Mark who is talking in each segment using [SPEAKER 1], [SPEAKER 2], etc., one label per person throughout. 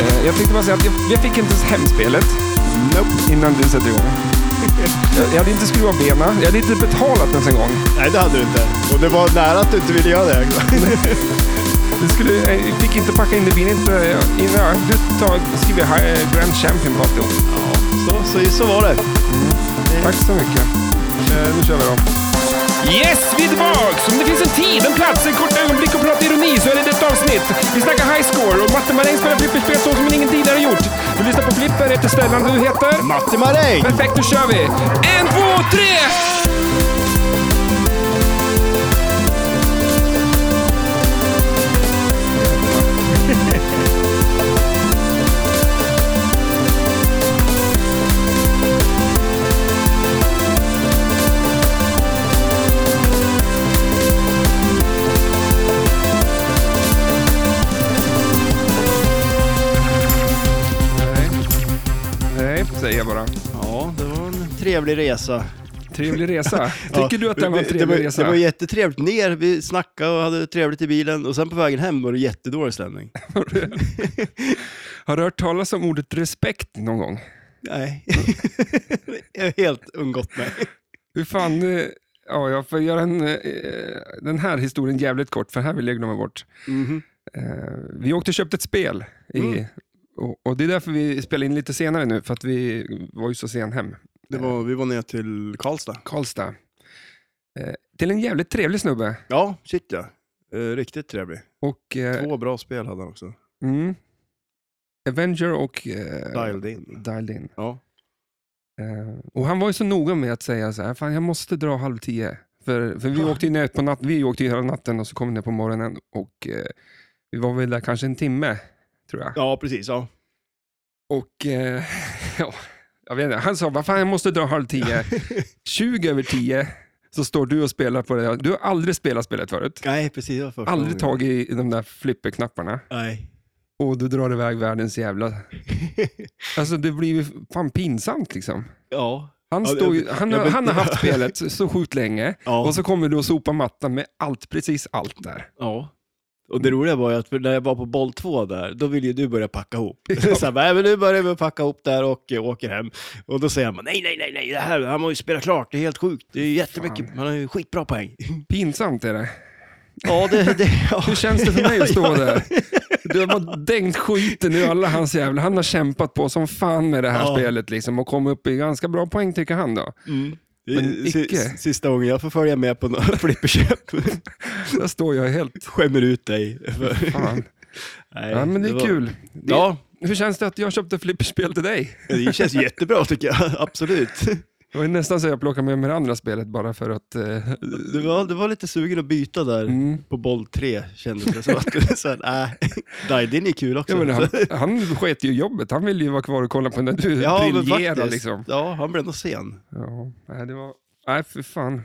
[SPEAKER 1] Eh, jag tänkte bara säga att jag, jag fick inte hemspelet
[SPEAKER 2] Nope.
[SPEAKER 1] innan du sätter igång. Jag, jag hade inte skruvat bena. Jag hade inte betalat ens en gång.
[SPEAKER 2] Nej, det hade du inte. Och det var nära att du inte ville göra det.
[SPEAKER 1] Det skulle, eh, jag fick inte packa in det bilen. Inte, jag, innan, du tar, skriver jag här, eh, Grand Champion på alltihop.
[SPEAKER 2] så, så, så var det.
[SPEAKER 1] Tack så mycket. Eh, nu kör vi då. Yes, vi är tillbaks! Om det finns en tid, en plats, en kort ögonblick och prata ironi så är det detta avsnitt. Vi snackar high score och Matte Maräng spelar flipperspel så som ingen tidigare gjort. Du lyssnar på Flipper efter Stellan, du heter?
[SPEAKER 2] Matti Maräng!
[SPEAKER 1] Perfekt, då kör vi! En, två, tre! Nej, säger jag bara.
[SPEAKER 2] Ja, det var en trevlig resa.
[SPEAKER 1] Trevlig resa. Tycker
[SPEAKER 2] Ja,
[SPEAKER 1] du att det var en
[SPEAKER 2] det
[SPEAKER 1] trevlig
[SPEAKER 2] Det
[SPEAKER 1] resa?
[SPEAKER 2] var jättetrevligt ner, vi snackade och hade trevligt i bilen och sen på vägen hem var det jättedålig stämning.
[SPEAKER 1] Har du hört talas om ordet respekt någon gång?
[SPEAKER 2] Nej, jag har helt undgått mig.
[SPEAKER 1] Hur fan... eh, Ja, jag får göra en, eh, den här historien jävligt kort, för här vill jag glömma bort.
[SPEAKER 2] Mhm.
[SPEAKER 1] Eh, vi åkte och köpte ett spel. I,
[SPEAKER 2] Mm.
[SPEAKER 1] och, och det är därför vi spelar in lite senare nu, för att vi var ju så sen hem.
[SPEAKER 2] Det var, vi var ner till Karlstad.
[SPEAKER 1] Karlstad. Eh, till en jävligt trevlig snubbe.
[SPEAKER 2] Ja, shit ja. Eh, riktigt trevlig.
[SPEAKER 1] Och, eh,
[SPEAKER 2] Två bra spel hade han också.
[SPEAKER 1] mm, Avenger och eh,
[SPEAKER 2] Dialed in.
[SPEAKER 1] Dialed In.
[SPEAKER 2] Ja.
[SPEAKER 1] Eh, och han var ju så noga med att säga så här, fan jag måste dra halv tio. För, för vi
[SPEAKER 2] Ja.
[SPEAKER 1] åkte ju ner på natten, vi åkte ju hela natten och så kom vi ner på morgonen och eh, vi var väl där kanske en timme, tror jag.
[SPEAKER 2] ja, precis. Ja.
[SPEAKER 1] Och eh, ja, jag vet inte, han sa, vad fan jag måste dra halv
[SPEAKER 2] Eh.
[SPEAKER 1] tio. 20 över tio så står du och spelar på det. där. Du har aldrig spelat spelet förut.
[SPEAKER 2] Nej, precis. Det var första
[SPEAKER 1] Aldrig
[SPEAKER 2] gången.
[SPEAKER 1] tagit i de där flipperknapparna.
[SPEAKER 2] Nej.
[SPEAKER 1] Och du drar iväg världens jävla... Alltså det blir ju fan pinsamt liksom.
[SPEAKER 2] ja.
[SPEAKER 1] Han,
[SPEAKER 2] Ja, det-
[SPEAKER 1] står ju, han,
[SPEAKER 2] ja,
[SPEAKER 1] har-
[SPEAKER 2] men-
[SPEAKER 1] han har haft spelet så sjukt länge
[SPEAKER 2] Ja.
[SPEAKER 1] och så kommer du och sopar mattan med allt, precis allt där.
[SPEAKER 2] Ja. Och det roliga var ju att när jag var på boll två där, då ville ju du börja packa ihop. Så här, nej men nu börjar vi packa ihop där och eh, åker hem. Och då säger han, nej, nej, nej, nej, det här, han måste ju spela klart, det är helt sjukt, det är ju jättemycket, han har ju skitbra poäng.
[SPEAKER 1] Pinsamt är det.
[SPEAKER 2] Ja, det, det, ja.
[SPEAKER 1] Hur känns det för mig att stå
[SPEAKER 2] Ja, ja,
[SPEAKER 1] där? Du har bara dängt skiten ur alla hans jävla... Han har kämpat på som fan med det här
[SPEAKER 2] Ja.
[SPEAKER 1] spelet liksom och kommit upp i ganska bra poäng tycker han då.
[SPEAKER 2] Mm.
[SPEAKER 1] Men
[SPEAKER 2] Si-
[SPEAKER 1] icke.
[SPEAKER 2] si- Sista gången jag får följa med på några flipperköp,
[SPEAKER 1] Där står jag helt...
[SPEAKER 2] skämmer ut dig.
[SPEAKER 1] Fan.
[SPEAKER 2] Nej,
[SPEAKER 1] Ja, men det är
[SPEAKER 2] var-
[SPEAKER 1] kul. Det,
[SPEAKER 2] Ja,
[SPEAKER 1] Hur känns det att jag köpte flipperspel till dig?
[SPEAKER 2] det känns jättebra tycker jag, absolut.
[SPEAKER 1] Det var ju nästan så jag plockade med mig det andra spelet bara för att... Eh,
[SPEAKER 2] Du var, du var lite sugen att byta där.
[SPEAKER 1] mm.
[SPEAKER 2] på boll tre kändes det som att så här, äh, Daidin är kul också.
[SPEAKER 1] ja, men han, han sket ju jobbet, han ville ju vara kvar och kolla på när du
[SPEAKER 2] Ja, men
[SPEAKER 1] briljerade
[SPEAKER 2] faktiskt.
[SPEAKER 1] liksom.
[SPEAKER 2] Ja, han blev ändå sen.
[SPEAKER 1] Ja, nej, det var... Nej, för fan.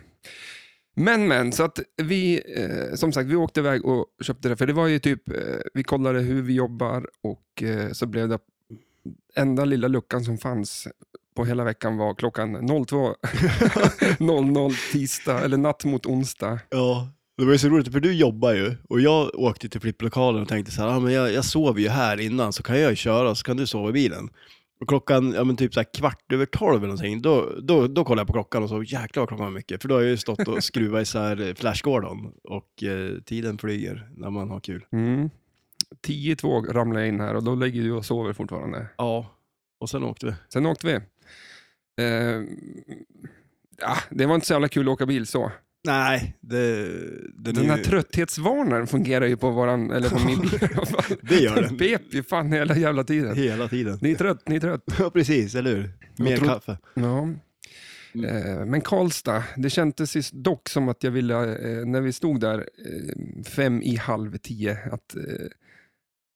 [SPEAKER 1] Men, men, så att vi, eh, som sagt, vi åkte iväg och köpte det, för det var ju typ, eh, vi kollade hur vi jobbar och eh, så blev det, enda lilla luckan som fanns på hela veckan var klockan 02.00 tisdag, eller natt mot onsdag.
[SPEAKER 2] Ja. Det var ju så roligt, för du jobbar ju och jag åkte till flipplokalen och tänkte så här, ah, men jag, jag sover ju här innan så kan jag ju köra så kan du sova i bilen. Och klockan, ja men typ så här kvart över tolv eller någonting, då, då, då kollar jag på klockan och så jäklar vad klockan var mycket. För då har jag ju stått och skruvat isär eh, Flash Gordon och eh, tiden flyger när man har kul.
[SPEAKER 1] Mm. 10-2 ramlade jag in här och då ligger du och sover fortfarande.
[SPEAKER 2] Ja. Och sen åkte vi.
[SPEAKER 1] Sen åkte vi. Eh, ja, det var inte så jävla kul att åka bil så.
[SPEAKER 2] Nej, det... den
[SPEAKER 1] Den
[SPEAKER 2] är
[SPEAKER 1] här
[SPEAKER 2] ju-
[SPEAKER 1] trötthetsvarnaren fungerar ju på våran, eller på min bil i alla fall.
[SPEAKER 2] Det gör
[SPEAKER 1] Den
[SPEAKER 2] den.
[SPEAKER 1] pep ju fan hela jävla tiden.
[SPEAKER 2] Hela tiden.
[SPEAKER 1] Ni är trött, ni är trött.
[SPEAKER 2] Ja, precis, eller hur?
[SPEAKER 1] Jag
[SPEAKER 2] Mer
[SPEAKER 1] tror-
[SPEAKER 2] kaffe.
[SPEAKER 1] Ja.
[SPEAKER 2] Mm.
[SPEAKER 1] Eh, Men Karlstad, det kändes ju dock som att jag ville, eh, när vi stod där eh, fem i halv tio, att eh,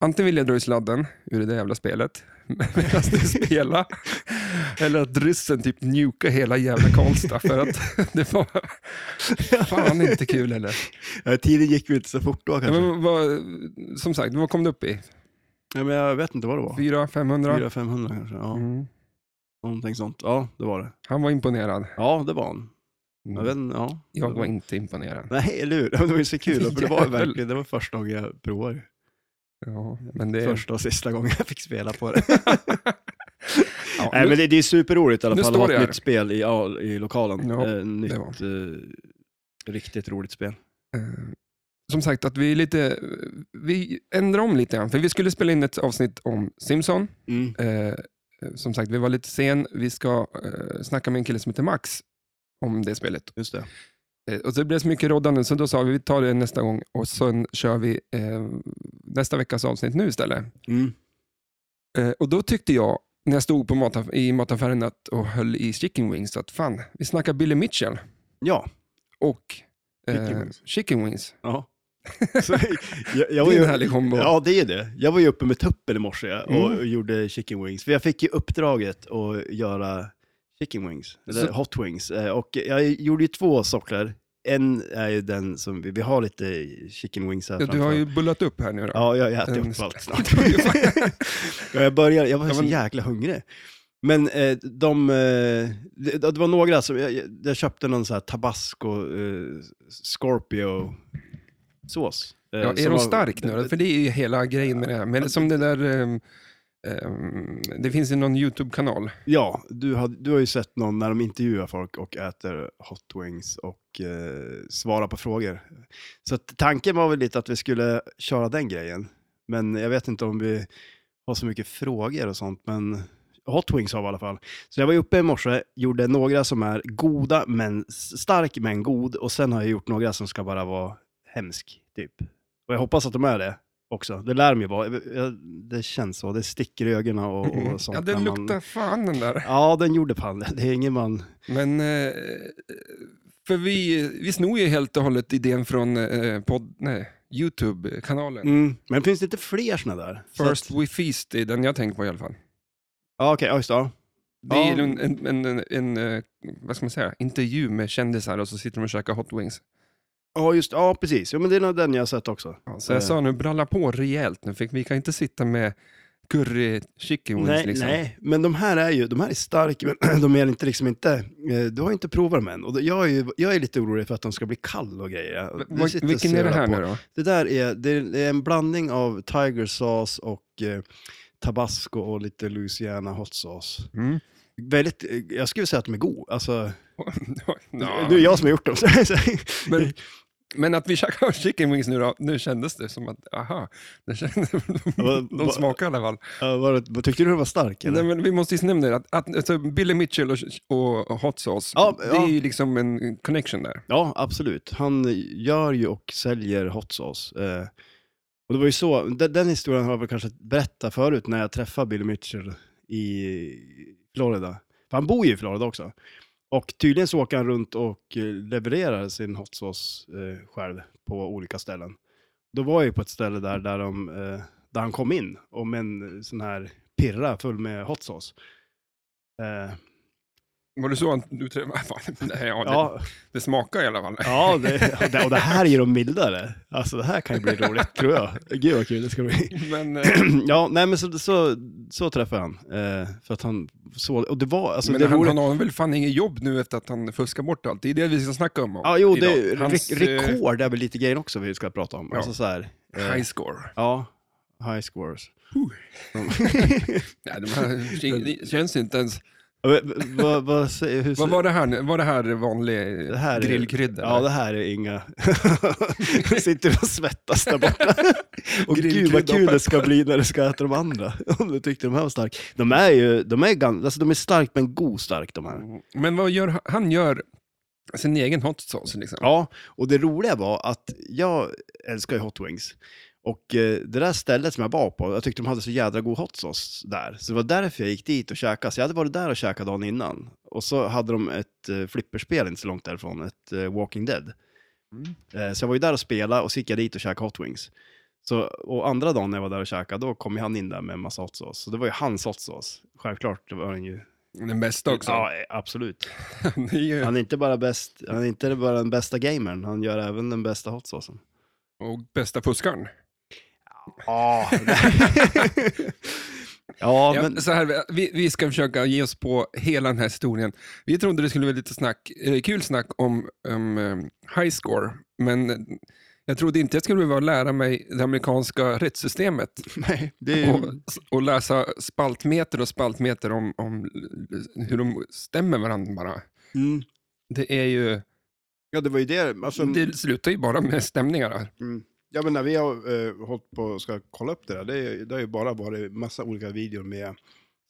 [SPEAKER 1] antingen ville jag dra i sladden ur det där jävla spelet medan det spela eller att ryssen typ njuka hela jävla Karlstad för att det var fan inte kul heller.
[SPEAKER 2] Ja, tiden gick väl inte så fort då
[SPEAKER 1] Ja,
[SPEAKER 2] kanske.
[SPEAKER 1] men, vad, som sagt, vad kom du upp i?
[SPEAKER 2] Ja, men jag vet inte vad det var.
[SPEAKER 1] 400-500?
[SPEAKER 2] 400-500 kanske. Ja,
[SPEAKER 1] Mm.
[SPEAKER 2] någonting sånt. Ja, det var det.
[SPEAKER 1] Han var imponerad.
[SPEAKER 2] Ja, det var han. Jag, vet,
[SPEAKER 1] Mm.
[SPEAKER 2] inte, ja.
[SPEAKER 1] Jag var inte imponerad.
[SPEAKER 2] Nej, eller hur? Det var ju så kul, för det var
[SPEAKER 1] Jävel.
[SPEAKER 2] verkligen det var första gången jag provade.
[SPEAKER 1] Ja, men det är...
[SPEAKER 2] Första och sista gången jag fick spela på det.
[SPEAKER 1] Ja,
[SPEAKER 2] Nej,
[SPEAKER 1] nu-
[SPEAKER 2] men det, det är superroligt i alla
[SPEAKER 1] Nu
[SPEAKER 2] fall
[SPEAKER 1] står
[SPEAKER 2] att
[SPEAKER 1] det
[SPEAKER 2] ha ett
[SPEAKER 1] här.
[SPEAKER 2] nytt spel i, ja, i lokalen.
[SPEAKER 1] Ja,
[SPEAKER 2] eh, nytt,
[SPEAKER 1] det var.
[SPEAKER 2] eh, riktigt roligt spel.
[SPEAKER 1] Eh, som sagt, att vi är lite... Vi ändrar om lite grann, för vi skulle spela in ett avsnitt om Simpson.
[SPEAKER 2] Mm.
[SPEAKER 1] Eh, som sagt, vi var lite sen. Vi ska eh, snacka med en kille som heter Max om det spelet.
[SPEAKER 2] Just det.
[SPEAKER 1] Eh, och så blev det så mycket roddande, så då sa vi vi tar det nästa gång och sen kör vi eh, nästa veckas avsnitt nu istället.
[SPEAKER 2] Mm.
[SPEAKER 1] Eh, och då tyckte jag, när jag stod på mataff- i mataffären att, och höll i chicken wings, att fan, vi snackar Billy Mitchell
[SPEAKER 2] Ja.
[SPEAKER 1] och
[SPEAKER 2] Chicken
[SPEAKER 1] eh,
[SPEAKER 2] wings.
[SPEAKER 1] chicken wings.
[SPEAKER 2] ja. Så, jag, jag
[SPEAKER 1] Det
[SPEAKER 2] var
[SPEAKER 1] är
[SPEAKER 2] ju,
[SPEAKER 1] en härlig kombo.
[SPEAKER 2] ja, det är det. Jag var ju uppe med tuppen i morse och,
[SPEAKER 1] Mm.
[SPEAKER 2] och gjorde chicken wings. För jag fick ju uppdraget att göra chicken wings, eller
[SPEAKER 1] Så-
[SPEAKER 2] hot wings. Eh, Och jag gjorde ju två sorter. En är ju den som, vi, vi har lite chicken wings här
[SPEAKER 1] Ja, du
[SPEAKER 2] framför.
[SPEAKER 1] har ju bullat upp här nu då.
[SPEAKER 2] Ja, jag
[SPEAKER 1] En
[SPEAKER 2] äter upp allt snart.
[SPEAKER 1] slaktare.
[SPEAKER 2] ja, jag, började, jag var
[SPEAKER 1] Ja,
[SPEAKER 2] så
[SPEAKER 1] men-
[SPEAKER 2] jäkla hungrig. Men eh, de, eh, det, det var några som, jag, jag- jag köpte någon så här tabasco, eh, scorpio-sås. Eh,
[SPEAKER 1] Ja, är
[SPEAKER 2] som
[SPEAKER 1] de
[SPEAKER 2] var-
[SPEAKER 1] stark nu då? För det är ju hela grejen med det här. Men som det där, ehm, ehm, det finns ju någon YouTube-kanal.
[SPEAKER 2] Ja, du har, du har ju sett någon när de intervjuar folk och äter hot wings och eh, svarar på frågor. Så att tanken var väl lite att vi skulle köra den grejen. Men jag vet inte om vi har så mycket frågor och sånt, men hot wings har vi i alla fall. Så jag var ju uppe i morse, gjorde några som är goda, men stark men god. Och sen har jag gjort några som ska bara vara hemsk, typ. Och jag hoppas att de är det också. Det lär mig ju vara. Jag- jag- Det känns så. Det sticker i ögonen och, och sånt.
[SPEAKER 1] Mm. Ja, den
[SPEAKER 2] när man-
[SPEAKER 1] luktar fan den där.
[SPEAKER 2] Ja, den gjorde pan. Det är ingen man...
[SPEAKER 1] Men, eh, för vi, vi snor ju helt och hållet idén från eh, podd, nej, YouTube-kanalen.
[SPEAKER 2] Mm. Men finns det inte fler såna där? Så
[SPEAKER 1] First
[SPEAKER 2] att-
[SPEAKER 1] We Feast är den jag tänker på i alla fall.
[SPEAKER 2] Ja, okej. Okay, just det. ja.
[SPEAKER 1] Det
[SPEAKER 2] Ja.
[SPEAKER 1] är en, en, en, en, eh, vad ska man säga, intervju med kändisar och så sitter de och käkar hot wings.
[SPEAKER 2] Ja, just Ja, precis. Jo, men det är nog den jag har sett också. Eh,
[SPEAKER 1] Ja, så jag sa nu, bralla på rejält nu, för vi kan inte sitta med curry chicken wings
[SPEAKER 2] Nej,
[SPEAKER 1] liksom.
[SPEAKER 2] nej, men de här är ju, de här är starka, men de är inte liksom inte, eh, du har ju inte provat dem än. Och då- jag är, ju, jag är lite orolig för att de ska bli kall och grejer. Jag-
[SPEAKER 1] Va-
[SPEAKER 2] jag sitter och
[SPEAKER 1] vilken är det här
[SPEAKER 2] stirrar på.
[SPEAKER 1] nu då?
[SPEAKER 2] Det där är, det är, det är en blandning av tiger sauce och eh, tabasco och lite Louisiana hot sauce.
[SPEAKER 1] Mm.
[SPEAKER 2] Väldigt, eh, jag skulle säga att de är god. Alltså,
[SPEAKER 1] Ja.
[SPEAKER 2] Nu är jag som har gjort dem. så- så-
[SPEAKER 1] Men, men att vi käkar chicken wings nu då, nu kändes det som att, aha, det kändes,
[SPEAKER 2] Vad-
[SPEAKER 1] de
[SPEAKER 2] vad-
[SPEAKER 1] smakar i alla fall.
[SPEAKER 2] Ja, var det, tyckte du den var stark? Eller?
[SPEAKER 1] Nej, men vi måste ju nämna det, att, att alltså, Billy Mitchell och, och Hot Sauce,
[SPEAKER 2] Ja,
[SPEAKER 1] det
[SPEAKER 2] ja.
[SPEAKER 1] är ju liksom en connection där.
[SPEAKER 2] Ja, absolut. Han gör ju och säljer hot sauce. Eh, och det var ju så, den, den historien har jag väl kanske berättat förut när jag träffade Billy Mitchell i Florida. För han bor ju i Florida också. Och tydligen så åker han runt och eh, levererar sin hot sauce eh, själv på olika ställen. Då var jag ju på ett ställe där, där, de, eh, där han kom in om en sån här pirra full med hot sauce. Eh,
[SPEAKER 1] Var det så att du träffade, fan, nej, ja, det,
[SPEAKER 2] ja,
[SPEAKER 1] det smakar i alla fall.
[SPEAKER 2] Ja, det, det- och det här är ju de mildare. Alltså det här kan ju bli roligt, tror jag. Gud vad kul det ska bli.
[SPEAKER 1] Men, eh,
[SPEAKER 2] Alltså, Ja, nej men så, så, så träffade han. Eh, för att han så, och det var, alltså
[SPEAKER 1] men
[SPEAKER 2] det
[SPEAKER 1] han,
[SPEAKER 2] vore...
[SPEAKER 1] han har väl fan ingen jobb nu efter att han fuskar bort allt. Det är det vi ska snacka om
[SPEAKER 2] ja, jo, det,
[SPEAKER 1] idag. Hans, eh,
[SPEAKER 2] re, rekord är väl lite grejen också vi ska prata om.
[SPEAKER 1] Ja.
[SPEAKER 2] Alltså så här, eh,
[SPEAKER 1] high score.
[SPEAKER 2] ja, high scores.
[SPEAKER 1] Huh.
[SPEAKER 2] Mm.
[SPEAKER 1] Nej, de här, det känns inte ens.
[SPEAKER 2] Ja, men Eh, vad, vad, säger- hur,
[SPEAKER 1] Vad var det här nu? Var det här vanlig
[SPEAKER 2] Det här är-
[SPEAKER 1] grillkrydda?
[SPEAKER 2] Ja, det här är inga... Sitter och svettas där borta. och gud vad
[SPEAKER 1] Grillkrydda och
[SPEAKER 2] kul det ska bli när du ska äta de andra. Om du tyckte de här var starka. De är ju, de är ganska, alltså de är starkt men god stark de här.
[SPEAKER 1] Men vad gör han? han? gör sin egen hot sauce liksom.
[SPEAKER 2] Ja, och det roliga var att jag älskar ju hot wings. Och eh, det där stället som jag var på, jag tyckte de hade så jädra god hot sauce där. Så det var därför jag gick dit och käkade. Så jag hade varit där och käkat dagen innan. Och så hade de ett eh, flipperspel inte så långt därifrån, ett eh, Walking Dead.
[SPEAKER 1] Mm.
[SPEAKER 2] Eh, Så jag var ju där och spelade och så gick jag dit och käkade hot wings. Så, och andra dagen när jag var där och käkade, då kom ju han in där med en massa hot sauce. Så det var ju hans hot sauce. Självklart, det var den ju.
[SPEAKER 1] Den bästa också.
[SPEAKER 2] Ja, eh, absolut.
[SPEAKER 1] Han är ju-
[SPEAKER 2] Han är inte bara, bäst, han är inte bara den bästa gamern, han gör även den bästa hot saucen.
[SPEAKER 1] Och bästa fuskaren.
[SPEAKER 2] Ja, ja
[SPEAKER 1] Ja,
[SPEAKER 2] men
[SPEAKER 1] så här, vi, vi ska försöka ge oss på hela den här historien. Vi trodde det skulle bli lite snack, eh, kul snack om um, high score, eh, men Jag trodde inte jag skulle behöva lära mig det amerikanska rättssystemet
[SPEAKER 2] Nej, det är
[SPEAKER 1] och,
[SPEAKER 2] ju...
[SPEAKER 1] och läsa spaltmeter och spaltmeter om, om hur de stämmer varandra bara.
[SPEAKER 2] Mm.
[SPEAKER 1] Det är ju,
[SPEAKER 2] Ja, det var ju det. Alltså,
[SPEAKER 1] det slutar ju bara med stämningar. här.
[SPEAKER 2] Mm. Ja, men när vi har eh, hållit på och ska kolla upp det där, det, är- det har ju bara varit massa olika videor med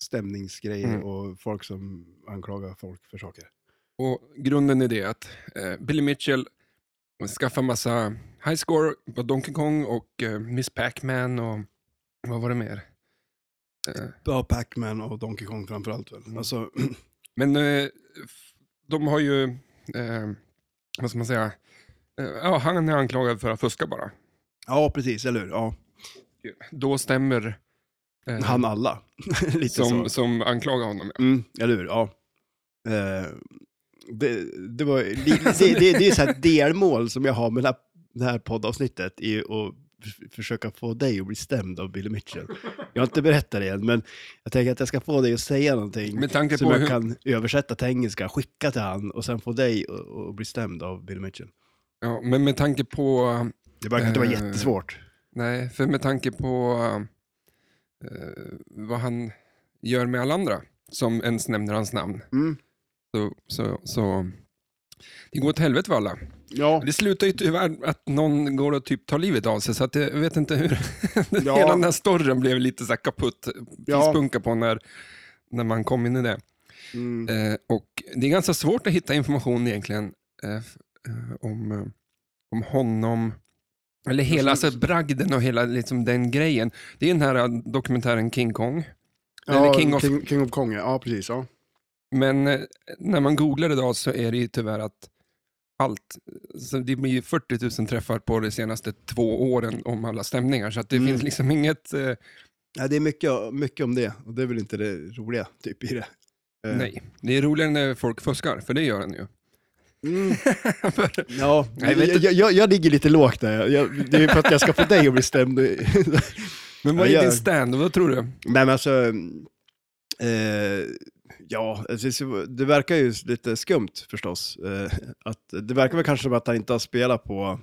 [SPEAKER 2] stämningsgrejer
[SPEAKER 1] Mm.
[SPEAKER 2] och folk som anklagar folk för saker.
[SPEAKER 1] Och grunden är det att eh, Billy Mitchell skaffar massa high score på Donkey Kong och eh, Miss Pac-Man och vad var det mer? Eh,
[SPEAKER 2] Ja, Pac-Man och Donkey Kong framförallt väl.
[SPEAKER 1] Mm.
[SPEAKER 2] Alltså,
[SPEAKER 1] men eh, f- de har ju, eh, vad ska man säga, eh, ja, han är anklagad för att fuska bara.
[SPEAKER 2] ja, precis, eller hur? Ja.
[SPEAKER 1] Då stämmer eh,
[SPEAKER 2] Han alla. Lite
[SPEAKER 1] som,
[SPEAKER 2] så.
[SPEAKER 1] som anklagar honom.
[SPEAKER 2] Mm, eller hur? Ja. Eh, det, det, var, li- det, det, det är så här delmål som jag har med det här, det här poddavsnittet, i att f- försöka få dig att bli stämd av Billy Mitchell. Jag har inte berättat det än, men jag tänker att jag ska få dig att säga någonting
[SPEAKER 1] Med tanke
[SPEAKER 2] som
[SPEAKER 1] på
[SPEAKER 2] jag
[SPEAKER 1] hur,
[SPEAKER 2] kan översätta till engelska, skicka till han och sen få dig att, att bli stämd av Billy Mitchell.
[SPEAKER 1] ja, men med tanke på, eh,
[SPEAKER 2] Det verkar inte vara
[SPEAKER 1] Eh.
[SPEAKER 2] jättesvårt.
[SPEAKER 1] nej, för med tanke på eh, vad han gör med alla andra som ens nämner hans namn.
[SPEAKER 2] Mm.
[SPEAKER 1] Så, så, så det går åt helvete för alla.
[SPEAKER 2] Ja,
[SPEAKER 1] Det slutar ju tyvärr att någon går och typ tar livet av sig, så att jag vet inte hur...
[SPEAKER 2] Ja.
[SPEAKER 1] Hela den här storyn blev lite så här kaputt,
[SPEAKER 2] Ja.
[SPEAKER 1] fispunka på när, när man kom in i det.
[SPEAKER 2] mm.
[SPEAKER 1] Eh, och det är ganska svårt att hitta information egentligen eh, f- eh, om, eh, om honom, eller hela
[SPEAKER 2] Mm.
[SPEAKER 1] alltså, bragden och hela liksom, den grejen. Det är den här eh, dokumentären King Kong.
[SPEAKER 2] ja
[SPEAKER 1] King
[SPEAKER 2] King,
[SPEAKER 1] of- Mm.
[SPEAKER 2] of... King, of Kong, ja Ja, precis. Ja.
[SPEAKER 1] Men eh, när man googlar idag så är det ju tyvärr att allt, så det blir ju 40 000 träffar på de senaste två åren om alla stämningar, så att det
[SPEAKER 2] Mm.
[SPEAKER 1] finns liksom inget, eh,
[SPEAKER 2] Ja, det är mycket, mycket om det och det är väl inte det roliga typ i det. Eh,
[SPEAKER 1] nej. Det är roligare när folk fuskar, för det gör den ju.
[SPEAKER 2] Mm.
[SPEAKER 1] För-
[SPEAKER 2] Ja,
[SPEAKER 1] Nej,
[SPEAKER 2] jag,
[SPEAKER 1] vet du-
[SPEAKER 2] jag, jag, jag ligger lite lågt där. Jag- Jag, det är för att jag ska få dig att bli stämd. Nej,
[SPEAKER 1] Men vad
[SPEAKER 2] Ja,
[SPEAKER 1] är
[SPEAKER 2] gör-
[SPEAKER 1] din stand, vad tror du?
[SPEAKER 2] men alltså, eh, ja, alltså, så- det verkar ju lite skumt förstås. Eh, att, det verkar väl kanske som att han inte har spelat på,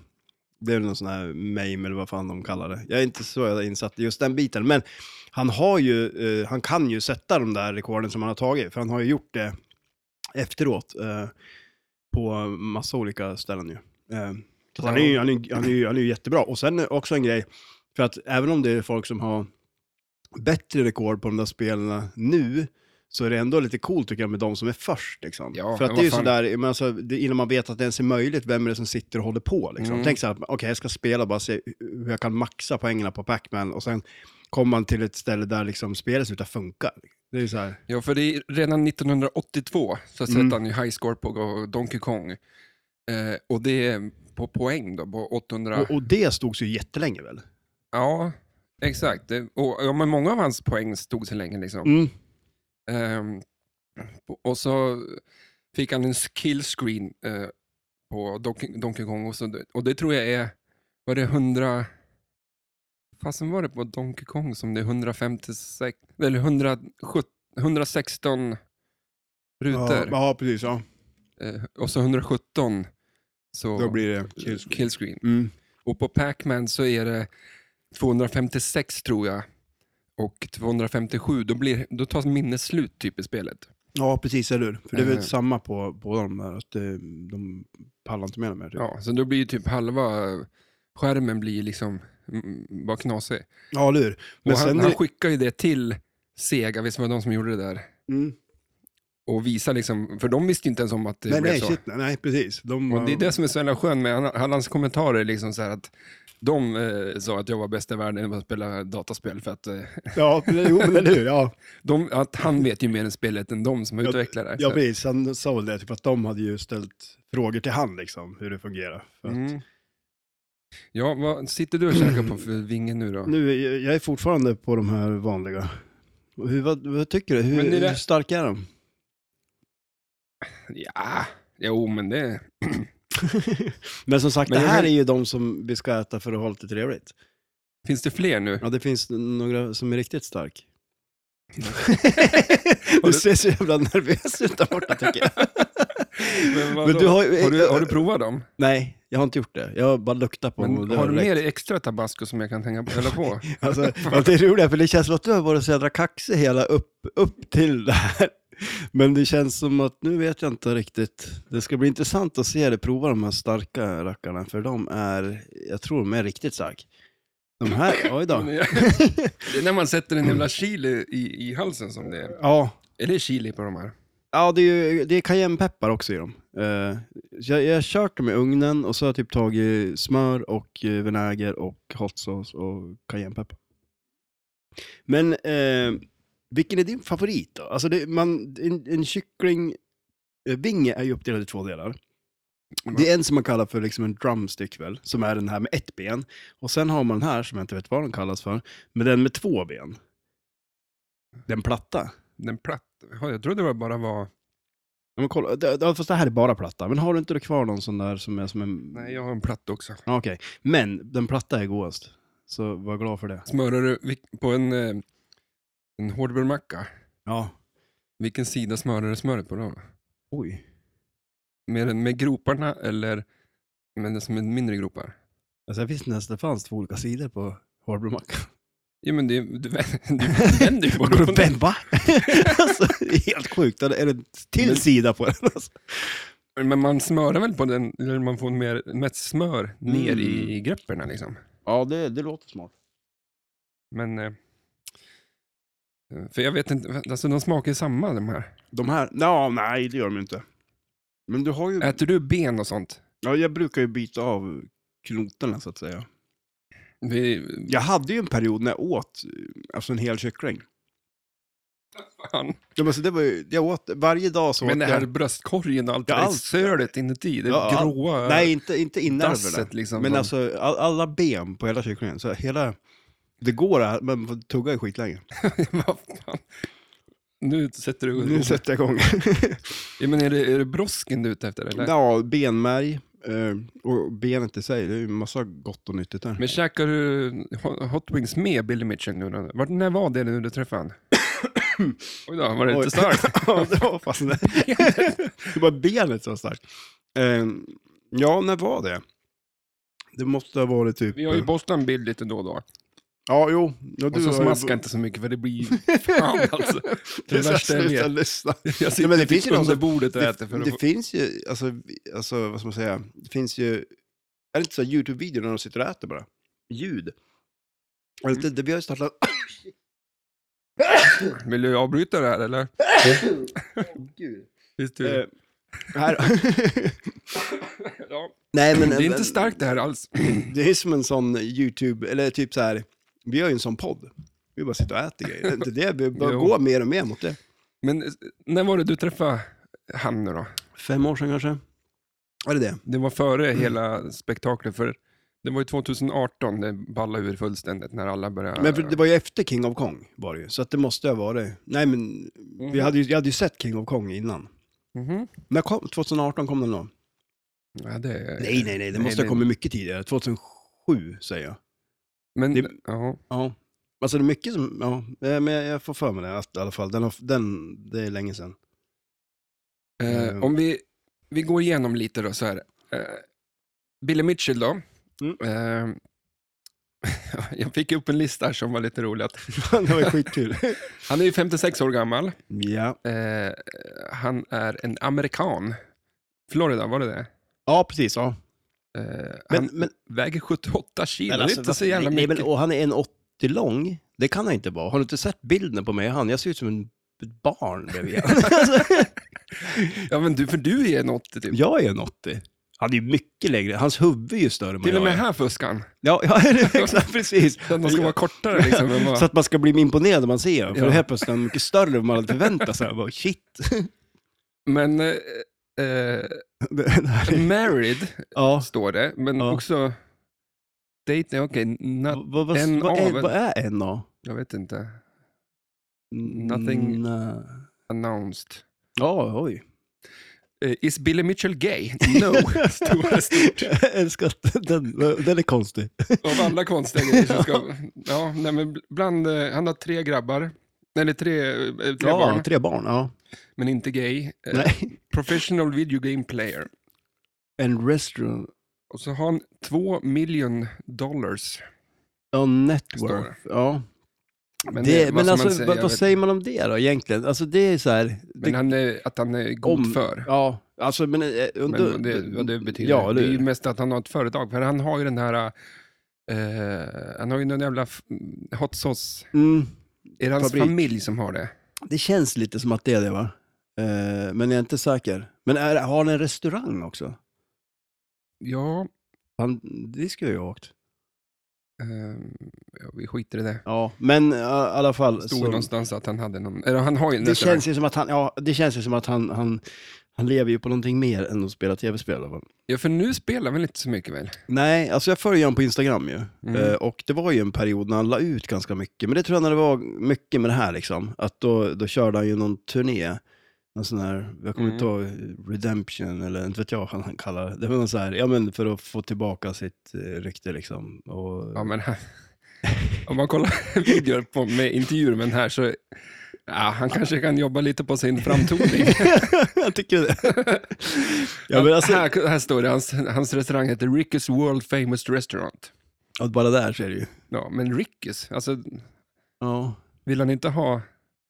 [SPEAKER 2] det är väl någon sån här meme eller vad fan de kallar det. Jag är inte så insatt i just den biten, men han har ju, eh, han kan ju sätta de där rekorden som han har tagit, för han har ju gjort det efteråt eh, på massa olika ställen ju. Eh, så han, är ju, han, är, ju- han, är ju, han är ju jättebra. Och sen är också en grej, för att även om det är folk som har bättre rekord på de där spelen nu, så är det ändå lite coolt tycker jag med de som är först. Liksom.
[SPEAKER 1] Ja,
[SPEAKER 2] för att
[SPEAKER 1] men
[SPEAKER 2] det är ju
[SPEAKER 1] vad fan.
[SPEAKER 2] sådär, men alltså, det, innan man vet att det ens är möjligt, vem är det som sitter och håller på? Liksom.
[SPEAKER 1] Mm.
[SPEAKER 2] Tänk så här, okej jag ska spela bara se hur jag kan maxa poängerna på Pac-Man och sen kommer man till ett ställe där liksom spelet slutar funka. Det är ju så här,
[SPEAKER 1] Ja, för det är redan 1982 så sätter
[SPEAKER 2] Mm.
[SPEAKER 1] han ju high score på Donkey Kong. Eh, och det är på poäng då, på 800.
[SPEAKER 2] och, och det stod ju jättelänge väl?
[SPEAKER 1] Ja, exakt. Det- Och, ja, men många av hans poäng stod så länge liksom.
[SPEAKER 2] Mm.
[SPEAKER 1] Ehm, och så fick han en skill screen eh, på Donkey, Donkey Kong. Och, så, och det tror jag är, var det 100... Fasen var det på Donkey Kong som det är 156, eller 117, 116
[SPEAKER 2] Ja,
[SPEAKER 1] rutor.
[SPEAKER 2] ja, precis. Ja.
[SPEAKER 1] Eh, och så 117 så
[SPEAKER 2] Då blir det
[SPEAKER 1] eh,
[SPEAKER 2] kills.
[SPEAKER 1] kill screen.
[SPEAKER 2] Mm.
[SPEAKER 1] Och på Pac-Man så är det 256 tror jag. Och 257, då, blir, då tas minnet slut typ i spelet.
[SPEAKER 2] Ja, precis, eller hur? För det är väl
[SPEAKER 1] Eh.
[SPEAKER 2] samma på båda de där, att det, de pallar inte med dem här. Typ. Ja.
[SPEAKER 1] Ja, så då blir ju typ halva skärmen blir liksom mm, bara knasig.
[SPEAKER 2] ja, eller hur? Men
[SPEAKER 1] och han,
[SPEAKER 2] sen...
[SPEAKER 1] han skickar ju det till Sega, visst var det de som gjorde det där?
[SPEAKER 2] mm.
[SPEAKER 1] Och visar liksom, för de visste ju inte ens om att det
[SPEAKER 2] Nej,
[SPEAKER 1] blev
[SPEAKER 2] nej,
[SPEAKER 1] så.
[SPEAKER 2] shit, nej, nej, precis. De,
[SPEAKER 1] Och det är det som är så jävla skönt med han- han- hans kommentarer, är liksom så här att de eh, sa att jag var bäst i världen på att spela dataspel, för att, eh,
[SPEAKER 2] Ja, men- jo, men eller hur? Ja,
[SPEAKER 1] de, att han vet ju mer än spelet än de som har
[SPEAKER 2] Ja,
[SPEAKER 1] utvecklat det.
[SPEAKER 2] ja
[SPEAKER 1] Så-
[SPEAKER 2] precis. Han sa väl det, typ att de hade ju ställt frågor till han, liksom, hur det fungerar. För att,
[SPEAKER 1] Mm. Ja, vad sitter du och käkar på för vinge nu då?
[SPEAKER 2] Nu, jag- jag är fortfarande på de här vanliga. Och Hur, vad, vad tycker du? Hur,
[SPEAKER 1] Men det där-
[SPEAKER 2] hur starka är de?
[SPEAKER 1] Ja, jo men det...
[SPEAKER 2] Men som sagt,
[SPEAKER 1] Men
[SPEAKER 2] det
[SPEAKER 1] jag
[SPEAKER 2] här
[SPEAKER 1] kan-
[SPEAKER 2] är ju de som vi ska äta för att ha lite trevligt.
[SPEAKER 1] Finns det fler nu?
[SPEAKER 2] Ja, det finns några som är riktigt stark.
[SPEAKER 1] du-
[SPEAKER 2] du ser så jävla nervös ut där borta tycker jag.
[SPEAKER 1] Men vadå?
[SPEAKER 2] Men du har ju-
[SPEAKER 1] har, du, har du provat dem?
[SPEAKER 2] Nej, Jag har inte gjort det. Jag har bara luktat på
[SPEAKER 1] Men
[SPEAKER 2] det
[SPEAKER 1] har du
[SPEAKER 2] räckt.
[SPEAKER 1] med dig extra tabasco som jag kan tänka på, hälla på?
[SPEAKER 2] Alltså, ja, det är roligt, för det känns som att du har varit så jädra kaxig hela upp, upp till det här. Men det känns som att nu vet jag inte riktigt. Det ska bli intressant att se dig prova de här starka rackarna, för de är, jag tror de är riktigt stark. De här, oj då.
[SPEAKER 1] Det är när man sätter en jävla chili i, i halsen som det är.
[SPEAKER 2] Ja,
[SPEAKER 1] Är det chili på de här?
[SPEAKER 2] ja det är, ju- det är cayennepeppar också i dem. Eh, jag, jag har kört dem i ugnen och så har jag typ tagit smör och eh, vinäger och hot sauce och cayennepeppar. Men eh, vilken är din favorit då? Alltså det, man, en, en kycklingvinge är ju uppdelad i två delar. Det är en som man kallar för liksom en drumstick väl, som är den här med ett ben. Och sen har man den här som jag inte vet vad den kallas för, men den med två ben. Den platta.
[SPEAKER 1] Den platt. Ja, Jag trodde det var bara var...
[SPEAKER 2] Ja, men kolla, det, det, fast det här är bara platta. Men har du inte då kvar någon sån där som är som en...
[SPEAKER 1] Nej, jag har en platt också.
[SPEAKER 2] Ja, Okej, men den platta är godast. Så var glad för det.
[SPEAKER 1] Smörar du vil- på en, eh, en hårdbrödmacka,
[SPEAKER 2] Ja.
[SPEAKER 1] vilken sida smörar du smöret på då?
[SPEAKER 2] Oj.
[SPEAKER 1] Med, den- med groparna eller med, som med mindre gropar?
[SPEAKER 2] Alltså jag visste inte ens att det fanns två olika sidor på hårdbrödmackan.
[SPEAKER 1] Jo, men det, du, du vänder ju på groparna.
[SPEAKER 2] Vem, va? alltså, det är helt sjukt. Det är en till
[SPEAKER 1] Men-
[SPEAKER 2] sida på den. Alltså.
[SPEAKER 1] Men man smörar väl på den, eller man får mer, mest smör ner
[SPEAKER 2] Mm.
[SPEAKER 1] i, i grepperna liksom.
[SPEAKER 2] Ja, det, det låter smart.
[SPEAKER 1] Men... eh, För jag vet inte, alltså de smakar ju samma de här.
[SPEAKER 2] De här, ja, nej det gör de inte. Men du har ju,
[SPEAKER 1] Äter du ben och sånt?
[SPEAKER 2] ja, jag brukar ju bita av knotarna så att säga.
[SPEAKER 1] Vi,
[SPEAKER 2] Jag hade ju en period när jag åt alltså en hel kyckling.
[SPEAKER 1] fan.
[SPEAKER 2] Ja, men alltså det var ju, jag åt, varje dag så
[SPEAKER 1] Men
[SPEAKER 2] åt
[SPEAKER 1] det
[SPEAKER 2] jag-
[SPEAKER 1] här bröstkorgen och allt
[SPEAKER 2] Ja,
[SPEAKER 1] det där
[SPEAKER 2] allt.
[SPEAKER 1] sölet inuti, det
[SPEAKER 2] Ja, all-
[SPEAKER 1] gråa
[SPEAKER 2] Nej, inte, inte inälvorna.
[SPEAKER 1] dasset liksom.
[SPEAKER 2] Men
[SPEAKER 1] som-
[SPEAKER 2] alltså all, alla ben på hela kycklingen. Så hela, det går, att- men man får tugga i skitlänge.
[SPEAKER 1] Vad fan. Nu sätter du
[SPEAKER 2] Nu sätter jag igång.
[SPEAKER 1] ja, men är, det, är det brosken du är ute efter eller?
[SPEAKER 2] ja, benmärg eh, och benet i sig. Det är ju massa gott och nyttigt där.
[SPEAKER 1] Men käkar du Hot- Hot Wings med Billy Mitchell nu då? Vart, när var det nu du träffade han? Oj då, var det
[SPEAKER 2] Oj.
[SPEAKER 1] inte starkt?
[SPEAKER 2] ja, det var fast det. det var benet som var starkt. Eh, ja, när var det? Det måste ha varit typ...
[SPEAKER 1] Vi har ju Boston Bill lite då och då.
[SPEAKER 2] Ja, jo. Ja,
[SPEAKER 1] Och så
[SPEAKER 2] har ju-
[SPEAKER 1] smaskar jag inte så mycket för det blir ju- fan alltså.
[SPEAKER 2] Det är så här,
[SPEAKER 1] värsta jag vet.
[SPEAKER 2] sluta lyssna.
[SPEAKER 1] Jag sitter
[SPEAKER 2] Nej, men det finns ju
[SPEAKER 1] typ
[SPEAKER 2] någon
[SPEAKER 1] under
[SPEAKER 2] som-
[SPEAKER 1] bordet och
[SPEAKER 2] det,
[SPEAKER 1] äter för att
[SPEAKER 2] det
[SPEAKER 1] få...
[SPEAKER 2] finns ju, alltså, vi- alltså vad ska man säga, det finns ju, är det inte så här YouTube-videor när de sitter och äter bara? Ljud. Eller
[SPEAKER 1] Mm.
[SPEAKER 2] Det, det, vi har ju startat,
[SPEAKER 1] Vill du avbryta det här eller?
[SPEAKER 2] gud.
[SPEAKER 1] Visst, du...
[SPEAKER 2] Eh, här.
[SPEAKER 1] ja.
[SPEAKER 2] Nej men,
[SPEAKER 1] Det är inte starkt det här alls.
[SPEAKER 2] det är som en sån YouTube, eller typ så här, vi har ju en sån podd. Vi bara sitter och äter grejer. Det är inte det, vi bara
[SPEAKER 1] Jo.
[SPEAKER 2] går mer och mer mot det.
[SPEAKER 1] Men eh, när var det du träffade han nu då?
[SPEAKER 2] Fem år sedan kanske? Är det det?
[SPEAKER 1] Det var före
[SPEAKER 2] Mm.
[SPEAKER 1] hela spektaklet, för det var ju 2018 det ballade ur fullständigt när alla började...
[SPEAKER 2] Men för det var ju efter King of Kong, var det ju. Så att det måste ha varit, nej men, vi
[SPEAKER 1] Mm.
[SPEAKER 2] hade ju, jag hade ju sett King of Kong innan.
[SPEAKER 1] Mhm.
[SPEAKER 2] När kom, 2018 kom den då?
[SPEAKER 1] Ja, det...
[SPEAKER 2] Nej, nej, nej, det
[SPEAKER 1] Nej,
[SPEAKER 2] måste
[SPEAKER 1] det-
[SPEAKER 2] ha kommit mycket tidigare. 2007 säger jag.
[SPEAKER 1] Men,
[SPEAKER 2] det-
[SPEAKER 1] ja.
[SPEAKER 2] Ja. Alltså det är mycket som, ja, eh, men jag jag får för mig det att, i alla fall. Den, har- den, det är länge sedan.
[SPEAKER 1] Eh,
[SPEAKER 2] Eh.
[SPEAKER 1] om vi, vi går igenom lite då så här. Eh, Billy Mitchell då.
[SPEAKER 2] Mm.
[SPEAKER 1] Eh, jag fick upp en lista här som var lite rolig. att-
[SPEAKER 2] det var ju skitkul.
[SPEAKER 1] Han är ju 56 år gammal.
[SPEAKER 2] ja.
[SPEAKER 1] Eh, han är en amerikan. Florida, var det det?
[SPEAKER 2] ja, precis. Ja.
[SPEAKER 1] Eh,
[SPEAKER 2] Men,
[SPEAKER 1] han
[SPEAKER 2] men,
[SPEAKER 1] väger 78 kilo,
[SPEAKER 2] men
[SPEAKER 1] det är inte så jävla
[SPEAKER 2] alltså, nej,
[SPEAKER 1] mycket.
[SPEAKER 2] men, och han är en 80 lång. Det kan han inte vara. Har du inte sett bilden på mig och han? Jag ser ut som en ett barn bredvid han. alltså,
[SPEAKER 1] Ja, men du, för du är en 80 typ.
[SPEAKER 2] Jag är en 80. Han är ju mycket längre. Hans huvud är ju större än vad
[SPEAKER 1] Till och
[SPEAKER 2] jag
[SPEAKER 1] med
[SPEAKER 2] är.
[SPEAKER 1] här fuskar han.
[SPEAKER 2] Ja, ja exakt, precis.
[SPEAKER 1] Så att man ska vara kortare liksom. än vad-
[SPEAKER 2] Så att man ska bli imponerad när man ser honom, för
[SPEAKER 1] Ja.
[SPEAKER 2] helt plötsligt är han mycket större än man hade förväntat sig. Jag Bara, shit.
[SPEAKER 1] Men eh, eh,
[SPEAKER 2] Det här
[SPEAKER 1] Mm.
[SPEAKER 2] är-
[SPEAKER 1] married
[SPEAKER 2] ja.
[SPEAKER 1] står det, men
[SPEAKER 2] Ja.
[SPEAKER 1] också date, okej, not,
[SPEAKER 2] Vad, vad, vad,
[SPEAKER 1] en
[SPEAKER 2] är,
[SPEAKER 1] av-
[SPEAKER 2] vad är NA?
[SPEAKER 1] jag vet inte,
[SPEAKER 2] Mm,
[SPEAKER 1] Nothing.
[SPEAKER 2] nej.
[SPEAKER 1] announced.
[SPEAKER 2] Ja, oj.
[SPEAKER 1] Eh, is Billy Mitchell gay? No, stod det stort.
[SPEAKER 2] Jag älskar att den, den är konstig.
[SPEAKER 1] Av alla konstiga grejer så ska, ja, nej, men bland, eh, han har tre grabbar, eller tre, eh, tre
[SPEAKER 2] ja,
[SPEAKER 1] barn,
[SPEAKER 2] tre barn. Ja.
[SPEAKER 1] men inte gay. Eh,
[SPEAKER 2] Nej.
[SPEAKER 1] professional video game player.
[SPEAKER 2] En restaurant.
[SPEAKER 1] Och så har han två million dollars.
[SPEAKER 2] Ja,
[SPEAKER 1] Står
[SPEAKER 2] network.
[SPEAKER 1] det.
[SPEAKER 2] Ja.
[SPEAKER 1] Men,
[SPEAKER 2] det,
[SPEAKER 1] det,
[SPEAKER 2] men
[SPEAKER 1] vad
[SPEAKER 2] alltså,
[SPEAKER 1] alltså, säga,
[SPEAKER 2] vad,
[SPEAKER 1] Jag
[SPEAKER 2] vad
[SPEAKER 1] vet-
[SPEAKER 2] säger man om det då egentligen? Alltså det är så här... Det,
[SPEAKER 1] Men han är, att han är god
[SPEAKER 2] Om-
[SPEAKER 1] för.
[SPEAKER 2] Ja, alltså men... eh,
[SPEAKER 1] Men
[SPEAKER 2] då-
[SPEAKER 1] det, vad det betyder.
[SPEAKER 2] Ja,
[SPEAKER 1] det
[SPEAKER 2] eller
[SPEAKER 1] är ju
[SPEAKER 2] hur?
[SPEAKER 1] mest att han har ett företag. För han har ju den här, eh, han har ju någon jävla f- hot sauce.
[SPEAKER 2] Mm,
[SPEAKER 1] Är det hans
[SPEAKER 2] Fabrik.
[SPEAKER 1] familj som har det?
[SPEAKER 2] det känns lite som att det är det va? Eh, men jag är inte säker. Men är, har han en restaurang också?
[SPEAKER 1] Ja,
[SPEAKER 2] Han, det skulle jag ju ha åkt.
[SPEAKER 1] eh, ja, vi skiter i det.
[SPEAKER 2] Ja, men eh, i alla fall.
[SPEAKER 1] Det stod
[SPEAKER 2] så-
[SPEAKER 1] någonstans att han hade någon, eller han har ju en
[SPEAKER 2] det
[SPEAKER 1] restaurang.
[SPEAKER 2] känns ju som att han, ja, det känns ju som att han, han, han lever ju på någonting mer än att spela tv-spel i alla fall.
[SPEAKER 1] Ja, för nu spelar han väl inte så mycket väl?
[SPEAKER 2] Nej, alltså jag följer honom på Instagram ju.
[SPEAKER 1] Mm.
[SPEAKER 2] Eh, och det var ju en period när han la ut ganska mycket. Men det tror jag när det var mycket med det här liksom. Att då, då körde han ju någon turné. Någon sån här, jag kommer
[SPEAKER 1] Mm.
[SPEAKER 2] inte ihåg, Redemption eller inte vet jag vad han kallar det. Det var någon så här, ja men för att få tillbaka sitt eh, rykte liksom. Och,
[SPEAKER 1] Ja, men han, om man kollar videor på, med intervjuer med den här så, ja, han kanske kan jobba lite på sin framtoning.
[SPEAKER 2] jag tycker det. ja men alltså,
[SPEAKER 1] här, här står det, hans, hans restaurang heter Ricky's World Famous Restaurant.
[SPEAKER 2] ja, bara där så är det ju.
[SPEAKER 1] Ja, men Ricky's, alltså
[SPEAKER 2] Ja,
[SPEAKER 1] vill han inte ha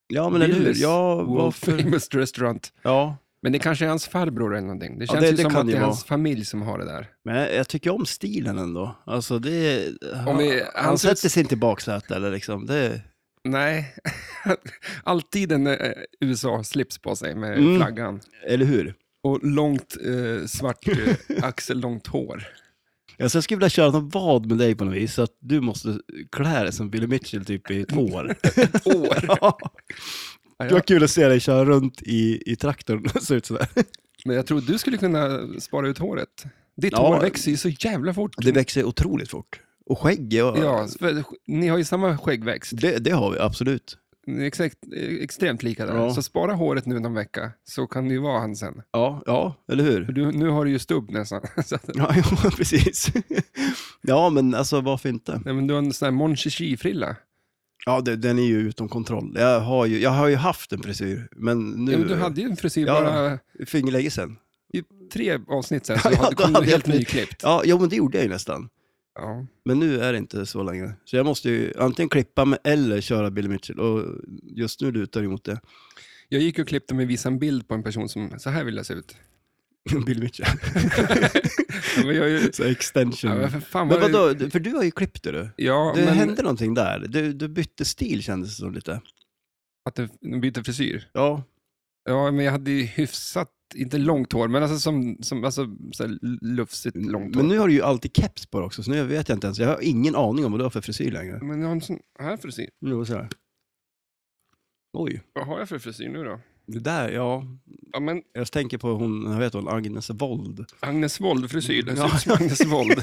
[SPEAKER 2] ja men eller hur.
[SPEAKER 1] Willys
[SPEAKER 2] Ja,
[SPEAKER 1] World
[SPEAKER 2] varför?
[SPEAKER 1] Famous Restaurant?
[SPEAKER 2] Ja,
[SPEAKER 1] Men det kanske är hans farbror eller någonting. Det
[SPEAKER 2] Ja,
[SPEAKER 1] känns
[SPEAKER 2] det-
[SPEAKER 1] ju
[SPEAKER 2] det
[SPEAKER 1] som
[SPEAKER 2] kan
[SPEAKER 1] att
[SPEAKER 2] ju
[SPEAKER 1] det är
[SPEAKER 2] vara.
[SPEAKER 1] hans familj som har det där.
[SPEAKER 2] Men jag, jag tycker om stilen ändå. Alltså det, han,
[SPEAKER 1] vi-
[SPEAKER 2] han,
[SPEAKER 1] han
[SPEAKER 2] sätter sig inte i baksätet eller liksom. Det,
[SPEAKER 1] Nej, alltid en eh, USA-slips på sig med
[SPEAKER 2] Mm.
[SPEAKER 1] flaggan.
[SPEAKER 2] eller hur?
[SPEAKER 1] Och långt eh, svart eh, axellångt hår.
[SPEAKER 2] Alltså jag skulle vilja köra någon vad med dig på något vis, så att du måste klä dig som Billy Mitchell typ i ett år.
[SPEAKER 1] Hår?
[SPEAKER 2] ja.
[SPEAKER 1] Ja,
[SPEAKER 2] Det var kul att se dig köra runt i, i traktorn och se ut sådär.
[SPEAKER 1] Men jag tror du skulle kunna spara ut håret. Ditt
[SPEAKER 2] Ja.
[SPEAKER 1] hår växer ju så jävla fort.
[SPEAKER 2] Det växer otroligt fort. Och skägg, ja.
[SPEAKER 1] Ja, för, ni har ju samma skäggväxt.
[SPEAKER 2] Det, det har vi absolut.
[SPEAKER 1] Ni är Exakt, eh, extremt lika där.
[SPEAKER 2] Ja.
[SPEAKER 1] Så spara håret nu någon vecka, så kan ni vara han sen.
[SPEAKER 2] Ja, ja eller
[SPEAKER 1] För
[SPEAKER 2] hur?
[SPEAKER 1] du, nu har du ju stubb nästan. Så att,
[SPEAKER 2] Ja, ja precis. ja, men alltså varför inte?
[SPEAKER 1] nej, men du har en sån här Mon frilla
[SPEAKER 2] Ja, det, den är ju utom kontroll. Jag har ju, jag har ju haft en frisyr, men nu...
[SPEAKER 1] ja, men Du hade ju en frisyr
[SPEAKER 2] Ja.
[SPEAKER 1] bara
[SPEAKER 2] för ingen länge sedan.
[SPEAKER 1] i tre avsnitt sen, så
[SPEAKER 2] Ja,
[SPEAKER 1] du
[SPEAKER 2] då
[SPEAKER 1] kom
[SPEAKER 2] hade
[SPEAKER 1] du helt
[SPEAKER 2] jag- typ-
[SPEAKER 1] nyklippt.
[SPEAKER 2] Ja, jo, men det gjorde jag ju nästan.
[SPEAKER 1] Ja.
[SPEAKER 2] Men nu är det inte så längre. Så jag måste ju antingen klippa mig eller köra Billy Mitchell. Och just nu lutar det mot det.
[SPEAKER 1] Jag gick och klippte mig och visade en bild på en person som, så här vill jag se ut.
[SPEAKER 2] Billy Mitchell.
[SPEAKER 1] Ja, men jag är ju,
[SPEAKER 2] Så extension.
[SPEAKER 1] ja, men för fan,
[SPEAKER 2] Mm. men
[SPEAKER 1] vad är-
[SPEAKER 2] vadå, Du- för du har ju klippt det du.
[SPEAKER 1] Ja,
[SPEAKER 2] Det
[SPEAKER 1] men
[SPEAKER 2] hände någonting där. Du, du bytte stil kändes det som lite.
[SPEAKER 1] att den byter frisyr.
[SPEAKER 2] Ja,
[SPEAKER 1] Ja, men jag hade ju hyfsat, inte långt hår, men alltså som, som alltså, så här lufsigt långt hår.
[SPEAKER 2] Mm, men nu har du ju alltid keps på dig också, så nu vet jag inte ens. Jag har ingen aning om vad du har för frisyr längre.
[SPEAKER 1] Men jag har en sån här frisyr.
[SPEAKER 2] Jo, så här. Oj,
[SPEAKER 1] Vad har jag för frisyr nu då?
[SPEAKER 2] det där, ja.
[SPEAKER 1] Ja, men
[SPEAKER 2] Jag tänker på hon, jag vet hon, Agnes Wold.
[SPEAKER 1] Agnes Wold-frisyr. Den ser
[SPEAKER 2] Ja.
[SPEAKER 1] ut som Agnes Wold.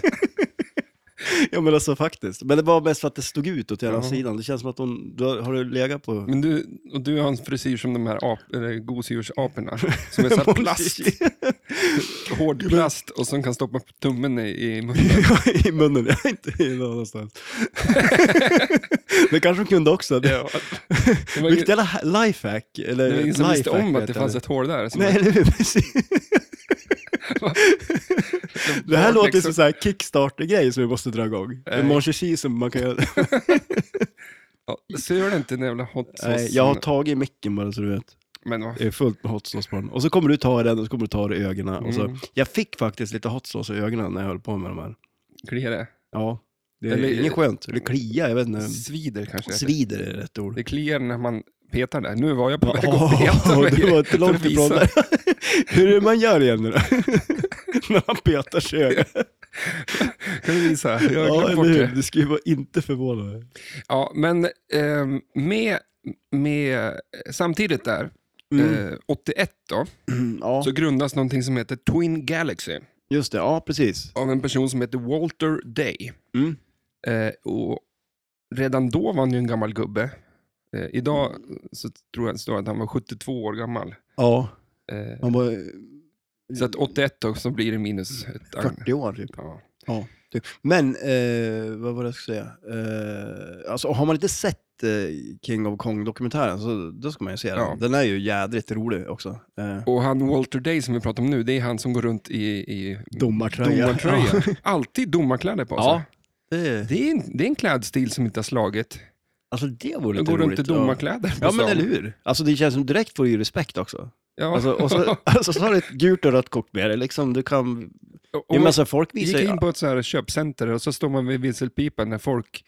[SPEAKER 2] Ja men alltså faktiskt. Men det var mest för att det stod ut åt ena
[SPEAKER 1] Ja.
[SPEAKER 2] sidan. Det känns som att hon, du har, har du legat på...
[SPEAKER 1] Men du, och du har en frisyr som de här ap, eller gosedjursaporna. Som är så här plast, hård plast och som kan stoppa tummen i, i munnen.
[SPEAKER 2] I munnen, ja, inte i någon annanstans. det kanske hon kunde också. Det,
[SPEAKER 1] Ja. Det var ingen,
[SPEAKER 2] Vilket jävla ha- lifehack. Eller
[SPEAKER 1] det var ingen som visste
[SPEAKER 2] lifehack
[SPEAKER 1] om att det
[SPEAKER 2] heter
[SPEAKER 1] fanns ett hål där. som
[SPEAKER 2] Nej,
[SPEAKER 1] var-
[SPEAKER 2] eller hur? Precis. Det här låter
[SPEAKER 1] liksom.
[SPEAKER 2] ju som så här kickstarter-grej som vi måste dra igång.
[SPEAKER 1] Nej.
[SPEAKER 2] En monchichi som man kan göra.
[SPEAKER 1] Ja, Ser du inte den jävla hot sauce?
[SPEAKER 2] Nej, jag har tagit micken bara så du vet.
[SPEAKER 1] Men vad
[SPEAKER 2] Det är fullt med hot sauce på den. Och så kommer du ta den och så kommer du ta det i ögonen. Och så,
[SPEAKER 1] Mm.
[SPEAKER 2] jag fick faktiskt lite hot sauce i ögonen när jag höll på med de här.
[SPEAKER 1] kliar det?
[SPEAKER 2] Ja, det är
[SPEAKER 1] Eller- eh,
[SPEAKER 2] inget skönt. Eller klia, jag vet inte.
[SPEAKER 1] Svider kanske?
[SPEAKER 2] Svider är rätt ord.
[SPEAKER 1] Det kliar när man petar där. Nu var jag på väg att peta
[SPEAKER 2] Oh,
[SPEAKER 1] mig.
[SPEAKER 2] det var inte långt
[SPEAKER 1] för att
[SPEAKER 2] ifrån
[SPEAKER 1] visa.
[SPEAKER 2] där. Hur är det man gör igen nu då? När man petar sig i ögonen.
[SPEAKER 1] Kan du visa? Jag har
[SPEAKER 2] Ja,
[SPEAKER 1] glömt
[SPEAKER 2] eller
[SPEAKER 1] bort
[SPEAKER 2] hur?
[SPEAKER 1] det.
[SPEAKER 2] Det skulle ju vara inte förvåna mig.
[SPEAKER 1] Ja, men ehm, med, med, samtidigt där,
[SPEAKER 2] Mm.
[SPEAKER 1] eh, 81 då,
[SPEAKER 2] Ja,
[SPEAKER 1] så grundas någonting som heter Twin Galaxy
[SPEAKER 2] just det. Ja, precis.
[SPEAKER 1] av en person som heter Walter Day.
[SPEAKER 2] Mm.
[SPEAKER 1] Eh, och redan då var han ju en gammal gubbe. Eh, idag så tror jag det står att han var 72 år gammal.
[SPEAKER 2] Ja,
[SPEAKER 1] Eh,
[SPEAKER 2] man var eh,
[SPEAKER 1] så att 81 då, så blir det minus ett agn.
[SPEAKER 2] 40 år typ.
[SPEAKER 1] Ja.
[SPEAKER 2] Ja, typ. Men, eh, vad var det jag skulle säga? Eh, alltså, har man inte sett sett eh, King of Kong-dokumentären så då ska man ju se den.
[SPEAKER 1] Ja.
[SPEAKER 2] Den är ju jädrigt rolig också. Eh,
[SPEAKER 1] Och han Walter Day som vi pratar om nu, det är han som går runt i, i
[SPEAKER 2] Domartröja. Ja.
[SPEAKER 1] domartröja. Alltid domarkläder på sig.
[SPEAKER 2] ja. Det,
[SPEAKER 1] Det, är en, det är en klädstil som inte har slagit.
[SPEAKER 2] alltså det vore
[SPEAKER 1] Jag
[SPEAKER 2] lite
[SPEAKER 1] går runt i
[SPEAKER 2] roligt. att-
[SPEAKER 1] domarkläder på
[SPEAKER 2] Ja men
[SPEAKER 1] stan.
[SPEAKER 2] eller hur? Alltså det känns som direkt får du ju respekt också.
[SPEAKER 1] Ja.
[SPEAKER 2] Alltså, och så, alltså, så har du ett gult och rött kort med dig liksom, du kan...
[SPEAKER 1] Och-
[SPEAKER 2] Jo,
[SPEAKER 1] och-
[SPEAKER 2] men alltså, folk
[SPEAKER 1] Vi
[SPEAKER 2] visar
[SPEAKER 1] gick
[SPEAKER 2] ju...
[SPEAKER 1] in på ett så här köpcenter och så står man vid visselpipan när folk,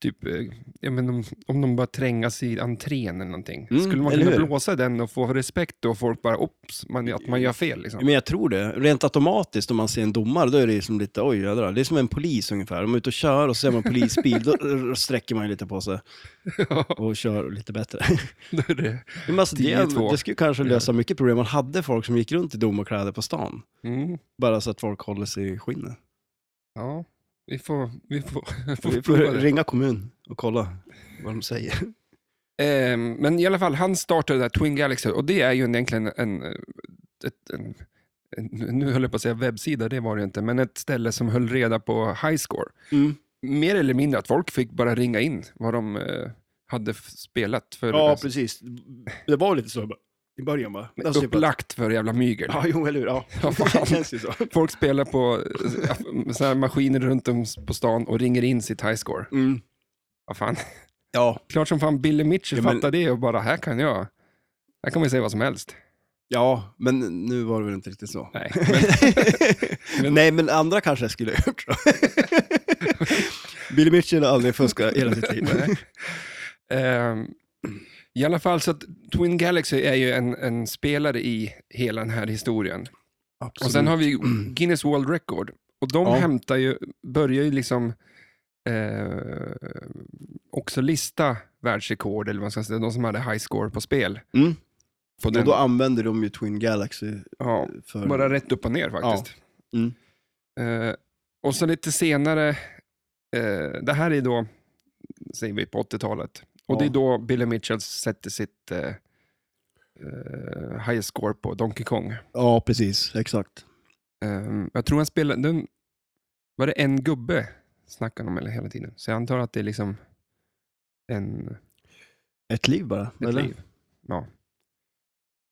[SPEAKER 1] typ, eh, ja, men om, om de bara trängas i entrén eller någonting.
[SPEAKER 2] Mm,
[SPEAKER 1] Skulle man
[SPEAKER 2] eller
[SPEAKER 1] kunna
[SPEAKER 2] hur?
[SPEAKER 1] blåsa den och få respekt då och folk bara, ops, man, att man gör fel liksom.
[SPEAKER 2] Men jag tror det. Rent automatiskt om man ser en domare, då är det liksom lite, oj jädrar. Det är som en polis ungefär. Om man är ute och kör och ser man en polisbil, då r- sträcker man ju lite på sig
[SPEAKER 1] Ja,
[SPEAKER 2] och kör lite bättre.
[SPEAKER 1] då är det.
[SPEAKER 2] Men alltså, det,
[SPEAKER 1] 10-2.
[SPEAKER 2] det skulle kanske lösa mycket problem. Man hade folk som gick runt i domarkläder på stan.
[SPEAKER 1] Mm,
[SPEAKER 2] Bara så att folk håller sig i skinnet.
[SPEAKER 1] ja, vi får, vi får,
[SPEAKER 2] Vi får
[SPEAKER 1] prova det.
[SPEAKER 2] ringa kommun och kolla vad de säger.
[SPEAKER 1] Ehm, men i alla fall, han startade det där Twin Galaxy och det är ju egentligen en, eh, ett, en, en nu höll jag på att säga webbsida, det var det ju inte, men ett ställe som höll reda på highscore.
[SPEAKER 2] Mm.
[SPEAKER 1] mer eller mindre att folk fick bara ringa in vad de eh, hade f- spelat för
[SPEAKER 2] Ja, precis. Det var lite så i början va? Alltså, typ att-
[SPEAKER 1] upplagt för jävla mygel.
[SPEAKER 2] Ja, jo, eller hur. Ja.
[SPEAKER 1] Ja, fan.
[SPEAKER 2] Det känns ju så.
[SPEAKER 1] Folk spelar på eh, så här maskiner runt om på stan och ringer in sitt highscore.
[SPEAKER 2] Mm.
[SPEAKER 1] Vad fan.
[SPEAKER 2] Ja,
[SPEAKER 1] Klart som fan Billy Mitchell
[SPEAKER 2] Ja, men-
[SPEAKER 1] fattar det och bara, här kan jag. Här kan man ju säga vad som helst.
[SPEAKER 2] Ja, men nu var det väl inte riktigt så.
[SPEAKER 1] Nej.
[SPEAKER 2] Men... Nej, men andra kanske skulle ha gjort så. Billy Mitchell har aldrig fuskat hela sitt liv.
[SPEAKER 1] Nej. Ehm, I alla fall så att Twin Galaxy är ju en, en spelare i hela den här historien.
[SPEAKER 2] Absolut.
[SPEAKER 1] Och sen har vi Guinness World Record. Och de
[SPEAKER 2] Ja.
[SPEAKER 1] hämtar ju, börjar ju liksom eh, också lista världsrekord, eller vad man ska säga, de som hade high score på spel.
[SPEAKER 2] Mm.
[SPEAKER 1] På
[SPEAKER 2] Och
[SPEAKER 1] den,
[SPEAKER 2] då använder de ju Twin Galaxy
[SPEAKER 1] ja,
[SPEAKER 2] för...
[SPEAKER 1] bara rätt upp och ner faktiskt.
[SPEAKER 2] Mm. Ja. Mm.
[SPEAKER 1] Eh, och så lite senare, eh, det här är då, säger vi på 80-talet, och det är
[SPEAKER 2] Ja.
[SPEAKER 1] då Billy Mitchell sätter sitt eh, eh, high score på Donkey Kong.
[SPEAKER 2] Ja, precis. Exakt.
[SPEAKER 1] Ehm, jag tror han spelade... Den, var det en gubbe snackade om eller hela tiden? Så jag antar att det är liksom en,
[SPEAKER 2] Ett liv bara,
[SPEAKER 1] ett
[SPEAKER 2] eller?
[SPEAKER 1] liv. Ja.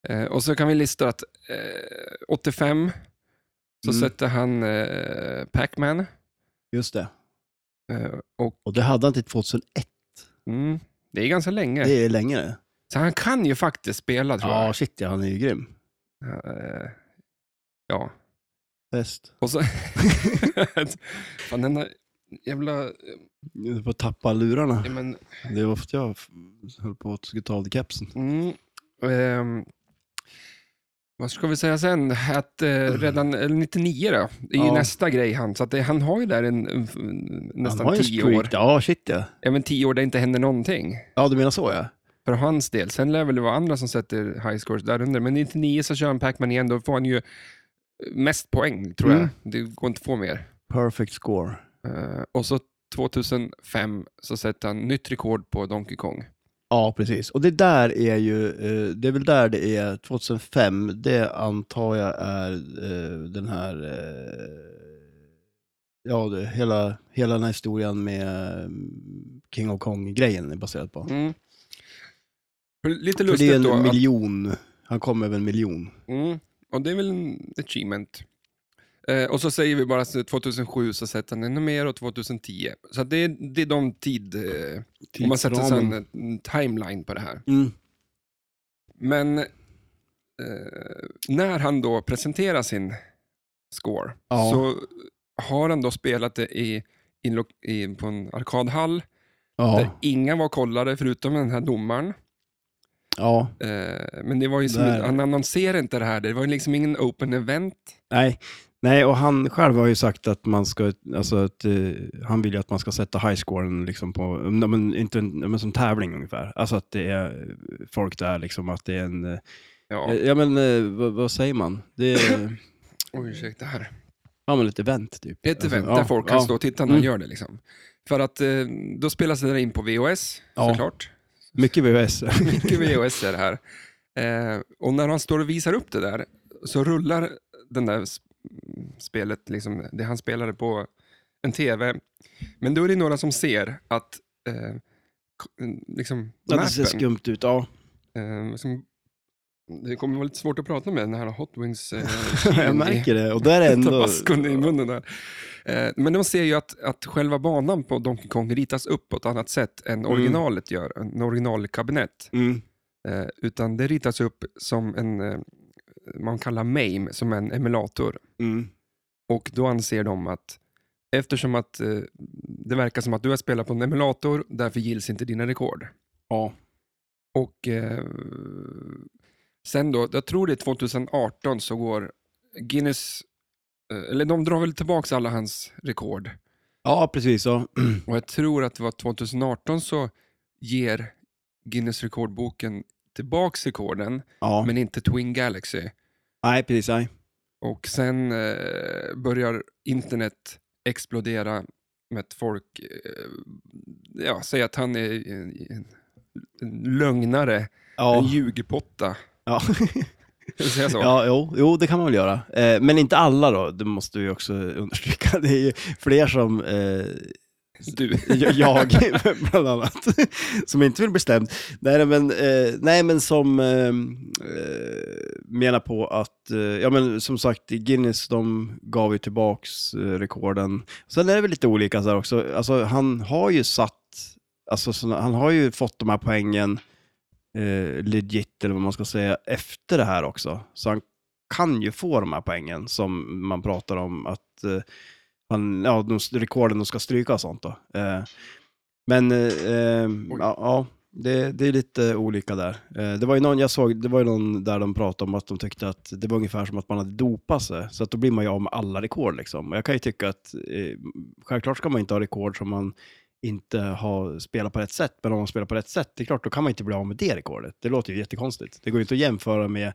[SPEAKER 1] Eh, och så kan vi lista att eh, 85 så
[SPEAKER 2] Mm.
[SPEAKER 1] sätter han eh, Pac-Man.
[SPEAKER 2] Just det.
[SPEAKER 1] Eh, och,
[SPEAKER 2] Och det hade han till 2001.
[SPEAKER 1] mm, det är ganska länge.
[SPEAKER 2] Det är längre.
[SPEAKER 1] Så han kan ju faktiskt spela tror
[SPEAKER 2] Ja, shit ja, han är ju grym.
[SPEAKER 1] jag. Eh, ja.
[SPEAKER 2] Bäst.
[SPEAKER 1] Och så... Fan, den där jävla... eh,
[SPEAKER 2] Du får tappa lurarna.
[SPEAKER 1] Ja, men,
[SPEAKER 2] Det var för att jag f- höll på att skulle ta av dig kepsen.
[SPEAKER 1] Mm. Ehm, vad ska vi säga sen? Att eh, redan eller 99 då, är ju
[SPEAKER 2] Mm. Ja.
[SPEAKER 1] nästa grej han. Så att det, han har ju där en, en, nästan
[SPEAKER 2] han har ju
[SPEAKER 1] 10
[SPEAKER 2] streak.
[SPEAKER 1] år.
[SPEAKER 2] Ja, shit ja.
[SPEAKER 1] Även 10 år där det inte händer någonting.
[SPEAKER 2] Ja, du menar så ja.
[SPEAKER 1] För hans del. Sen lär väl det vara andra som sätter high scores där under. Men 99 så kör han Pac-Man igen. Då får han ju mest poäng, tror
[SPEAKER 2] Mm.
[SPEAKER 1] jag. Det går inte att få mer.
[SPEAKER 2] Perfect score.
[SPEAKER 1] Eh, och så 2005 så sätter han nytt rekord på Donkey Kong.
[SPEAKER 2] Ja, precis. Och det där är ju, eh, det är väl där det är 2005, det antar jag är eh, den här, eh, ja, det, hela, hela den här historien med eh, King of Kong-grejen är baserad på.
[SPEAKER 1] Mm. Lite
[SPEAKER 2] För
[SPEAKER 1] lustigt
[SPEAKER 2] det är en
[SPEAKER 1] då. att-
[SPEAKER 2] miljon, han kom över en miljon.
[SPEAKER 1] Mm. Och det är väl en achievement. Eh, och så säger vi bara att 2007 så sätter han ännu mer och 2010. Så att det, är, det är de tid... Eh, om man sätter sig en, en timeline på det här.
[SPEAKER 2] Mm.
[SPEAKER 1] Men eh, när han då presenterar sin score
[SPEAKER 2] Ja.
[SPEAKER 1] så har han då spelat det i, i, en lo- i, på en arkadhall där
[SPEAKER 2] Ja,
[SPEAKER 1] inga var kollade förutom den här domaren.
[SPEAKER 2] ja,
[SPEAKER 1] Eh, men det var ju som,
[SPEAKER 2] Där.
[SPEAKER 1] han annonserade inte det här, det var ju liksom ingen open event.
[SPEAKER 2] nej. Nej, och han själv har ju sagt att man ska, alltså att eh, han vill ju att man ska sätta highscoren liksom på, ja, men, inte, en- ja, men som tävling ungefär. Alltså att det är folk där liksom, att det är en, eh,
[SPEAKER 1] Ja.
[SPEAKER 2] ja, men eh, vad, vad säger man? Det är,
[SPEAKER 1] Oj, ursäkta här.
[SPEAKER 2] ja men ett event typ.
[SPEAKER 1] Ett event
[SPEAKER 2] eh, alltså,
[SPEAKER 1] där folk kan stå och titta när
[SPEAKER 2] Mm.
[SPEAKER 1] han gör det. Liksom. För att eh, då spelas det där in på VHS,
[SPEAKER 2] Ja.
[SPEAKER 1] såklart.
[SPEAKER 2] Mycket VHS.
[SPEAKER 1] Mycket VHS är det här. Eh, och när han står och visar upp det där så rullar den där sp- spelet, liksom, det han spelade på en tv. Men då är det några som ser att eh, k- liksom,
[SPEAKER 2] Ja, det ser
[SPEAKER 1] mappen.
[SPEAKER 2] skumt ut. Ja.
[SPEAKER 1] Eh, som, det kommer vara lite svårt att prata med den här Hot Wings eh,
[SPEAKER 2] Jag märker det. Och där är ändå...
[SPEAKER 1] Tabascon i munnen där. Eh, Men de ser ju att, att själva banan på Donkey Kong ritas upp på ett annat sätt än originalet gör, en originalkabinett.
[SPEAKER 2] Mm.
[SPEAKER 1] Eh, Utan det ritas upp som en, eh, man kallar MAME, som en emulator.
[SPEAKER 2] Mm.
[SPEAKER 1] Och då anser de att Eftersom att eh, det verkar som att du har spelat på en emulator, därför gills inte dina rekord.
[SPEAKER 2] Ja.
[SPEAKER 1] Och eh, sen då, jag tror det är 2018 så går Guinness, eh, eller de drar väl tillbaka alla hans rekord.
[SPEAKER 2] ja, precis. Ja.
[SPEAKER 1] Och jag tror att det var 2018 så ger Guinness rekordboken tillbaks rekorden,
[SPEAKER 2] ja.
[SPEAKER 1] men inte Twin Galaxy.
[SPEAKER 2] Nej, precis. Nej.
[SPEAKER 1] Och sen eh, börjar internet explodera med att folk eh, ja, säger att han är en, en, en lögnare, en
[SPEAKER 2] Ja.
[SPEAKER 1] ljugpotta.
[SPEAKER 2] Ja.
[SPEAKER 1] Ska jag säga så?
[SPEAKER 2] ja, jo, jo, det kan man väl göra. Eh, men inte alla då, det måste vi också understryka. Det är ju fler som eh,
[SPEAKER 1] Du.
[SPEAKER 2] Jag- jag, bland annat, som inte vill bli stämd. Nej, men, eh, nej, men som eh, eh, menar på att, eh, ja men som sagt, Guinness, de gav ju tillbaks eh, rekorden. Sen är det väl lite olika så här också, alltså han har ju satt, alltså såna- han har ju fått de här poängen eh, legit, eller vad man ska säga, efter det här också. Så han kan ju få de här poängen som man pratar om att eh, han, ja, de, rekorden de ska stryka och sånt då. Eh, men eh, eh,
[SPEAKER 1] Oj.
[SPEAKER 2] ja, ja det, det är lite olika där. Eh, det var ju någon jag såg, det var ju någon där de pratade om att de tyckte att det var ungefär som att man hade dopat sig, så att då blir man ju av med alla rekord liksom. Och jag kan ju tycka att eh, självklart ska man inte ha rekord som man inte har spelat på rätt sätt, men om man spelar på rätt sätt, det är klart, då kan man inte bli av med det rekordet. Det låter ju jättekonstigt. Det går ju inte att jämföra med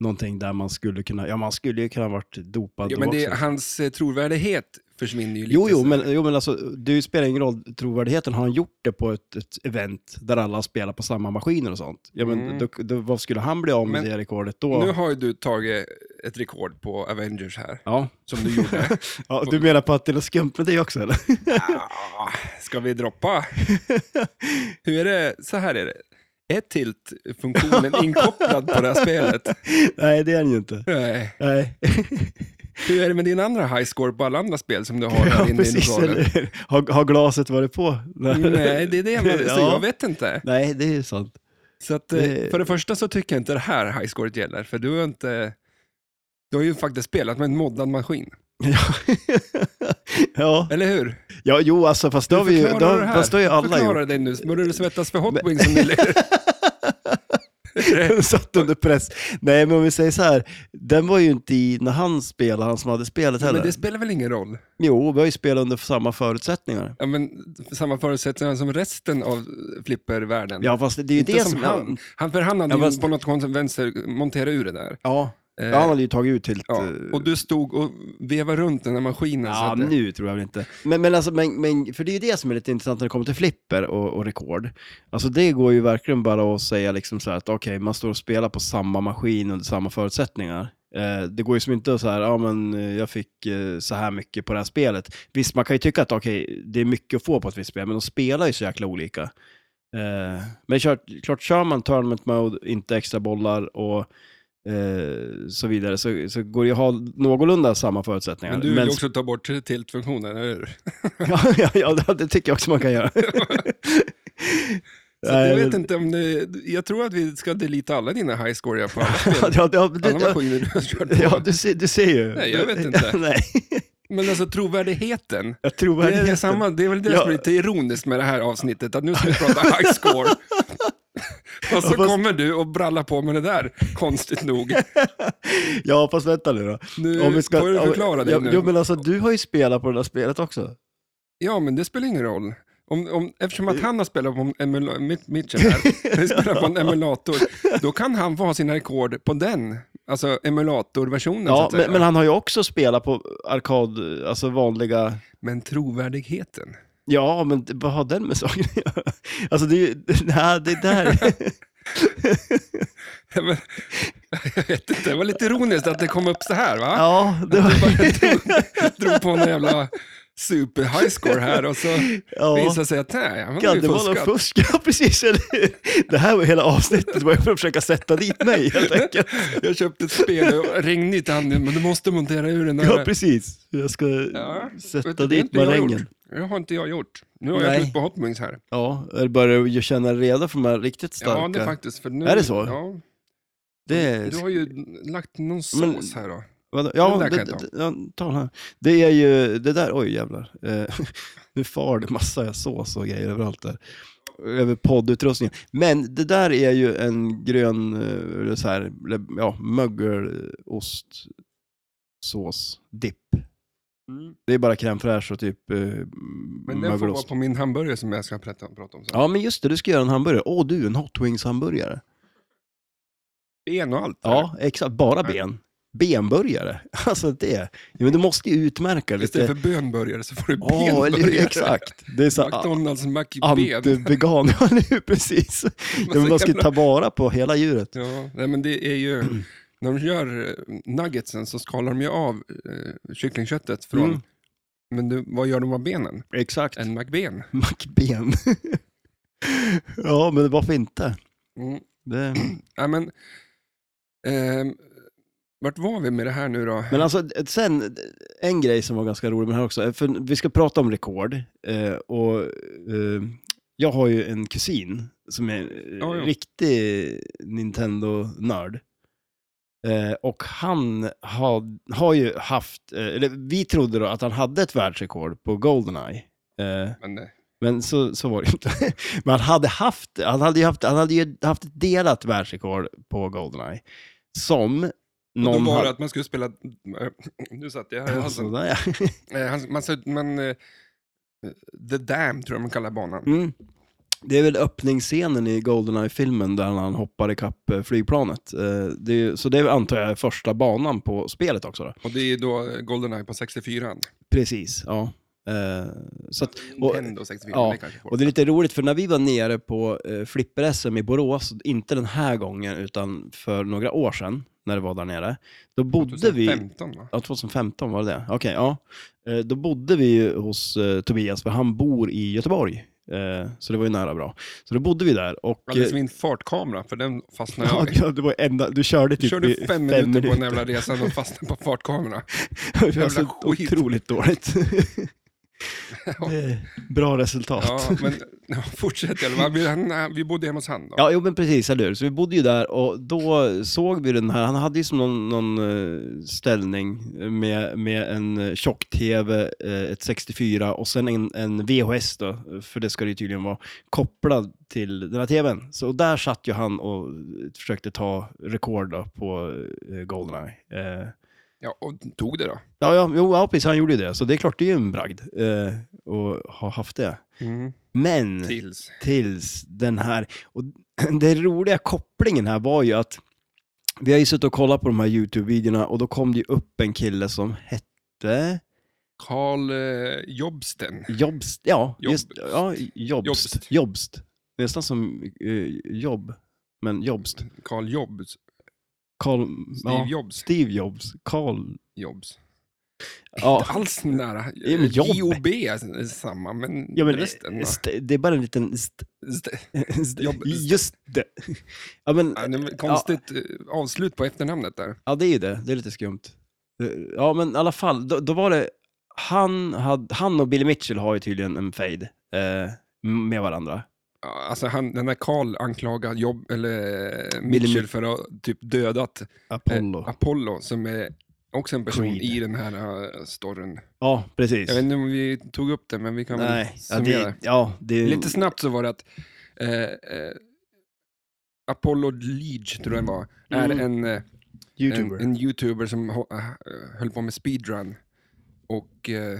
[SPEAKER 2] någonting där man skulle kunna, ja man skulle ju kunna ha varit dopad
[SPEAKER 1] Jo,
[SPEAKER 2] då
[SPEAKER 1] men det,
[SPEAKER 2] också.
[SPEAKER 1] hans eh, trovärdighet försvinner ju lite.
[SPEAKER 2] Jo, jo
[SPEAKER 1] sen.
[SPEAKER 2] men, jo, men alltså, det spelar ingen roll, trovärdigheten, har han gjort det på ett, ett event där alla spelar på samma maskiner och sånt? Ja, men
[SPEAKER 1] Mm.
[SPEAKER 2] då, då, vad skulle han bli av med
[SPEAKER 1] Men
[SPEAKER 2] det rekordet då?
[SPEAKER 1] Nu har ju du tagit ett rekord på Avengers här,
[SPEAKER 2] Ja.
[SPEAKER 1] som du gjorde.
[SPEAKER 2] ja, du menar på att det är något skumt med det också eller?
[SPEAKER 1] Ah, Ska vi droppa? Hur är det? Så här är det. Är tilt-funktionen inkopplad på det här spelet?
[SPEAKER 2] Nej, det är han ju inte.
[SPEAKER 1] Nej.
[SPEAKER 2] Nej,
[SPEAKER 1] Hur är det med din andra high score på alla andra spel som du har
[SPEAKER 2] ja,
[SPEAKER 1] här inne i
[SPEAKER 2] precis.
[SPEAKER 1] lokalen?
[SPEAKER 2] Eller, hur? har, har glaset varit på?
[SPEAKER 1] Mm, Nej, det är det jag menar, så
[SPEAKER 2] Ja.
[SPEAKER 1] jag vet inte.
[SPEAKER 2] Nej, det är ju sant.
[SPEAKER 1] Så att, eh,
[SPEAKER 2] Det-
[SPEAKER 1] för det första så tycker jag inte det här high scoret gäller, för du har inte... Du har ju faktiskt spelat med en moddad maskin,
[SPEAKER 2] Ja. ja.
[SPEAKER 1] eller hur?
[SPEAKER 2] ja, jo alltså fast då har vi ju, då,
[SPEAKER 1] Förklarar du det här?
[SPEAKER 2] fast då har ju alla gjort.
[SPEAKER 1] Förklara dig nu, börjar du svettas för Hot Wings som ni
[SPEAKER 2] Satt under press. Nej, men om vi säger så här, den var ju inte i när han spelade, han som hade spelet
[SPEAKER 1] Men
[SPEAKER 2] heller.
[SPEAKER 1] det spelar väl ingen roll?
[SPEAKER 2] Jo, vi har ju spelat under samma förutsättningar.
[SPEAKER 1] Ja, men, samma förutsättningar som resten av flippervärlden.
[SPEAKER 2] Ja, fast det är ju
[SPEAKER 1] inte
[SPEAKER 2] det
[SPEAKER 1] som han. han. För han hade
[SPEAKER 2] Ja,
[SPEAKER 1] ju
[SPEAKER 2] fast-
[SPEAKER 1] på något konstigt vänster monterat ur det där.
[SPEAKER 2] Ja,
[SPEAKER 1] Eh,
[SPEAKER 2] han hade ju tagit ut helt...
[SPEAKER 1] ja.
[SPEAKER 2] eh,
[SPEAKER 1] Och du stod och vevade runt den här maskinen. så
[SPEAKER 2] Ja,
[SPEAKER 1] att det-
[SPEAKER 2] nu tror jag väl inte. Men, men alltså, men, men, för det är ju det som är lite intressant när det kommer till flipper och, och rekord. Alltså det går ju verkligen bara att säga liksom så här att okej, man står och spelar på samma maskin under samma förutsättningar. Eh, det går ju som inte att så här, ja men eh, jag fick eh, så här mycket på det här spelet. Visst, man kan ju tycka att okej, det är mycket att få på ett visst spel, men de spelar ju så jäkla olika. Eh, men klart, klart, kör man tournament mode, inte extra bollar och eh, så vidare, så, så går det ju att ha någorlunda samma förutsättningar.
[SPEAKER 1] Men du vill
[SPEAKER 2] Men
[SPEAKER 1] ju också ta bort tiltfunktionen, eller hur?
[SPEAKER 2] Ja, ja, ja, det- det tycker jag också man kan göra.
[SPEAKER 1] Så att jag vet
[SPEAKER 2] men-
[SPEAKER 1] inte om det, Jag tror att vi ska delita alla dina highscorer på alla spel.
[SPEAKER 2] Ja, ja, du,
[SPEAKER 1] Alla maskiner du har kört på.
[SPEAKER 2] ja, du, ser, du ser ju.
[SPEAKER 1] Nej, jag vet inte.
[SPEAKER 2] Nej,
[SPEAKER 1] Men alltså trovärdigheten.
[SPEAKER 2] jag tror
[SPEAKER 1] Det är,
[SPEAKER 2] verkligen-
[SPEAKER 1] det, samma, det är väl det
[SPEAKER 2] Ja.
[SPEAKER 1] som är lite ironiskt med det här avsnittet, att nu ska vi prata high score. och så
[SPEAKER 2] Ja, fast-
[SPEAKER 1] kommer du och brallar på med det där, konstigt nog.
[SPEAKER 2] Ja, fast vänta nu då.
[SPEAKER 1] Nu får du
[SPEAKER 2] om-
[SPEAKER 1] förklara dig
[SPEAKER 2] ja,
[SPEAKER 1] nu.
[SPEAKER 2] Jo, men alltså du har ju spelat på det där spelet också.
[SPEAKER 1] Ja, men det spelar ingen roll. Om, om, eftersom att han har spelat på en emula- Mit- Mitchell här, han spelar på en emulator, då kan han få ha sina rekord på den, alltså emulatorversionen. så
[SPEAKER 2] Ja,
[SPEAKER 1] att säga.
[SPEAKER 2] men, men han har ju också spelat på arkad, alltså vanliga...
[SPEAKER 1] Men trovärdigheten.
[SPEAKER 2] Ja, men det- vad har den med saken att göra? Alltså det är ju, nej, det är där.
[SPEAKER 1] Ja, men- Jag vet inte, det var lite ironiskt att det kom upp så här va?
[SPEAKER 2] Ja, det var...
[SPEAKER 1] Drog på en jävla super high score här och så
[SPEAKER 2] Ja.
[SPEAKER 1] visar det sig att nej, han har
[SPEAKER 2] Ja,
[SPEAKER 1] ju
[SPEAKER 2] det var någon
[SPEAKER 1] fuskat.
[SPEAKER 2] fusk, ja precis. Eller- Det här var hela avsnittet var ju för att försöka sätta dit mig helt enkelt.
[SPEAKER 1] Jag köpte ett spel och ringde till honom, men du måste montera ur den där.
[SPEAKER 2] Ja, precis. Jag ska
[SPEAKER 1] Ja, vet
[SPEAKER 2] sätta
[SPEAKER 1] du, det har
[SPEAKER 2] dit
[SPEAKER 1] inte jag
[SPEAKER 2] marängen.
[SPEAKER 1] gjort. Det har inte jag gjort. Nu har jag
[SPEAKER 2] Nej.
[SPEAKER 1] slut på Hot Wings här.
[SPEAKER 2] Ja, jag börjar ju känna reda för de här riktigt starka.
[SPEAKER 1] Ja, det är faktiskt. För nu,
[SPEAKER 2] Är det så?
[SPEAKER 1] Ja,
[SPEAKER 2] det är...
[SPEAKER 1] du har ju lagt någon sås
[SPEAKER 2] Men-
[SPEAKER 1] här då.
[SPEAKER 2] Vadå? Ja,
[SPEAKER 1] Den där
[SPEAKER 2] det,
[SPEAKER 1] kan jag
[SPEAKER 2] det, ja, ta den här. Det är ju, det där, oj jävlar. Eh, nu far det massa sås och grejer överallt där. Över poddutrustningen. Men det där är ju en grön, eh, eller så här, eller, ja, mögelost, sås, dipp. Det är bara crème fraîche och typ eh,
[SPEAKER 1] Mm. Men den får vara
[SPEAKER 2] mögelost.
[SPEAKER 1] på min hamburgare som jag ska prata prata om sen.
[SPEAKER 2] Ja, men just det, du ska göra en hamburgare. Åh du, en hot wings hamburgare.
[SPEAKER 1] Ben och allt.
[SPEAKER 2] Ja, exakt. Bara
[SPEAKER 1] Nej.
[SPEAKER 2] ben. Benburgare. Alltså det. Ja, men du måste ju utmärka
[SPEAKER 1] där.
[SPEAKER 2] lite.
[SPEAKER 1] Istället för bönburgare så får du
[SPEAKER 2] Ja, eller hur?
[SPEAKER 1] benburgare.
[SPEAKER 2] exakt. Det är så här
[SPEAKER 1] McDonalds McBen.
[SPEAKER 2] anti-vegan, ja eller hur? precis. Ja, men man ska ju ta vara på hela djuret.
[SPEAKER 1] Ja, nej, men det är ju... När de gör eh, nuggetsen så skalar de ju av eh, kycklingköttet från...
[SPEAKER 2] Mm.
[SPEAKER 1] Men du, vad gör de av benen?
[SPEAKER 2] Exakt.
[SPEAKER 1] En McBen.
[SPEAKER 2] Mackben. ja, men varför inte?
[SPEAKER 1] Mm.
[SPEAKER 2] Det...
[SPEAKER 1] Ja, men, ehm, vart var vi med det här nu då?
[SPEAKER 2] Men alltså, sen, en grej som var ganska rolig med det här också, eh, för vi ska prata om rekord, eh, och eh, jag har ju en kusin som är eh,
[SPEAKER 1] Ja, ja.
[SPEAKER 2] riktig Nintendo-nörd. Eh, och han har, har ju haft, eh, eller vi trodde då att han hade ett världsrekord på Goldeneye. Eh,
[SPEAKER 1] Men, eh,
[SPEAKER 2] men så, så var det inte. Men han hade, haft, han, hade ju haft, han hade ju haft ett delat världsrekord på Goldeneye. Som
[SPEAKER 1] då
[SPEAKER 2] någon Alltså.
[SPEAKER 1] var
[SPEAKER 2] hade-
[SPEAKER 1] det att man skulle spela... eh, Nu satt jag här i halsen.
[SPEAKER 2] Sådär, ja.
[SPEAKER 1] Eh, han- Man, sa- man, eh, The Dam tror jag man kallar banan.
[SPEAKER 2] Mm. Det är väl öppningsscenen i Goldeneye-filmen där han hoppar ikapp eh, flygplanet. Eh, Det är, ju- så det är, väl, antar jag första banan på spelet också. Då.
[SPEAKER 1] Och det är då eh, Goldeneye på 64.
[SPEAKER 2] Precis, ja. Eh, Så att, och,
[SPEAKER 1] Nintendo 64.
[SPEAKER 2] ja,
[SPEAKER 1] det kanske folk-
[SPEAKER 2] och det är lite roligt för när vi var nere på eh, Flipper-SM i Borås, inte den här gången utan för några år sedan när det var där nere, då bodde vi...
[SPEAKER 1] 2015 va?
[SPEAKER 2] Ja, 2015 var det det. Okej, ja. Eh, Då bodde vi ju hos eh, Tobias, för han bor i Göteborg. Eh, Så det var ju nära bra. Så då bodde vi där och...
[SPEAKER 1] Alldeles min fartkamera, för den fastnade
[SPEAKER 2] Ja,
[SPEAKER 1] jag i.
[SPEAKER 2] ja, det var enda, du körde typ
[SPEAKER 1] Jag körde
[SPEAKER 2] i
[SPEAKER 1] fem, minuter, på den jävla resan och fastnade på fartkamera.
[SPEAKER 2] Det var så
[SPEAKER 1] jävla skit.
[SPEAKER 2] otroligt dåligt. Det är Bra resultat.
[SPEAKER 1] Ja, men ja, fortsätt i alla fall. Vi- han- Vi bodde hemma hos han då.
[SPEAKER 2] Ja, jo men precis, eller hur? Så vi bodde ju där och då såg vi den här, han hade ju som någon, någon eh, ställning med, med en eh, tjock-tv, eh, ett 64 och sen en, en VHS då, för det ska det ju tydligen vara, kopplad till den här tvn. Så där satt ju han och försökte ta rekord då på eh, Goldeneye. Eh,
[SPEAKER 1] Ja, och tog det då.
[SPEAKER 2] ja, ja, jo, ja, precis, han gjorde ju det, så det är klart det är ju en bragd eh, att ha haft det. Mm. Men
[SPEAKER 1] Tills.
[SPEAKER 2] tills den här... Och den roliga kopplingen här var ju att vi har ju suttit och kollat på de här YouTube-videorna och då kom det ju upp en kille som hette
[SPEAKER 1] Carl eh, Jobsten.
[SPEAKER 2] Jobst. Ja, just,
[SPEAKER 1] Jobst.
[SPEAKER 2] ja Jobst.
[SPEAKER 1] Jobst.
[SPEAKER 2] Jobst. Nästan som eh, Jobb, men Jobst.
[SPEAKER 1] Carl Jobs.
[SPEAKER 2] Carl,
[SPEAKER 1] Steve
[SPEAKER 2] ja,
[SPEAKER 1] Jobs.
[SPEAKER 2] Steve Jobs. Carl.
[SPEAKER 1] Jobs.
[SPEAKER 2] Ja.
[SPEAKER 1] Inte alls nära.
[SPEAKER 2] Ja, men jobb.
[SPEAKER 1] Job är samma, men,
[SPEAKER 2] Ja, men,
[SPEAKER 1] resten... va?
[SPEAKER 2] st- det är bara en liten... St-
[SPEAKER 1] St-
[SPEAKER 2] st-
[SPEAKER 1] Jobb-
[SPEAKER 2] just det. Ja, men,
[SPEAKER 1] Ja, det var konstigt eh, avslut på efternamnet där.
[SPEAKER 2] Ja, det är ju det. Det är lite skumt. Eh, Ja, men i alla fall, då, då var det... Han, hade, han och Billy Mitchell har ju tydligen en fade eh, med varandra.
[SPEAKER 1] Ja, Alltså han, den där Carl anklagar jobb, eller eh,
[SPEAKER 2] Billy
[SPEAKER 1] Mitchell
[SPEAKER 2] Mi-
[SPEAKER 1] för att ha typ dödat
[SPEAKER 2] Apollo.
[SPEAKER 1] Eh, Apollo som är också en person
[SPEAKER 2] Creed.
[SPEAKER 1] i den här eh, storyn.
[SPEAKER 2] ja, precis.
[SPEAKER 1] Jag vet inte om vi tog upp det, men vi kan väl
[SPEAKER 2] Nej, ja,
[SPEAKER 1] summera.
[SPEAKER 2] det, ja, det är...
[SPEAKER 1] Lite snabbt så var det att eh, eh, Apollo Leach, tror jag det var, är
[SPEAKER 2] Mm.
[SPEAKER 1] en, eh,
[SPEAKER 2] YouTuber.
[SPEAKER 1] en, en youtuber som hå- eh, höll på med speedrun. Och eh,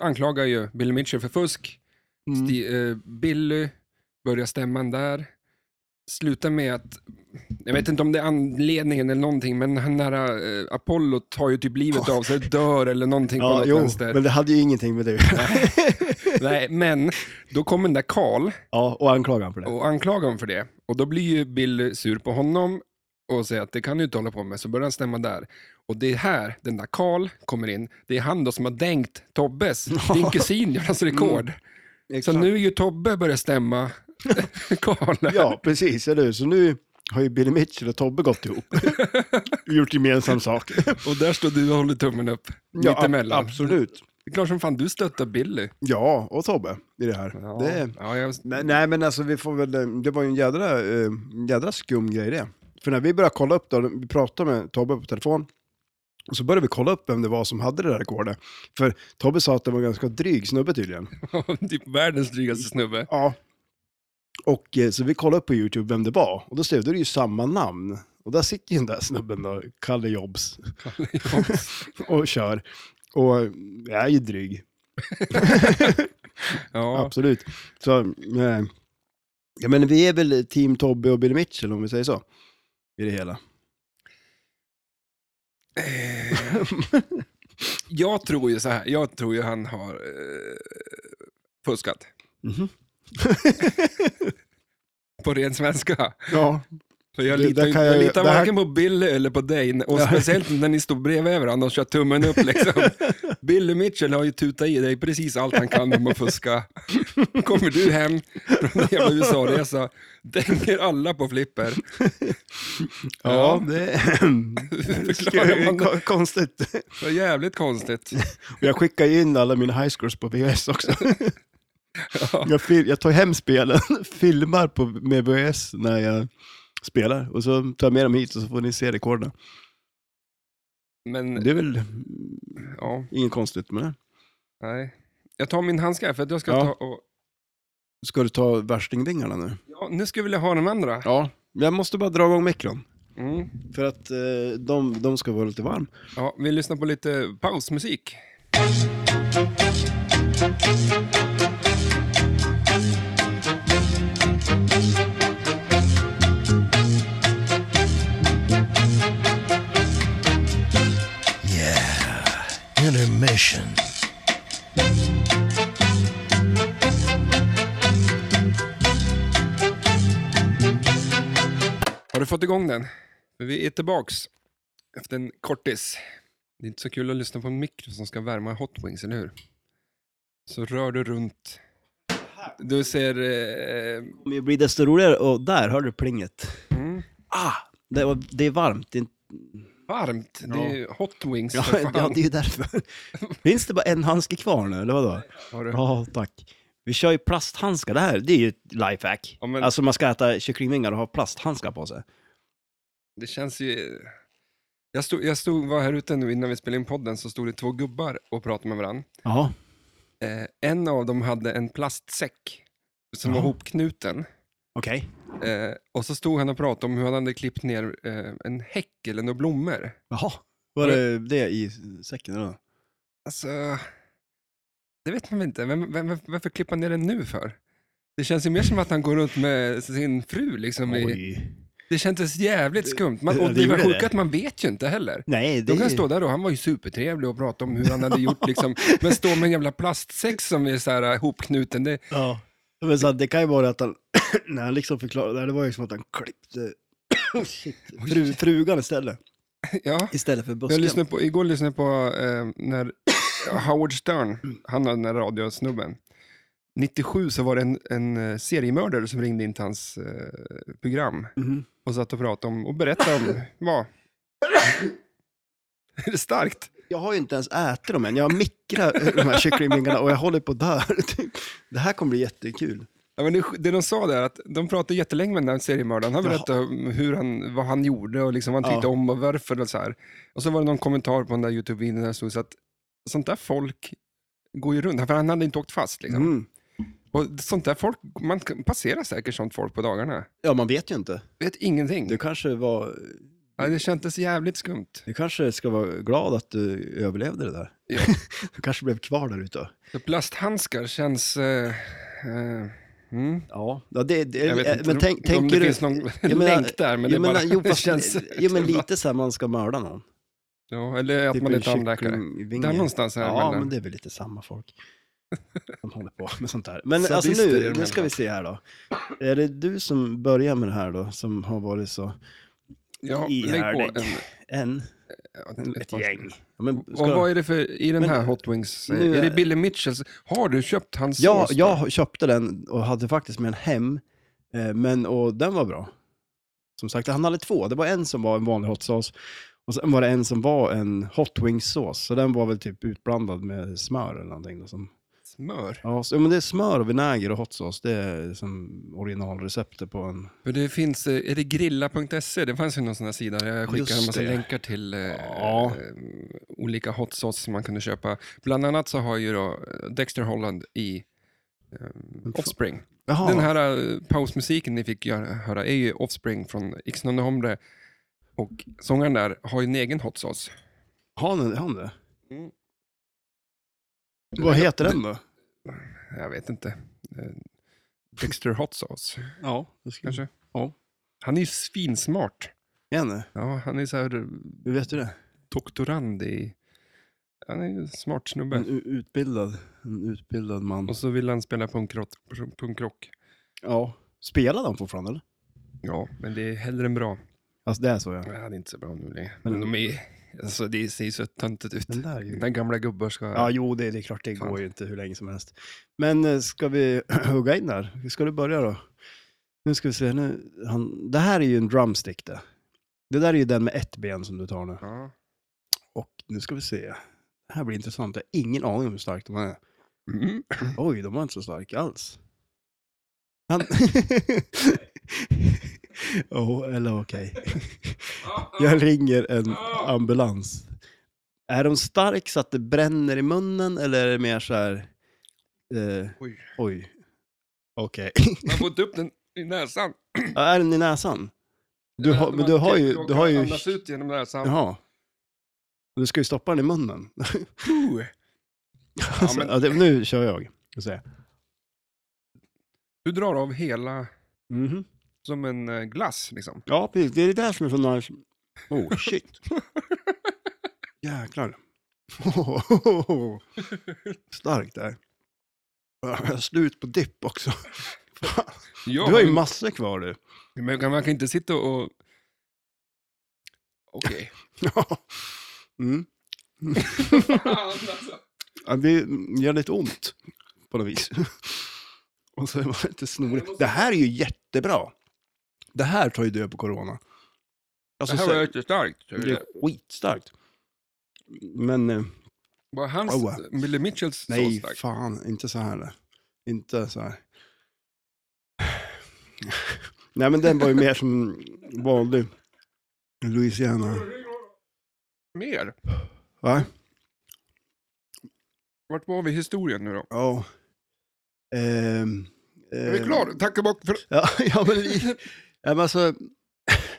[SPEAKER 1] anklagar ju Billy Mitchell för fusk.
[SPEAKER 2] Mm.
[SPEAKER 1] Sti, eh, Billy börjar stämman där. Slutar med att, jag vet inte om det är anledningen eller någonting, men han nära eh, Apollo tar ju typ livet av sig, dör eller någonting på
[SPEAKER 2] ja,
[SPEAKER 1] något
[SPEAKER 2] jo,
[SPEAKER 1] vänster.
[SPEAKER 2] men det hade ju ingenting med det att göra.
[SPEAKER 1] Nej, men då kommer den där Karl
[SPEAKER 2] Ja, och anklagar han för det.
[SPEAKER 1] och anklagar honom för det. Och då blir ju Bill sur på honom och säger att det kan du inte hålla på med, så börjar han stämma där. Och det är här den där Karl kommer in. Det är han då som har dängt Tobbes, din kusin, Jonas rekord.
[SPEAKER 2] Mm,
[SPEAKER 1] Så nu är ju Tobbe börjar stämma Karl.
[SPEAKER 2] Ja, precis. Eller hur? Så nu har ju Billy Mitchell och Tobbe gått ihop. Gjort gemensam sak.
[SPEAKER 1] Och där står du och håller tummen upp,
[SPEAKER 2] Ja,
[SPEAKER 1] mitt emellan.
[SPEAKER 2] ab- absolut.
[SPEAKER 1] Det är klart som fan du stöttar Billy.
[SPEAKER 2] Ja, och Tobbe i det här. Det,
[SPEAKER 1] ja, jag,
[SPEAKER 2] nej, nej, men alltså vi får väl, eh, det var ju en jädra, eh, jädra skum grej det. För när vi började kolla upp då, vi pratade med Tobbe på telefon, och så började vi kolla upp vem det var som hade det där rekordet. För Tobbe sa att det var en ganska dryg snubbe tydligen.
[SPEAKER 1] typ världens drygaste snubbe.
[SPEAKER 2] Ja. Och eh, så vi kollade upp på YouTube vem det var, och då stod det ju samma namn. Och där sitter ju den där snubben då, Kalle Jobs, och kör. Och eh, jag är ju dryg,
[SPEAKER 1] ja,
[SPEAKER 2] absolut. Så, eh, ja men vi är väl team Tobbe och Billy Mitchell om vi säger så. I det hela.
[SPEAKER 1] Eh. jag tror ju så här, jag tror ju han har eh, fuskat.
[SPEAKER 2] Mhm.
[SPEAKER 1] På ren svenska.
[SPEAKER 2] Ja,
[SPEAKER 1] För jag
[SPEAKER 2] Det-
[SPEAKER 1] litar,
[SPEAKER 2] där
[SPEAKER 1] ju-
[SPEAKER 2] kan
[SPEAKER 1] jag
[SPEAKER 2] jag ju-
[SPEAKER 1] litar
[SPEAKER 2] det här-
[SPEAKER 1] varken på Billy eller på dig. Och speciellt när ni stod bredvid varandra och kör tummen upp. Liksom. Billy Mitchell har ju tutat i dig precis allt han kan om att fuska. Kommer du hem från en jävla USA-resa, dänger alla på flipper.
[SPEAKER 2] ja,
[SPEAKER 1] Ja.
[SPEAKER 2] det
[SPEAKER 1] Förklarar man det?
[SPEAKER 2] är konstigt.
[SPEAKER 1] Det var jävligt konstigt.
[SPEAKER 2] Och Jag skickar ju in alla mina highscores på VHS också.
[SPEAKER 1] Ja.
[SPEAKER 2] Jag, fil- jag tar hem spelen, filmar på, med VHS när jag spelar och så tar jag med dem hit och så får ni se rekorden.
[SPEAKER 1] Men
[SPEAKER 2] Det är väl mm,
[SPEAKER 1] ja,
[SPEAKER 2] inget konstigt med det.
[SPEAKER 1] nej. Jag tar min handske här för att jag ska
[SPEAKER 2] Ja.
[SPEAKER 1] ta och...
[SPEAKER 2] Ska du ta värstingvingarna nu?
[SPEAKER 1] Ja, nu ska vi vilja ha de andra.
[SPEAKER 2] Ja, jag måste bara dra igång mikron.
[SPEAKER 1] Mm.
[SPEAKER 2] För att eh, de, de ska vara lite varm.
[SPEAKER 1] Ja, vi lyssnar på lite pausmusik.
[SPEAKER 3] Intermission.
[SPEAKER 1] Har du fått igång den? För Vi är tillbaks efter en kortis. Det är inte så kul att lyssna på en mikro som ska värma hot wings, eller hur? Så rör du runt. Du ser... Eh,
[SPEAKER 2] Det kommer ju bli desto roligare och där hör du plinget.
[SPEAKER 1] mm,
[SPEAKER 2] Ah, det, var, det är varmt. Det är inte-
[SPEAKER 1] varmt. Det är ju hot wings.
[SPEAKER 2] Ja,
[SPEAKER 1] för fan.
[SPEAKER 2] ja, det är ju därför. Finns det bara en handske kvar nu, eller vadå?
[SPEAKER 1] Har du...
[SPEAKER 2] Ja, tack. Vi kör ju plasthandskar. Det här, det är ju ett lifehack.
[SPEAKER 1] Ja, men-
[SPEAKER 2] Alltså man ska äta kycklingvingar och ha plasthandskar på sig.
[SPEAKER 1] Det känns ju... Jag, stod, jag stod, var här ute nu innan vi spelade in podden så stod det två gubbar och pratade med varandra.
[SPEAKER 2] Ja.
[SPEAKER 1] Eh, en av dem hade en plastsäck som var
[SPEAKER 2] Jaha.
[SPEAKER 1] hopknuten.
[SPEAKER 2] Okej.
[SPEAKER 1] Eh, och så stod han och pratade om hur han hade klippt ner eh, en häck eller några blommor.
[SPEAKER 2] Jaha. Var det det i säcken eller?
[SPEAKER 1] Alltså, det vet man väl inte. Vem, vem, vem- varför klipper han ner den nu för? Det känns ju mer som att han går runt med sin fru. Liksom, i,
[SPEAKER 2] Oj.
[SPEAKER 1] det kändes jävligt skumt. Man,
[SPEAKER 2] Ja,
[SPEAKER 1] och
[SPEAKER 2] det
[SPEAKER 1] det var
[SPEAKER 2] gjorde
[SPEAKER 1] sjukt
[SPEAKER 2] det.
[SPEAKER 1] att man vet ju inte heller.
[SPEAKER 2] Nej, det
[SPEAKER 1] De kan stå där och han var ju supertrevlig och prata om hur han hade gjort, liksom, men stå med en jävla plastsäck som är så här hopknuten. Det,
[SPEAKER 2] Ja. Men så att det kan ju vara att han, när han liksom förklarade, det här, det var ju som att han klippte oh, shit, fru, frugan istället.
[SPEAKER 1] ja.
[SPEAKER 2] Istället för busken.
[SPEAKER 1] Jag lyssnade på, igår lyssnade jag på eh, när Howard Stern, han hade den där radiosnubben. 97 så var det en, en eh, seriemördare som ringde in till hans eh, program
[SPEAKER 2] Mhm.
[SPEAKER 1] och satt och pratade om och berättade om vad... Är det starkt?
[SPEAKER 2] Jag har ju inte ens ätit dem än, jag har mikrat eh, de här kycklingvingarna och jag håller på där. typ. Det här kommer bli jättekul.
[SPEAKER 1] Ja, men det, det de sa där, att de pratade jättelänge med den där seriemördaren. Han berättade om hur han, vad han gjorde och liksom vad han tyckte
[SPEAKER 2] Ja.
[SPEAKER 1] om och varför. Och så, här. och så var det någon kommentar på den där YouTube-videon där det stod så att sånt där folk går ju runt, för han hade inte åkt fast. Liksom.
[SPEAKER 2] Mm.
[SPEAKER 1] Och sånt där folk, man kan- passerar säkert sånt folk på dagarna.
[SPEAKER 2] Ja, man vet ju inte.
[SPEAKER 1] Vet ingenting.
[SPEAKER 2] Det kanske var
[SPEAKER 1] Ja, det kändes jävligt skumt.
[SPEAKER 2] Du kanske ska vara glad att du överlevde det där.
[SPEAKER 1] Ja.
[SPEAKER 2] du kanske blev kvar där ute.
[SPEAKER 1] Så plasthandskar känns... Eh, eh, mm.
[SPEAKER 2] Ja, ja det, det,
[SPEAKER 1] Jag vet
[SPEAKER 2] eh,
[SPEAKER 1] inte
[SPEAKER 2] men
[SPEAKER 1] om-
[SPEAKER 2] tänk,
[SPEAKER 1] om
[SPEAKER 2] tänker
[SPEAKER 1] det
[SPEAKER 2] du...
[SPEAKER 1] finns någon
[SPEAKER 2] Jag menar-
[SPEAKER 1] länk där, men
[SPEAKER 2] jag
[SPEAKER 1] det bara
[SPEAKER 2] menar, jo, fast,
[SPEAKER 1] känns...
[SPEAKER 2] jo, men lite så här man ska mörda någon.
[SPEAKER 1] ja, eller att man är tandläkare. Där någonstans här
[SPEAKER 2] Typ Ja,
[SPEAKER 1] mellan.
[SPEAKER 2] men det är väl lite samma folk som håller på med sånt här. Men
[SPEAKER 1] Sadister
[SPEAKER 2] alltså
[SPEAKER 1] i de
[SPEAKER 2] nu,
[SPEAKER 1] här
[SPEAKER 2] nu ska vi se här då. Är det du som börjar med det här då, som har varit så
[SPEAKER 1] Ja, lägg
[SPEAKER 2] ihärdig.
[SPEAKER 1] på en,
[SPEAKER 2] En,
[SPEAKER 1] ja,
[SPEAKER 2] ett
[SPEAKER 1] par-
[SPEAKER 2] gäng. Ja, men
[SPEAKER 1] Och
[SPEAKER 2] ska-
[SPEAKER 1] vad är det för, i den
[SPEAKER 2] Men-
[SPEAKER 1] här Hot Wings, eh,
[SPEAKER 2] Nu
[SPEAKER 1] är det
[SPEAKER 2] är-
[SPEAKER 1] Billy Mitchells? Har du köpt hans
[SPEAKER 2] Ja,
[SPEAKER 1] sås?
[SPEAKER 2] jag köpte den och hade faktiskt med den hem, eh, men och den var bra. Som sagt, han hade två. Det var en som var en vanlig hot sauce och sen var det en som var en hot wings-sås. Så den var väl typ utblandad med smör eller någonting. Då, som,
[SPEAKER 1] Smör?
[SPEAKER 2] ja, så, ja, men det är smör och vinäger och hot sauce. Det är som originalreceptet på en...
[SPEAKER 1] För det finns, eh, är det grilla.se? Det fanns ju någon sån här sida där jag skickade en
[SPEAKER 2] Just
[SPEAKER 1] massa
[SPEAKER 2] det.
[SPEAKER 1] länkar till eh,
[SPEAKER 2] Ja.
[SPEAKER 1] eh, olika hot sauce som man kunde köpa. Bland annat så har ju då eh, Dexter Holland i eh, Offspring.
[SPEAKER 2] Jaha,
[SPEAKER 1] Den här eh, pausmusiken ni fick göra, höra är ju Offspring från Ixnon och Hombre. Och sångaren där har ju en egen hot sauce.
[SPEAKER 2] har han- har han det?
[SPEAKER 1] Mm.
[SPEAKER 2] Vad heter den då?
[SPEAKER 1] Jag vet inte. Eh, Dexter Hot Sauce,
[SPEAKER 2] Ja, det ska
[SPEAKER 1] kanske?
[SPEAKER 2] Ja.
[SPEAKER 1] Han är ju svinsmart.
[SPEAKER 2] Jenny,
[SPEAKER 1] Ja, han är så här
[SPEAKER 2] hur vet du det?
[SPEAKER 1] doktorand i... Han är ju en smart snubbe.
[SPEAKER 2] En u- utbildad, en utbildad man.
[SPEAKER 1] Och så vill han spela punkrock. punkrock.
[SPEAKER 2] Ja. Spelade han fortfarande eller?
[SPEAKER 1] Ja, men det är hellre än bra.
[SPEAKER 2] Alltså det är så ja.
[SPEAKER 1] Ja, det är inte så bra nu längre.
[SPEAKER 2] Men-
[SPEAKER 1] Men de är... Alltså, det ser ju så töntigt ut.
[SPEAKER 2] Den där är ju...
[SPEAKER 1] När gamla gubbar ska...
[SPEAKER 2] Ja, jo, det, det är klart, det
[SPEAKER 1] Fan.
[SPEAKER 2] går ju inte hur länge som helst. Men eh, ska vi hugga in där? Ska du börja då? Nu ska vi se, nu, han, det här är ju en drumstick det. Det där är ju den med ett ben som du tar nu.
[SPEAKER 1] Ja.
[SPEAKER 2] Och nu ska vi se. Det här blir intressant, jag har ingen aning om hur stark de är.
[SPEAKER 1] Mm.
[SPEAKER 2] Oj, de var inte så starka alls. Han... oh, eller okej. Jag ringer en ambulans. Är de stark så att det bränner i munnen eller är det mer så här... Eh,
[SPEAKER 1] Oj.
[SPEAKER 2] oj. Okej.
[SPEAKER 1] Man får inte upp den i näsan.
[SPEAKER 2] Ja, är den i näsan? Du har, men
[SPEAKER 1] Man
[SPEAKER 2] du har ju...
[SPEAKER 1] råkar
[SPEAKER 2] Du har ju
[SPEAKER 1] andas ut genom näsan.
[SPEAKER 2] jaha. Du ska ju stoppa den i munnen.
[SPEAKER 1] Puh.
[SPEAKER 2] Alltså,
[SPEAKER 1] men-
[SPEAKER 2] ja, det, nu kör jag. jag säga.
[SPEAKER 1] Du drar av hela...
[SPEAKER 2] Mhm.
[SPEAKER 1] Som en eh, glass, liksom.
[SPEAKER 2] Ja, precis. Det är det där som är så nice. Oh, shit. Jäklar. Starkt där. Jag har slut på dipp också. Fan.
[SPEAKER 1] Ja,
[SPEAKER 2] Du har ju
[SPEAKER 1] men-
[SPEAKER 2] massor kvar du.
[SPEAKER 1] Men kan- man kan inte sitta och... Okej.
[SPEAKER 2] Mm.
[SPEAKER 1] Fan, alltså.
[SPEAKER 2] Ja, Det gör lite ont på något vis. Och så var det lite snorigt. Det här är ju jättebra. Det här tar ju död på corona.
[SPEAKER 1] Det
[SPEAKER 2] Alltså,
[SPEAKER 1] här
[SPEAKER 2] så-
[SPEAKER 1] var jättestarkt.
[SPEAKER 2] det är skitstarkt. Men... eh,
[SPEAKER 1] Var hans
[SPEAKER 2] Oa.
[SPEAKER 1] Billy Mitchells så
[SPEAKER 2] Nej,
[SPEAKER 1] stark?
[SPEAKER 2] fan, inte så här. nej. Inte så här. Nej, men den var ju mer som vanlig Louisiana.
[SPEAKER 1] Mer?
[SPEAKER 2] Va?
[SPEAKER 1] Vart var vi i historien nu då?
[SPEAKER 2] Ja. Ehm,
[SPEAKER 1] Är vi
[SPEAKER 2] ehm,
[SPEAKER 1] klara? Tack och bock för...
[SPEAKER 2] Ja, ja men, li- ja, men alltså,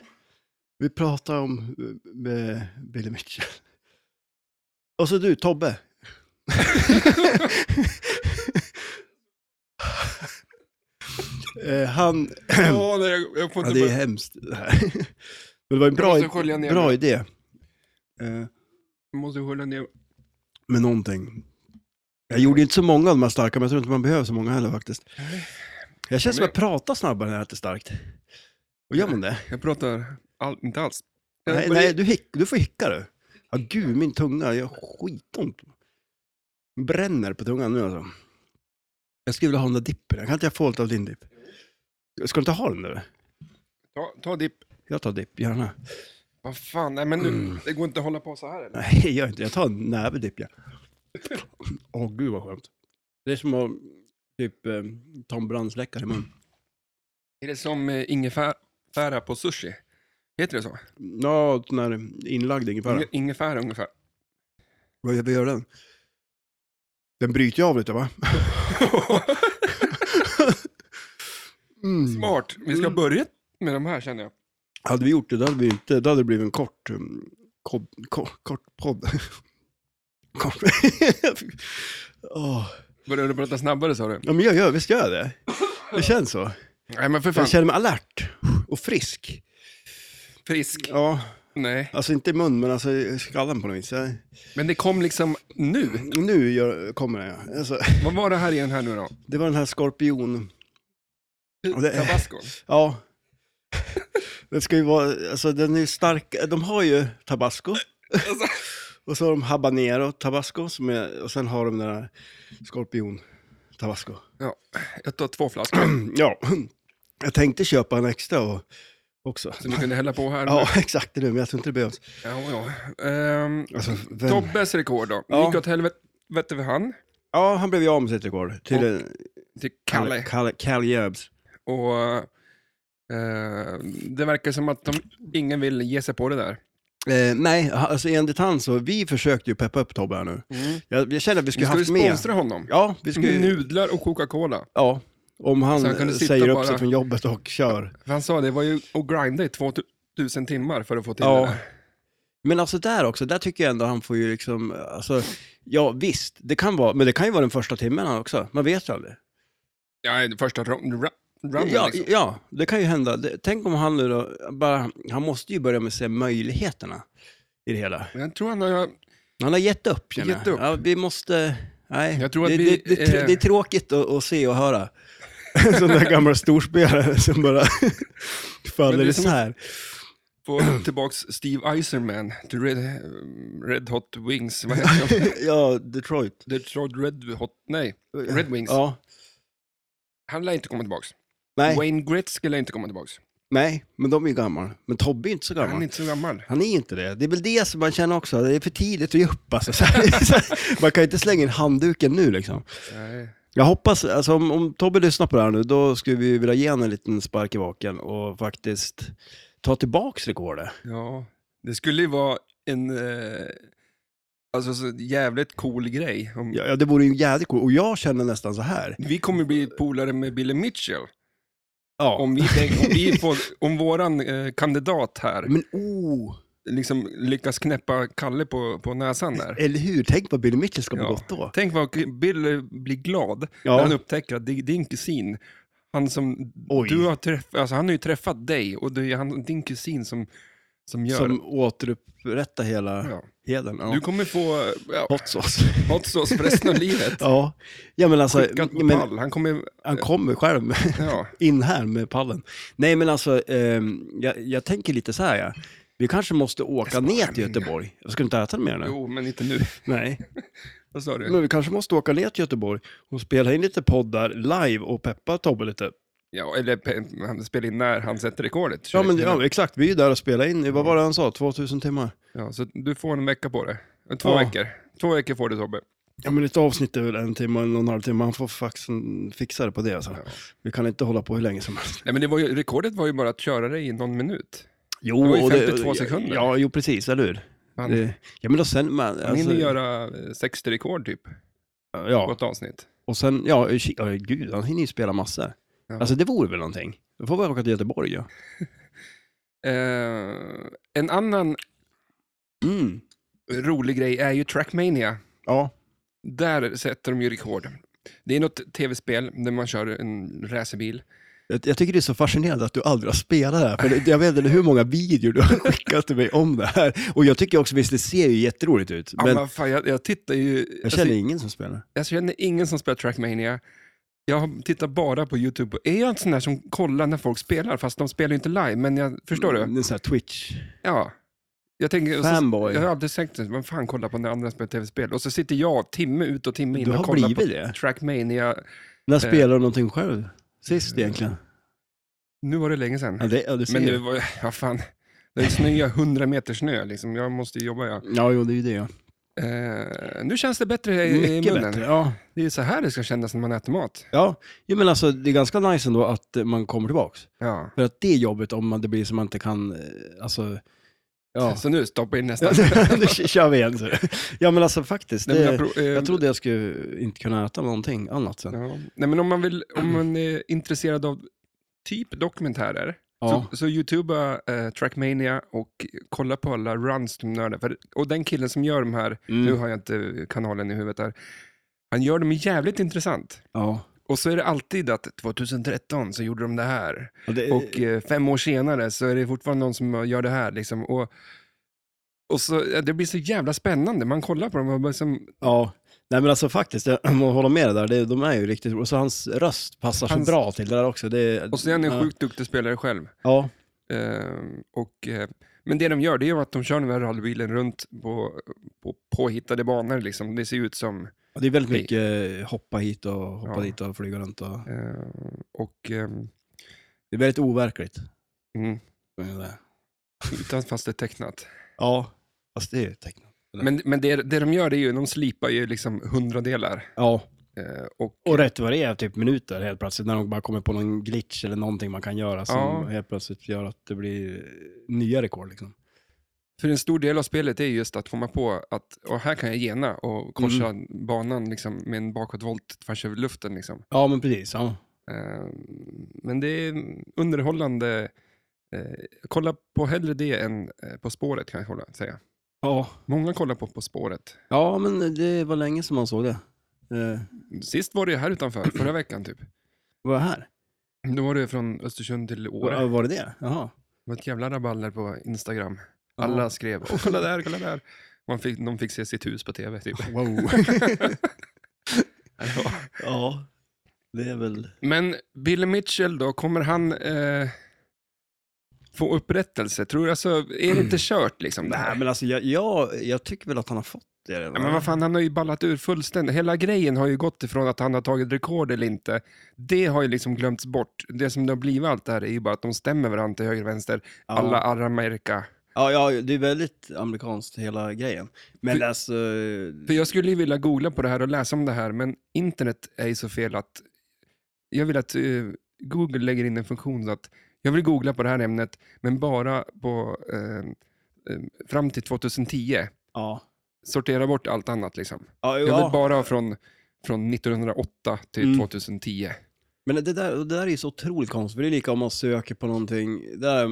[SPEAKER 2] vi pratar om eh, med Billy Mitchell. Och så du, Tobbe. Eh, han,
[SPEAKER 1] Ja, nej, jag, jag får
[SPEAKER 2] ja,
[SPEAKER 1] inte...
[SPEAKER 2] det är
[SPEAKER 1] Ja,
[SPEAKER 2] hemskt det här. Men det var en bra,
[SPEAKER 1] måste skölja ner
[SPEAKER 2] bra
[SPEAKER 1] mig.
[SPEAKER 2] idé. Eh,
[SPEAKER 1] Måste hålla ner...
[SPEAKER 2] med någonting. Jag gjorde inte så många av de här starka, men jag tror inte man behöver så många heller faktiskt. Jag känner som att jag pratar snabbare när jag äter starkt. Och gör man det?
[SPEAKER 1] Jag pratar all... inte alls. Eh,
[SPEAKER 2] Nej,
[SPEAKER 1] Men-
[SPEAKER 2] nej du, hick, du får hicka du. Ja, gud, min tunga gör skitont. Bränner på tungan nu alltså. Jag skulle vilja ha den där dippen. Jag kan inte jag få lite av din dipp? Ska du inte ha den nu?
[SPEAKER 1] Ta, ta dipp.
[SPEAKER 2] Jag tar dipp, gärna.
[SPEAKER 1] Vad fan, nej men nu,
[SPEAKER 2] Mm.
[SPEAKER 1] det går inte att hålla på så här eller?
[SPEAKER 2] Nej, gör inte. Jag tar en näve dipp, ja. Åh, gud vad skönt. Det är som att typ eh, ta en brandsläckare i mun.
[SPEAKER 1] Är det som eh, ingefära fära på sushi? Heter det så?
[SPEAKER 2] Ja, sån här inlagd ungefär.
[SPEAKER 1] Inge- Ingefära ungefär.
[SPEAKER 2] Vad gör- vad gör den? Den bryter ju av lite va? Mm.
[SPEAKER 1] Smart. Vi ska
[SPEAKER 2] Mm.
[SPEAKER 1] börja med de här känner jag.
[SPEAKER 2] Hade vi gjort det, då hade, vi inte, då hade det blivit en kort, um, kod, kort, kort podd. kort. Åh.
[SPEAKER 1] Börjar du prata snabbare sa du?
[SPEAKER 2] Ja, men jag gör, visst gör jag det? Det känns så.
[SPEAKER 1] Nej men för fan.
[SPEAKER 2] Jag känner mig alert och frisk.
[SPEAKER 1] Frisk.
[SPEAKER 2] Ja,
[SPEAKER 1] Nej.
[SPEAKER 2] alltså inte i mun, men alltså i skallen på något vis. Jag,
[SPEAKER 1] Men det kom liksom nu.
[SPEAKER 2] nu gör, kommer det, ja. Alltså,
[SPEAKER 1] Vad var det här igen här nu då?
[SPEAKER 2] det var den här skorpion... Och det-
[SPEAKER 1] Tabasco.
[SPEAKER 2] Ja. Den ska ju vara, alltså den är ju stark, de har ju tabasco.
[SPEAKER 1] Alltså.
[SPEAKER 2] Och så har de habanero tabasco, som är, och sen har de den där skorpion tabasco.
[SPEAKER 1] Ja, jag tar två flaskor
[SPEAKER 2] Ja, jag tänkte köpa en extra och, också.
[SPEAKER 1] som vi kunde hälla på här.
[SPEAKER 2] Ja, exakt det nu, men jag tror inte det behövs.
[SPEAKER 1] Ja, ja. Ehm,
[SPEAKER 2] Alltså, vem...
[SPEAKER 1] Tobbes rekord då.
[SPEAKER 2] Ja.
[SPEAKER 1] Gick åt helvete för han,
[SPEAKER 2] Ja, han blev ju av med sitt rekord. Till
[SPEAKER 1] Och-
[SPEAKER 2] eh,
[SPEAKER 1] till Kalle.
[SPEAKER 2] Kalle, Kalle Jerbs.
[SPEAKER 1] Och eh, det verkar som att de, ingen vill ge sig på det där.
[SPEAKER 2] Eh, nej, ha- alltså enligt han så, vi försökte ju peppa upp Tobbe här nu. Jag, jag känner
[SPEAKER 1] Mm.
[SPEAKER 2] att vi
[SPEAKER 1] Vi
[SPEAKER 2] skulle
[SPEAKER 1] ska ju
[SPEAKER 2] haft med...
[SPEAKER 1] sponsra honom.
[SPEAKER 2] Ja, vi skulle ju...
[SPEAKER 1] Nudlar och Coca-Cola.
[SPEAKER 2] Ja, om han,
[SPEAKER 1] Så han kunde sitta
[SPEAKER 2] säger upp
[SPEAKER 1] bara-
[SPEAKER 2] sig från jobbet och kör.
[SPEAKER 1] För han sa det var ju att grinda i 2000 timmar för att få till
[SPEAKER 2] Ja.
[SPEAKER 1] det där.
[SPEAKER 2] Men alltså där också, där tycker jag ändå han får ju liksom, alltså, ja visst, det kan vara, men det kan ju vara den första timmen han också, man vet ju aldrig.
[SPEAKER 1] Ja, det första runden
[SPEAKER 2] ja,
[SPEAKER 1] liksom.
[SPEAKER 2] ja, det kan ju hända. Det- Tänk om han nu då, bara, han måste ju börja med att se möjligheterna i det hela.
[SPEAKER 1] Men Jag tror han har...
[SPEAKER 2] Han har gett upp, känner jag.
[SPEAKER 1] Gett upp.
[SPEAKER 2] Ja, vi måste... Nej,
[SPEAKER 1] Jag tror att
[SPEAKER 2] det,
[SPEAKER 1] vi,
[SPEAKER 2] det, det,
[SPEAKER 1] eh,
[SPEAKER 2] det är tråkigt att, att se och höra. Sådana där gamla storspelare som bara
[SPEAKER 1] Men det
[SPEAKER 2] faller
[SPEAKER 1] är som-
[SPEAKER 2] isär.
[SPEAKER 1] Få tillbaks Steve Eiserman till Red, Red Hot Wings. Vad heter de?
[SPEAKER 2] ja, Detroit.
[SPEAKER 1] Detroit Red Hot... Nej, Red Wings.
[SPEAKER 2] Ja.
[SPEAKER 1] Han lär inte komma tillbaks.
[SPEAKER 2] Nej,
[SPEAKER 1] Wayne Gretzky lär inte komma tillbaks.
[SPEAKER 2] nej, men de är ju gamla. Men Tobbe är inte så gammal.
[SPEAKER 1] Han är inte så gammal.
[SPEAKER 2] Han är inte det. Det är väl det som man känner också, det är för tidigt att ge upp. Alltså. Så här, så här, man kan ju inte slänga in handduken nu liksom.
[SPEAKER 1] Nej.
[SPEAKER 2] Jag hoppas, alltså, om, om Tobbe lyssnar på det här nu, då skulle vi vilja ge honom en liten spark i baken och faktiskt ta tillbaks rekordet.
[SPEAKER 1] Ja, det skulle ju vara en eh, alltså, så jävligt cool grej. Om,
[SPEAKER 2] Ja, ja, det vore ju jävligt coolt. Och jag känner nästan så här.
[SPEAKER 1] Vi kommer bli polare med Billy Mitchell.
[SPEAKER 2] Ja.
[SPEAKER 1] Om, vi, om, vi får, om våran eh, kandidat här
[SPEAKER 2] Men oh,
[SPEAKER 1] liksom lyckas knäppa Kalle på, på näsan där.
[SPEAKER 2] eller hur? Tänk vad Billy Mitchell ska må
[SPEAKER 1] Ja.
[SPEAKER 2] gott då.
[SPEAKER 1] Tänk vad Billy blir glad när
[SPEAKER 2] Ja.
[SPEAKER 1] han upptäcker att di- din kusin, han som
[SPEAKER 2] Oj.
[SPEAKER 1] du har träffat, alltså han har ju träffat dig och det är han, din kusin som, som gör
[SPEAKER 2] Som återupprättar hela
[SPEAKER 1] Ja.
[SPEAKER 2] hedern. Ja.
[SPEAKER 1] Du kommer få ja,
[SPEAKER 2] Hot sauce.
[SPEAKER 1] hot sauce för resten av livet.
[SPEAKER 2] ja. ja, men alltså,
[SPEAKER 1] Skickat på
[SPEAKER 2] men,
[SPEAKER 1] pall. Han kommer,
[SPEAKER 2] han kommer själv.
[SPEAKER 1] ja.
[SPEAKER 2] in här med pallen. Nej, men alltså, ehm, jag, jag tänker lite så här, ja. vi kanske måste åka ner till Göteborg. Jag ska inte äta mer nu.
[SPEAKER 1] Jo, men inte nu.
[SPEAKER 2] Nej,
[SPEAKER 1] Vad sa du?
[SPEAKER 2] men vi kanske måste åka ner till Göteborg och spela in lite poddar live och peppa Tobbe lite.
[SPEAKER 1] Ja, eller pe- han spelar in när han sätter rekordet.
[SPEAKER 2] Ja, men ja, exakt. Vi är ju där och spelar in i, vad var det han sa, 2000 timmar?
[SPEAKER 1] Ja, så du får en vecka på det. Två
[SPEAKER 2] Ja.
[SPEAKER 1] veckor. Två veckor får du Tobbe.
[SPEAKER 2] Ja, men ett avsnitt är väl en timme, en och en halv timme. Han får faktiskt fixa det på det. Alltså. Vi kan inte hålla på hur länge som helst.
[SPEAKER 1] Nej, men det var ju, rekordet var ju bara att köra dig i någon minut.
[SPEAKER 2] Jo,
[SPEAKER 1] Det var ju
[SPEAKER 2] och
[SPEAKER 1] 52 sekunder.
[SPEAKER 2] Ja, jo, precis, eller hur?
[SPEAKER 1] Han,
[SPEAKER 2] Det, ja, men då sen... Man, alltså-
[SPEAKER 1] han hinner göra eh, 60 rekord typ,
[SPEAKER 2] ja.
[SPEAKER 1] på ett avsnitt.
[SPEAKER 2] Och sen, ja, ki- ja, gud, han hinner ju spela massor.
[SPEAKER 1] Ja.
[SPEAKER 2] Alltså det vore väl någonting. Då får vi åka till Göteborg ja.
[SPEAKER 1] Eh, en annan
[SPEAKER 2] Mm.
[SPEAKER 1] rolig grej är ju Trackmania.
[SPEAKER 2] Ja.
[SPEAKER 1] Där sätter de ju rekord. Det är något tv-spel där man kör en racerbil.
[SPEAKER 2] Jag, jag tycker det är så fascinerande att du aldrig har spelat det här, för det, jag vet inte hur många videor du har skickat till mig om det här. Och jag tycker också, visst det ser ju jätteroligt ut,
[SPEAKER 1] Ja,
[SPEAKER 2] men
[SPEAKER 1] men fan, jag, jag tittar ju... alltså,
[SPEAKER 2] jag känner ingen som spelar.
[SPEAKER 1] Jag känner ingen som spelar Trackmania. Jag har- tittar bara på YouTube. Är jag en sån där som kollar när folk spelar, fast de spelar ju inte live, men jag förstår du?
[SPEAKER 2] Det är sån här Twitch.
[SPEAKER 1] Ja. Jag, tänker, och så,
[SPEAKER 2] Mm. Fanboy.
[SPEAKER 1] jag har alltid sagt det, vem fan kollar på när andra spelar tv-spel? Och så sitter jag timme ut och timme in
[SPEAKER 2] Du
[SPEAKER 1] och
[SPEAKER 2] har
[SPEAKER 1] kollar
[SPEAKER 2] blivit
[SPEAKER 1] på Eh.
[SPEAKER 2] det.
[SPEAKER 1] Trackmania.
[SPEAKER 2] När spelar du någonting själv? Sist egentligen?
[SPEAKER 1] Nu var det länge sedan.
[SPEAKER 2] Ja, det, ja, du ser.
[SPEAKER 1] Men nu
[SPEAKER 2] ju.
[SPEAKER 1] var ja fan. Det snöar 100 meter snö, liksom. jag måste ju jobba. Ja.
[SPEAKER 2] Ja, jo, det är ju det. Ja.
[SPEAKER 1] Eh, nu känns det bättre i, i
[SPEAKER 2] Mycket
[SPEAKER 1] munnen.
[SPEAKER 2] bättre. Ja.
[SPEAKER 1] Det är så här det ska kännas när man äter mat.
[SPEAKER 2] ja, jo, men alltså det är ganska nice ändå att eh, man kommer tillbaks.
[SPEAKER 1] Ja.
[SPEAKER 2] För att det är jobbigt om man, det blir som man inte kan, eh, alltså, ja.
[SPEAKER 1] Så nu stoppar jag in nästa.
[SPEAKER 2] Ja, nu kör vi igen. Så. Ja men alltså faktiskt,
[SPEAKER 1] Nej, men jag
[SPEAKER 2] det,
[SPEAKER 1] pro- eh,
[SPEAKER 2] jag trodde jag skulle inte kunna äta någonting annat sen.
[SPEAKER 1] Ja. Nej, men om man, vill, om man är intresserad av typ dokumentärer,
[SPEAKER 2] Ja,
[SPEAKER 1] så, så youtuba eh, Trackmania och kolla på alla runs de nördar. För, och den killen som gör de här, nu
[SPEAKER 2] mm.
[SPEAKER 1] har jag inte kanalen i huvudet här, han gör dem jävligt intressant.
[SPEAKER 2] ja.
[SPEAKER 1] Och så är det alltid att 2013 så gjorde de det här.
[SPEAKER 2] ja det,
[SPEAKER 1] Och eh, fem år senare så är det fortfarande någon som gör det här. Liksom. Och, och så, ja, det blir så jävla spännande. Man kollar på dem och bara som,
[SPEAKER 2] ja. Nej men alltså faktiskt, jag må hålla med dig där, det, de är ju riktigt Och så hans röst passar
[SPEAKER 1] Hans-
[SPEAKER 2] så bra till det där också. Det,
[SPEAKER 1] Och så är han en
[SPEAKER 2] ja.
[SPEAKER 1] sjukt duktig spelare själv.
[SPEAKER 2] Ja,
[SPEAKER 1] Eh, och, eh, men det de gör det är ju att de kör den här rallybilen runt på, på påhittade banor. Liksom. Det ser ut som...
[SPEAKER 2] Ja, det är väldigt mycket hoppa hit och hoppa
[SPEAKER 1] Ja.
[SPEAKER 2] dit och flyga runt. Och...
[SPEAKER 1] Eh, och, ehm,
[SPEAKER 2] Det är väldigt overkligt.
[SPEAKER 1] mm,
[SPEAKER 2] Men, eh,
[SPEAKER 1] utan fast det är tecknat.
[SPEAKER 2] Ja, fast det är ju tecknat.
[SPEAKER 1] Men, men det, det de gör det är ju, de slipar ju liksom hundradelar.
[SPEAKER 2] Ja,
[SPEAKER 1] Eh, och,
[SPEAKER 2] och rätt vad det är typ minuter helt plötsligt när de bara kommer på någon glitch eller någonting man kan göra som
[SPEAKER 1] Ja.
[SPEAKER 2] helt plötsligt gör att det blir eh, nya rekord liksom.
[SPEAKER 1] för en stor del av spelet är just att komma på att och här kan jag gena och korsa
[SPEAKER 2] Mm.
[SPEAKER 1] banan liksom, med en bakåtvolt tvärs över luften. Liksom.
[SPEAKER 2] Ja, men precis. Ja.
[SPEAKER 1] Eh, Men det är underhållande. Eh, Kolla på hellre det än eh, På spåret kan jag hålla- säga.
[SPEAKER 2] Ja.
[SPEAKER 1] Många kollar på På spåret.
[SPEAKER 2] ja, men det var länge som man såg det. Eh,
[SPEAKER 1] Sist var det ju här utanför, förra veckan typ.
[SPEAKER 2] var det här?
[SPEAKER 1] Då var det från Östersund till Åre.
[SPEAKER 2] Var,
[SPEAKER 1] Det
[SPEAKER 2] var det det? Jaha.
[SPEAKER 1] var ett jävla rabalder på Instagram.
[SPEAKER 2] Ja.
[SPEAKER 1] Alla skrev Åh, kolla där, kolla där. Man fick, de fick se sitt hus på tv typ.
[SPEAKER 2] Wow.
[SPEAKER 1] Ja.
[SPEAKER 2] ja, det är väl...
[SPEAKER 1] Men Billy Mitchell då, kommer han eh, få upprättelse? Tror du? Alltså, är det inte kört liksom det här?
[SPEAKER 2] Mm. Nej, men alltså jag, jag, jag tycker väl att han har fått det redan.
[SPEAKER 1] Ja, men vad fan, han har ju ballat ur fullständigt. Hela grejen har ju gått ifrån att han har tagit rekord eller inte. Det har ju liksom glömts bort. Det som det har blivit allt det här är ju bara att de stämmer varandra till höger och vänster.
[SPEAKER 2] Ja.
[SPEAKER 1] Alla Aramerika.
[SPEAKER 2] Ja, ja, det är väldigt amerikanskt hela grejen. Men
[SPEAKER 1] För-
[SPEAKER 2] alltså...
[SPEAKER 1] För jag skulle ju vilja googla på det här och läsa om det här, men internet är ju så fel att jag vill att eh, Google lägger in en funktion så att jag vill googla på det här ämnet, men bara på eh, eh, fram till 2010.
[SPEAKER 2] Ja.
[SPEAKER 1] Sortera bort allt annat liksom.
[SPEAKER 2] Ja,
[SPEAKER 1] Jag
[SPEAKER 2] ja.
[SPEAKER 1] vill bara ha från, från 1908 till
[SPEAKER 2] Mm.
[SPEAKER 1] 2010.
[SPEAKER 2] Men det där, och det där är ju så otroligt konstigt, för det är lika om man söker på någonting. Det där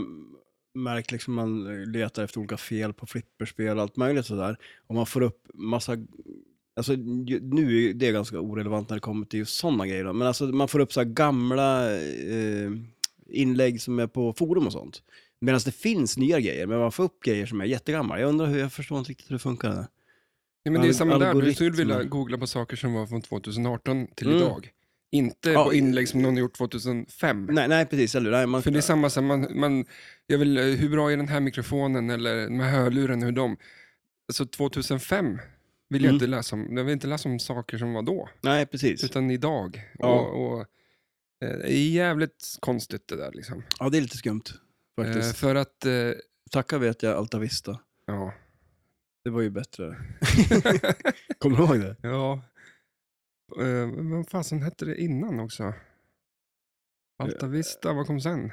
[SPEAKER 2] märkt liksom man letar efter olika fel på flipperspel och allt möjligt sådär. Och man får upp massa... Alltså ju- nu är det ganska orelevant när det kommer till just sådana grejer då. Men alltså man får upp så här gamla eh, inlägg som är på forum och sånt. Medan det finns nya grejer, men man får upp grejer som är jättegamla. Jag undrar hur, jag förstår inte riktigt hur det funkar. Där.
[SPEAKER 1] Ja, men det är
[SPEAKER 2] Al-
[SPEAKER 1] samma där, du skulle
[SPEAKER 2] algoritmer.
[SPEAKER 1] vilja googla på saker som var från 2018 till
[SPEAKER 2] Mm.
[SPEAKER 1] idag. Inte
[SPEAKER 2] Ja.
[SPEAKER 1] på inlägg som någon gjort 2005.
[SPEAKER 2] Nej, nej precis, eller hur? Nej, man,
[SPEAKER 1] För det är samma som man, man jag vill, eh, hur bra är den här mikrofonen eller de här hörlurarna, hur de... Alltså 2005 vill jag
[SPEAKER 2] Mm.
[SPEAKER 1] inte läsa om, jag vill inte läsa om saker som var då,
[SPEAKER 2] nej precis.
[SPEAKER 1] utan idag.
[SPEAKER 2] Ja.
[SPEAKER 1] Och, och, eh, det är jävligt konstigt det där liksom.
[SPEAKER 2] Ja, det är lite skumt faktiskt.
[SPEAKER 1] Eh, för att, eh,
[SPEAKER 2] Tacka vet jag Altavista.
[SPEAKER 1] ja.
[SPEAKER 2] Det var ju bättre. Kommer du ihåg det?
[SPEAKER 1] ja. Eh, vad fasen hette det innan också? Altavista, vad kom sen?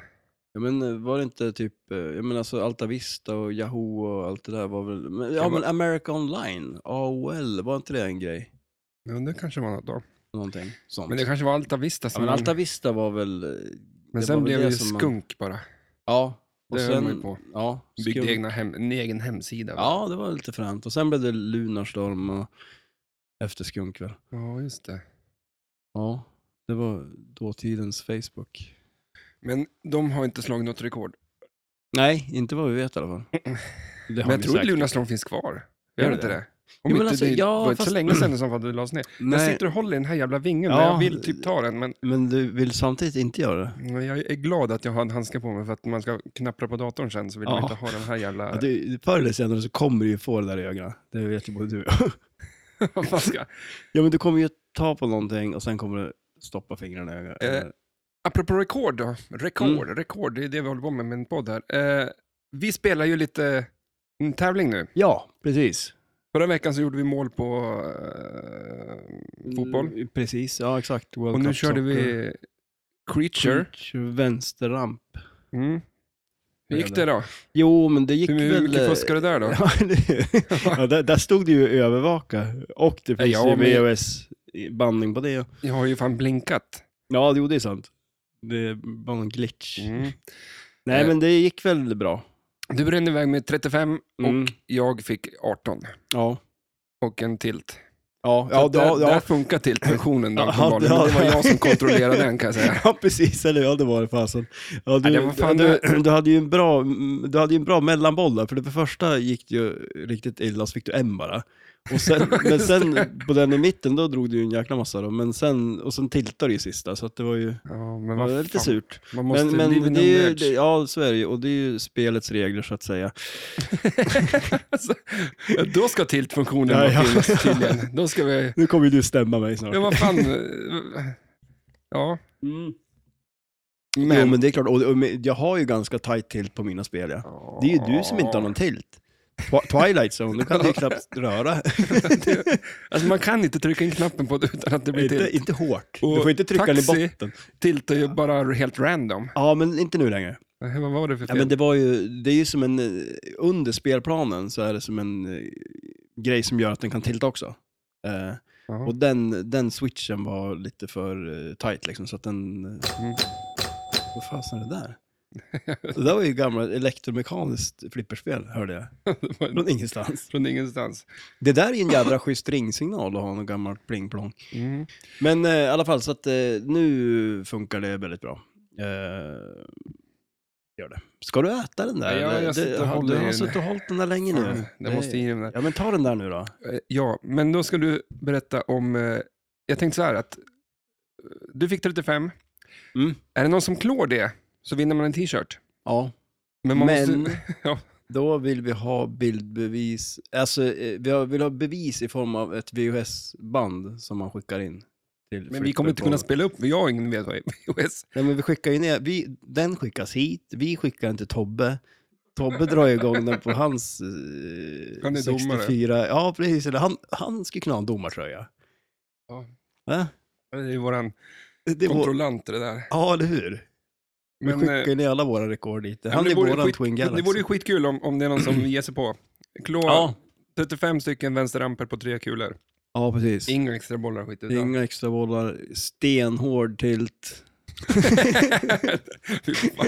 [SPEAKER 2] Ja, men eh, var det inte typ, eh, jag menar alltså Altavista och Yahoo och allt det där var väl, men, ja
[SPEAKER 1] Det
[SPEAKER 2] men
[SPEAKER 1] var-
[SPEAKER 2] America Online, AOL, var inte det en grej?
[SPEAKER 1] Ja, det kanske var något då.
[SPEAKER 2] Någonting sånt.
[SPEAKER 1] Men det Mm. kanske var Altavista
[SPEAKER 2] ja,
[SPEAKER 1] som...
[SPEAKER 2] men
[SPEAKER 1] man-
[SPEAKER 2] Altavista var väl, eh,
[SPEAKER 1] men
[SPEAKER 2] det
[SPEAKER 1] sen
[SPEAKER 2] var väl
[SPEAKER 1] blev
[SPEAKER 2] det
[SPEAKER 1] det ju
[SPEAKER 2] som man-
[SPEAKER 1] skunk bara.
[SPEAKER 2] ja. Och
[SPEAKER 1] Det höll man ju
[SPEAKER 2] sen,
[SPEAKER 1] på.
[SPEAKER 2] ja.
[SPEAKER 1] Byggde
[SPEAKER 2] skum-
[SPEAKER 1] egna hem, en egen hemsida. va?
[SPEAKER 2] Ja, det var lite fränt. Och sen blev det Lunarstorm och efter Skunk väl.
[SPEAKER 1] ja, just det.
[SPEAKER 2] Ja, det var dåtidens Facebook.
[SPEAKER 1] Men de har inte slagit något rekord.
[SPEAKER 2] Nej, inte vad vi vet i alla fall. Det har
[SPEAKER 1] Men jag
[SPEAKER 2] vi
[SPEAKER 1] tror att
[SPEAKER 2] säkert.
[SPEAKER 1] Lunarstorm finns kvar.
[SPEAKER 2] Gör
[SPEAKER 1] Gör
[SPEAKER 2] det
[SPEAKER 1] inte
[SPEAKER 2] det?
[SPEAKER 1] det? Om
[SPEAKER 2] men
[SPEAKER 1] inte
[SPEAKER 2] alltså,
[SPEAKER 1] det
[SPEAKER 2] ja,
[SPEAKER 1] var inte
[SPEAKER 2] fast-
[SPEAKER 1] så länge sedan som det lades ner. Jag
[SPEAKER 2] Nej.
[SPEAKER 1] sitter och håller i den här jävla vingen.
[SPEAKER 2] Ja.
[SPEAKER 1] Ja. Jag vill typ ta den, men
[SPEAKER 2] Men du vill samtidigt inte göra det?
[SPEAKER 1] men jag är glad att jag har en handske på mig för att man ska knappra på datorn sen så vill
[SPEAKER 2] Ja.
[SPEAKER 1] man inte ha den här jävla...
[SPEAKER 2] Ja, du, förr eller senare så kommer du ju få det där i ögonen. Det vet ju både du och jag.
[SPEAKER 1] Vad ska-
[SPEAKER 2] Ja, men du kommer ju ta på någonting och sen kommer du stoppa fingrarna i ögonen.
[SPEAKER 1] Eh,
[SPEAKER 2] Eller-
[SPEAKER 1] Apropå rekord då. Rekord,
[SPEAKER 2] Mm.
[SPEAKER 1] rekord, det är det vi håller på med med en podd här. Eh, vi spelar ju lite en tävling nu.
[SPEAKER 2] Ja, precis.
[SPEAKER 1] Förra veckan så gjorde vi mål på eh, fotboll.
[SPEAKER 2] Mm, Precis, ja exakt. World
[SPEAKER 1] Och nu
[SPEAKER 2] Cup
[SPEAKER 1] körde
[SPEAKER 2] soccer.
[SPEAKER 1] vi Creature.
[SPEAKER 2] Creature, Vänsterramp.
[SPEAKER 1] Mm. Hur gick det då?
[SPEAKER 2] Jo, men det gick
[SPEAKER 1] Hur
[SPEAKER 2] väl...
[SPEAKER 1] mycket fuskade du där då?
[SPEAKER 2] Ja, det- ja, där, där stod det ju övervaka. Och det finns
[SPEAKER 1] Ja,
[SPEAKER 2] ju
[SPEAKER 1] men-
[SPEAKER 2] VHS-bandning på det.
[SPEAKER 1] Jag har ju fan blinkat.
[SPEAKER 2] Ja, jo, det är sant. Det var någon glitch.
[SPEAKER 1] Mm.
[SPEAKER 2] Nej,
[SPEAKER 1] Eh.
[SPEAKER 2] men det gick väl bra.
[SPEAKER 1] Du brände iväg med 35
[SPEAKER 2] Mm.
[SPEAKER 1] och jag fick 18.
[SPEAKER 2] Ja.
[SPEAKER 1] Och en tilt.
[SPEAKER 2] Ja,
[SPEAKER 1] Så
[SPEAKER 2] ja,
[SPEAKER 1] att där,
[SPEAKER 2] ja,
[SPEAKER 1] där
[SPEAKER 2] ja.
[SPEAKER 1] funkar tiltfunktionen då,
[SPEAKER 2] Ja,
[SPEAKER 1] uppenbarligen.
[SPEAKER 2] ja,
[SPEAKER 1] Men Det var
[SPEAKER 2] ja.
[SPEAKER 1] jag som kontrollerade den kan jag säga.
[SPEAKER 2] ja precis, eller ja det var det fasen. Ja, du,
[SPEAKER 1] Ja, det var fan-
[SPEAKER 2] du, du, hade ju en bra, du hade ju en bra mellanboll där, för det första gick det ju riktigt illa så fick du en bara. Och sen, men sen på den i mitten då drog du ju en jäkla massa då, men sen, och sen tiltade du ju sista så att det var ju
[SPEAKER 1] Ja, men
[SPEAKER 2] det var
[SPEAKER 1] vad
[SPEAKER 2] lite
[SPEAKER 1] fan.
[SPEAKER 2] surt.
[SPEAKER 1] Man måste
[SPEAKER 2] Men, men
[SPEAKER 1] live
[SPEAKER 2] det är ju, det,
[SPEAKER 1] det,
[SPEAKER 2] ja så är det ju, och det är ju spelets regler så att säga.
[SPEAKER 1] alltså, Då ska tiltfunktionen
[SPEAKER 2] Ja,
[SPEAKER 1] vara
[SPEAKER 2] ja.
[SPEAKER 1] finnas tydligen. Då ska vi...
[SPEAKER 2] Nu kommer ju du stämma mig snart.
[SPEAKER 1] Ja, vad fan. Ja,
[SPEAKER 2] Mm. Men. Jo,
[SPEAKER 1] men...
[SPEAKER 2] men det är klart, och, och men jag har ju ganska tight tilt på mina spel ja. Det är ju du som inte har någon tilt. Twi- Twilight Zone, du kan ju knappt röra.
[SPEAKER 1] Alltså man kan inte trycka in knappen på det utan att det blir
[SPEAKER 2] inte,
[SPEAKER 1] tilt.
[SPEAKER 2] inte hårt.
[SPEAKER 1] Och
[SPEAKER 2] du får inte trycka den i
[SPEAKER 1] taxi.
[SPEAKER 2] botten.
[SPEAKER 1] Tilt är ju bara helt random.
[SPEAKER 2] Ja, men inte nu längre.
[SPEAKER 1] Eh, Vad var det för
[SPEAKER 2] Ja,
[SPEAKER 1] fel?
[SPEAKER 2] men det, var ju, det är ju som en, eh, under spelplanen så är det som en eh, grej som gör att den kan tilta också. Eh,
[SPEAKER 1] Jaha.
[SPEAKER 2] och den, den switchen var lite för eh, tight liksom, så att den... eh,
[SPEAKER 1] Mm.
[SPEAKER 2] Vad fasen är det där? Det där var ju gamla elektromekaniskt flipperspel, hörde jag.
[SPEAKER 1] Det var
[SPEAKER 2] Från ingenstans.
[SPEAKER 1] Från ingenstans.
[SPEAKER 2] Det där är ju en jädra schysst ringsignal att ha någon gammal pling-plong.
[SPEAKER 1] Mm.
[SPEAKER 2] Men eh, i alla fall, så att eh, nu funkar det väldigt bra. Eh, gör det. Ska du äta den där?
[SPEAKER 1] Ja, jag
[SPEAKER 2] eller?
[SPEAKER 1] sitter
[SPEAKER 2] Det-
[SPEAKER 1] och
[SPEAKER 2] har-
[SPEAKER 1] håller
[SPEAKER 2] du
[SPEAKER 1] i
[SPEAKER 2] har
[SPEAKER 1] den.
[SPEAKER 2] suttit och hållit den där länge
[SPEAKER 1] Fan,
[SPEAKER 2] nu.
[SPEAKER 1] det måste in i den där.
[SPEAKER 2] Ja, men ta den där nu då.
[SPEAKER 1] Eh, Ja, men då ska du berätta om... eh, Jag tänkte så här att eh, du fick 35.
[SPEAKER 2] Mm.
[SPEAKER 1] Är det någon som klår det så vinner man en t-shirt.
[SPEAKER 2] Ja,
[SPEAKER 1] Men, man
[SPEAKER 2] men
[SPEAKER 1] måste, ja.
[SPEAKER 2] då vill vi ha bildbevis. Alltså, eh, vi har- vill ha bevis i form av ett VHS-band som man skickar in. Till
[SPEAKER 1] men vi kommer inte kunna spela upp, för jag har ingen vet vad VHS.
[SPEAKER 2] Nej, men vi skickar ju ner, vi, den skickas hit, vi skickar den till Tobbe. Tobbe drar igång den på hans eh,
[SPEAKER 1] Han är domare.
[SPEAKER 2] 64. Ja, precis. Eller han, han skulle kunna ha en domartröja.
[SPEAKER 1] Ja.
[SPEAKER 2] Va?
[SPEAKER 1] Det är ju våran
[SPEAKER 2] Det är vår,
[SPEAKER 1] kontrollant det där.
[SPEAKER 2] ja, eller hur?
[SPEAKER 1] Men,
[SPEAKER 2] vi
[SPEAKER 1] eh,
[SPEAKER 2] skickar ju ner alla våra rekord dit.
[SPEAKER 1] ja, men
[SPEAKER 2] han
[SPEAKER 1] det
[SPEAKER 2] är
[SPEAKER 1] vore
[SPEAKER 2] våran
[SPEAKER 1] skit-
[SPEAKER 2] Twin
[SPEAKER 1] Det
[SPEAKER 2] Galaxy.
[SPEAKER 1] vore ju skitkul om, om det är någon som ger sig på. Klå
[SPEAKER 2] ja.
[SPEAKER 1] 35 stycken vänsterramper på tre kulor.
[SPEAKER 2] ja, precis.
[SPEAKER 1] Inga extra bollar skit utan.
[SPEAKER 2] Inga extra bollar, stenhård tilt.
[SPEAKER 1] Fy fan.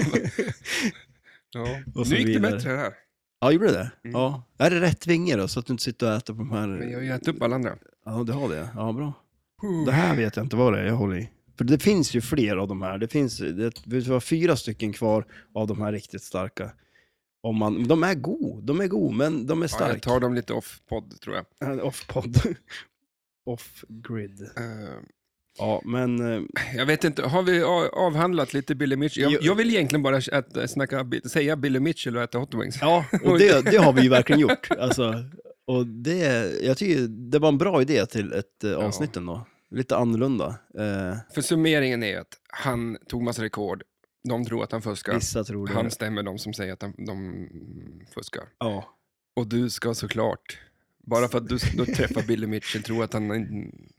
[SPEAKER 1] ja.
[SPEAKER 2] Och så
[SPEAKER 1] Nu gick det
[SPEAKER 2] vidare.
[SPEAKER 1] bättre här.
[SPEAKER 2] Ja, gjorde det?
[SPEAKER 1] Mm.
[SPEAKER 2] Ja. Är det rätt vinge då, så att du inte sitter och äter på de här?
[SPEAKER 1] Men jag har ju ätit upp alla andra.
[SPEAKER 2] Ja, du har det? Ja, bra.
[SPEAKER 1] Puh.
[SPEAKER 2] Det här vet jag inte vad det är jag håller i. För det finns ju fler av de här. Det finns det, det var fyra stycken kvar av de här riktigt starka. Om man, men de är god, de är god, men de
[SPEAKER 1] Ja,
[SPEAKER 2] är
[SPEAKER 1] jag
[SPEAKER 2] starka.
[SPEAKER 1] tar dem lite off-podd tror jag.
[SPEAKER 2] Eh, Off-podd. Off-grid.
[SPEAKER 1] Eh,
[SPEAKER 2] Ja, men eh,
[SPEAKER 1] Jag vet inte, har vi a- avhandlat lite Billy Mitchell?
[SPEAKER 2] Jo.
[SPEAKER 1] Jag, jag vill egentligen bara äta, snacka, bi- säga Billy Mitchell och äta hot wings.
[SPEAKER 2] ja, och det, det har vi ju verkligen gjort. Alltså, och det, jag tycker det var en bra idé till ett eh, avsnitt ändå. Lite annorlunda. Eh,
[SPEAKER 1] För summeringen är att han tog massa rekord, de tror att han fuskar.
[SPEAKER 2] vissa tror det.
[SPEAKER 1] Han stämmer de som säger att han, de fuskar.
[SPEAKER 2] Ja.
[SPEAKER 1] Och du ska såklart, bara för att du, du träffar Billy Mitchell, tro att han in-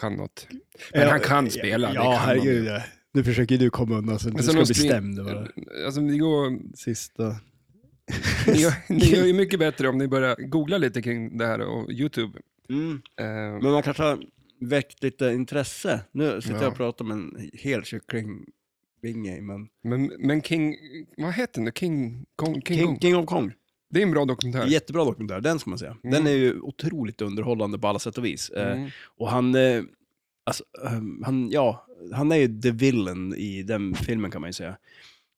[SPEAKER 1] kan något. Men
[SPEAKER 2] Ja,
[SPEAKER 1] han kan spela, det
[SPEAKER 2] Ja,
[SPEAKER 1] kan han
[SPEAKER 2] herregud.
[SPEAKER 1] ju.
[SPEAKER 2] ja. Nu försöker du komma undan så att du
[SPEAKER 1] Alltså,
[SPEAKER 2] ska
[SPEAKER 1] någon
[SPEAKER 2] bli
[SPEAKER 1] string-
[SPEAKER 2] stämd. va?
[SPEAKER 1] Alltså, det går,
[SPEAKER 2] Sista.
[SPEAKER 1] ni, gör, ni gör ju mycket bättre om ni börjar googla lite kring det här och YouTube.
[SPEAKER 2] Mm.
[SPEAKER 1] Eh,
[SPEAKER 2] Men man kanske har väckt lite intresse. Nu sitter
[SPEAKER 1] Ja.
[SPEAKER 2] jag och pratar med en hel kycklingvinge, men...
[SPEAKER 1] Men, men King, vad heter den? nu? King, Kong, King,
[SPEAKER 2] King,
[SPEAKER 1] Kong.
[SPEAKER 2] King of Kong.
[SPEAKER 1] Det är en bra dokumentär.
[SPEAKER 2] Jättebra dokumentär, den ska man säga. Den
[SPEAKER 1] Mm.
[SPEAKER 2] är ju otroligt underhållande på alla sätt och vis. Eh,
[SPEAKER 1] Mm.
[SPEAKER 2] Och han, eh, alltså, eh, han, ja, han är ju the villain i den filmen kan man ju säga.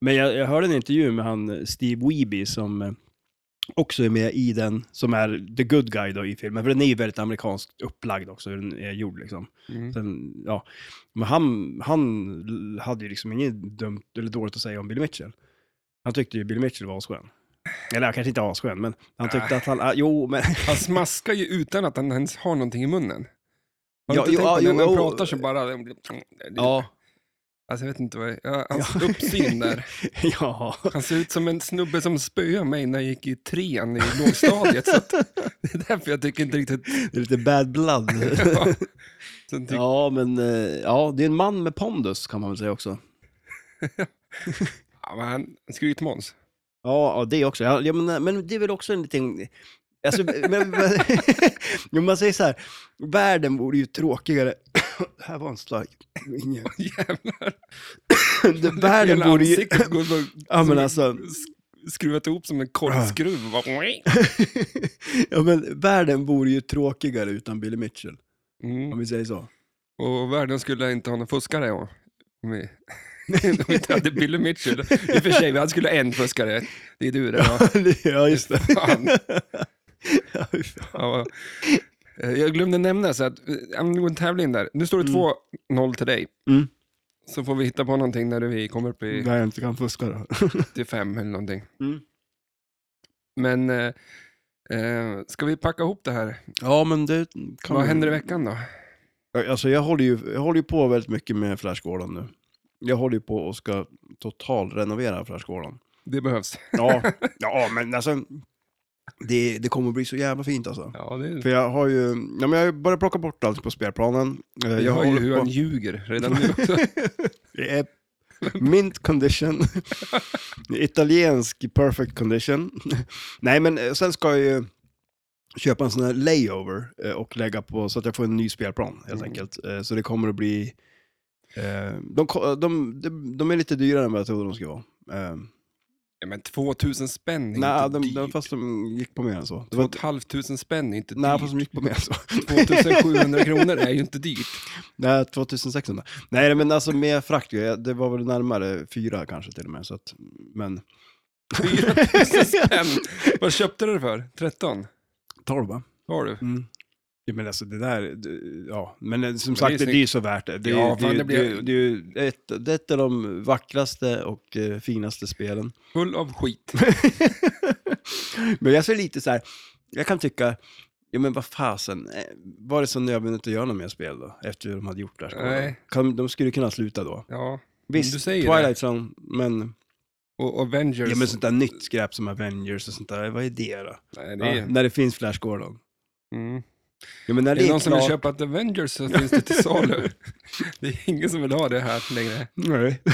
[SPEAKER 2] Men jag, jag hörde en intervju med han eh, Steve Weeby som eh, också är med i den, som är the good guy då i filmen. För den är ju väldigt amerikanskt upplagd också, hur den är gjord liksom.
[SPEAKER 1] Mm.
[SPEAKER 2] Sen, ja. Men han, han l- hade ju liksom inget dumt eller dåligt att säga om Billy Mitchell. Han tyckte ju Billy Mitchell var asskön. Eller han kanske inte var asskön, men han tyckte att han, ah, jo men...
[SPEAKER 1] Han smaskar ju utan att han ens har någonting i munnen. Har du
[SPEAKER 2] Ja,
[SPEAKER 1] inte
[SPEAKER 2] jo,
[SPEAKER 1] tänkt på
[SPEAKER 2] ja,
[SPEAKER 1] det? när
[SPEAKER 2] jo,
[SPEAKER 1] han
[SPEAKER 2] jo.
[SPEAKER 1] pratar så bara...
[SPEAKER 2] Ja,
[SPEAKER 1] Alltså, jag vet inte vad... Ja, hans
[SPEAKER 2] Ja.
[SPEAKER 1] uppsyn där.
[SPEAKER 2] ja.
[SPEAKER 1] Han ser ut som en snubbe som spöade mig när jag gick i trean i lågstadiet. så att, det är därför jag tycker inte riktigt...
[SPEAKER 2] Det är lite bad blood.
[SPEAKER 1] Ja. Sen tyck,
[SPEAKER 2] ja, men eh, ja, det är en man med pondus kan man väl säga också.
[SPEAKER 1] ja. men han, skrytmåns.
[SPEAKER 2] Ja, ja det också. Ja, ja, men, men det är väl också en liten... Alltså, men, men, Jo, man säger så här, världen vore ju tråkigare... det här var en stark... Ingen.
[SPEAKER 1] Jävlar.
[SPEAKER 2] Det- Världen
[SPEAKER 1] Hela
[SPEAKER 2] borde ju...
[SPEAKER 1] ansiktet går bara-
[SPEAKER 2] Ja, men
[SPEAKER 1] som-
[SPEAKER 2] alltså... Ah.
[SPEAKER 1] sk- Skruvat ihop som en korvskruv. Bara-
[SPEAKER 2] ja, men världen vore ju tråkigare utan Billy Mitchell.
[SPEAKER 1] Mm.
[SPEAKER 2] om vi säger så.
[SPEAKER 1] Och världen skulle inte ha någon fuskare. ja. Om vi, om vi inte hade Billy Mitchell. I och för sig, vi hade skulle ha en fuskare. Det är du det. Ja.
[SPEAKER 2] ja, just det.
[SPEAKER 1] Fan.
[SPEAKER 2] Ja, fy fan.
[SPEAKER 1] Ja. Eh, Jag glömde nämna så att, eh, ja, men det går en tävling där. Nu står det 2-0 till dig.
[SPEAKER 2] Mm.
[SPEAKER 1] Så får vi hitta på någonting när vi kommer upp i
[SPEAKER 2] Där jag inte kan fuska då.
[SPEAKER 1] 85 eller någonting.
[SPEAKER 2] Mm.
[SPEAKER 1] Men eh, eh, ska vi packa ihop det här?
[SPEAKER 2] Ja, men det kan
[SPEAKER 1] Vad
[SPEAKER 2] vi-
[SPEAKER 1] händer i veckan då?
[SPEAKER 2] Alltså jag håller ju, jag håller ju på väldigt mycket med Flashgården nu. Jag håller ju på och ska totalrenovera Flashgården.
[SPEAKER 1] Det behövs.
[SPEAKER 2] Ja, ja men alltså, det, det kommer bli så jävla fint alltså.
[SPEAKER 1] Ja, det...
[SPEAKER 2] För jag har ju, ja, men jag har ju börjat plocka bort allt på spelplanen. Eh,
[SPEAKER 1] Jag hör ju
[SPEAKER 2] håller
[SPEAKER 1] hur
[SPEAKER 2] på-
[SPEAKER 1] han ljuger redan nu också.
[SPEAKER 2] Det är mint condition. Italiensk perfect condition. Nej, men eh, sen ska jag ju köpa en sån här layover eh, och lägga på så att jag får en ny spelplan helt
[SPEAKER 1] Mm.
[SPEAKER 2] enkelt. Eh, Så det kommer att bli... eh, De, ko- de, de, de är lite dyrare än vad jag trodde de skulle vara. Eh,
[SPEAKER 1] Ja, men 2000 spänn är
[SPEAKER 2] Nej,
[SPEAKER 1] inte
[SPEAKER 2] de,
[SPEAKER 1] dyrt.
[SPEAKER 2] de, fast de gick på mer än så. Det var,
[SPEAKER 1] 2500 spänn är inte
[SPEAKER 2] nej,
[SPEAKER 1] dyrt.
[SPEAKER 2] fast de gick på mer än så.
[SPEAKER 1] 2700 kronor är ju inte dyrt.
[SPEAKER 2] Nej, 2600. Nej, men alltså med frakt, jag- det var väl närmare fyra kanske till och med. Så att, men...
[SPEAKER 1] 4000 spänn. Vad köpte du det för? 13?
[SPEAKER 2] Tolv va?
[SPEAKER 1] Vad har du?
[SPEAKER 2] Mm. Ja, men alltså det där, det- ja, men eh, som
[SPEAKER 1] Men det är
[SPEAKER 2] sagt, det,
[SPEAKER 1] snyggt.
[SPEAKER 2] det är ju så värt det. Det, är-
[SPEAKER 1] Ja,
[SPEAKER 2] det,
[SPEAKER 1] fan,
[SPEAKER 2] är-
[SPEAKER 1] det blir-
[SPEAKER 2] det, det är ju ett, det är ett av de vackraste och eh, finaste spelen.
[SPEAKER 1] Full av skit.
[SPEAKER 2] men jag ser lite så här, jag kan tycka, ja men vad fasen, eh, var det så nödvändigt att göra något mer spel då? Efter hur de hade gjort det här.
[SPEAKER 1] Nej.
[SPEAKER 2] Kan, de skulle kunna sluta då.
[SPEAKER 1] Ja,
[SPEAKER 2] Visst,
[SPEAKER 1] du säger
[SPEAKER 2] Twilight Zone, men,
[SPEAKER 1] och Avengers.
[SPEAKER 2] ja, men sånt där nytt skräp som Avengers och sånt där, vad är det då?
[SPEAKER 1] Nej, det är...
[SPEAKER 2] Ja, när det finns Flash Gordon.
[SPEAKER 1] Mm.
[SPEAKER 2] Ja, men när
[SPEAKER 1] Är
[SPEAKER 2] det
[SPEAKER 1] det
[SPEAKER 2] är,
[SPEAKER 1] någon som vill
[SPEAKER 2] klart-
[SPEAKER 1] köpa ett Avengers så finns det till salu. Det är ingen som vill ha det här längre.
[SPEAKER 2] Nej.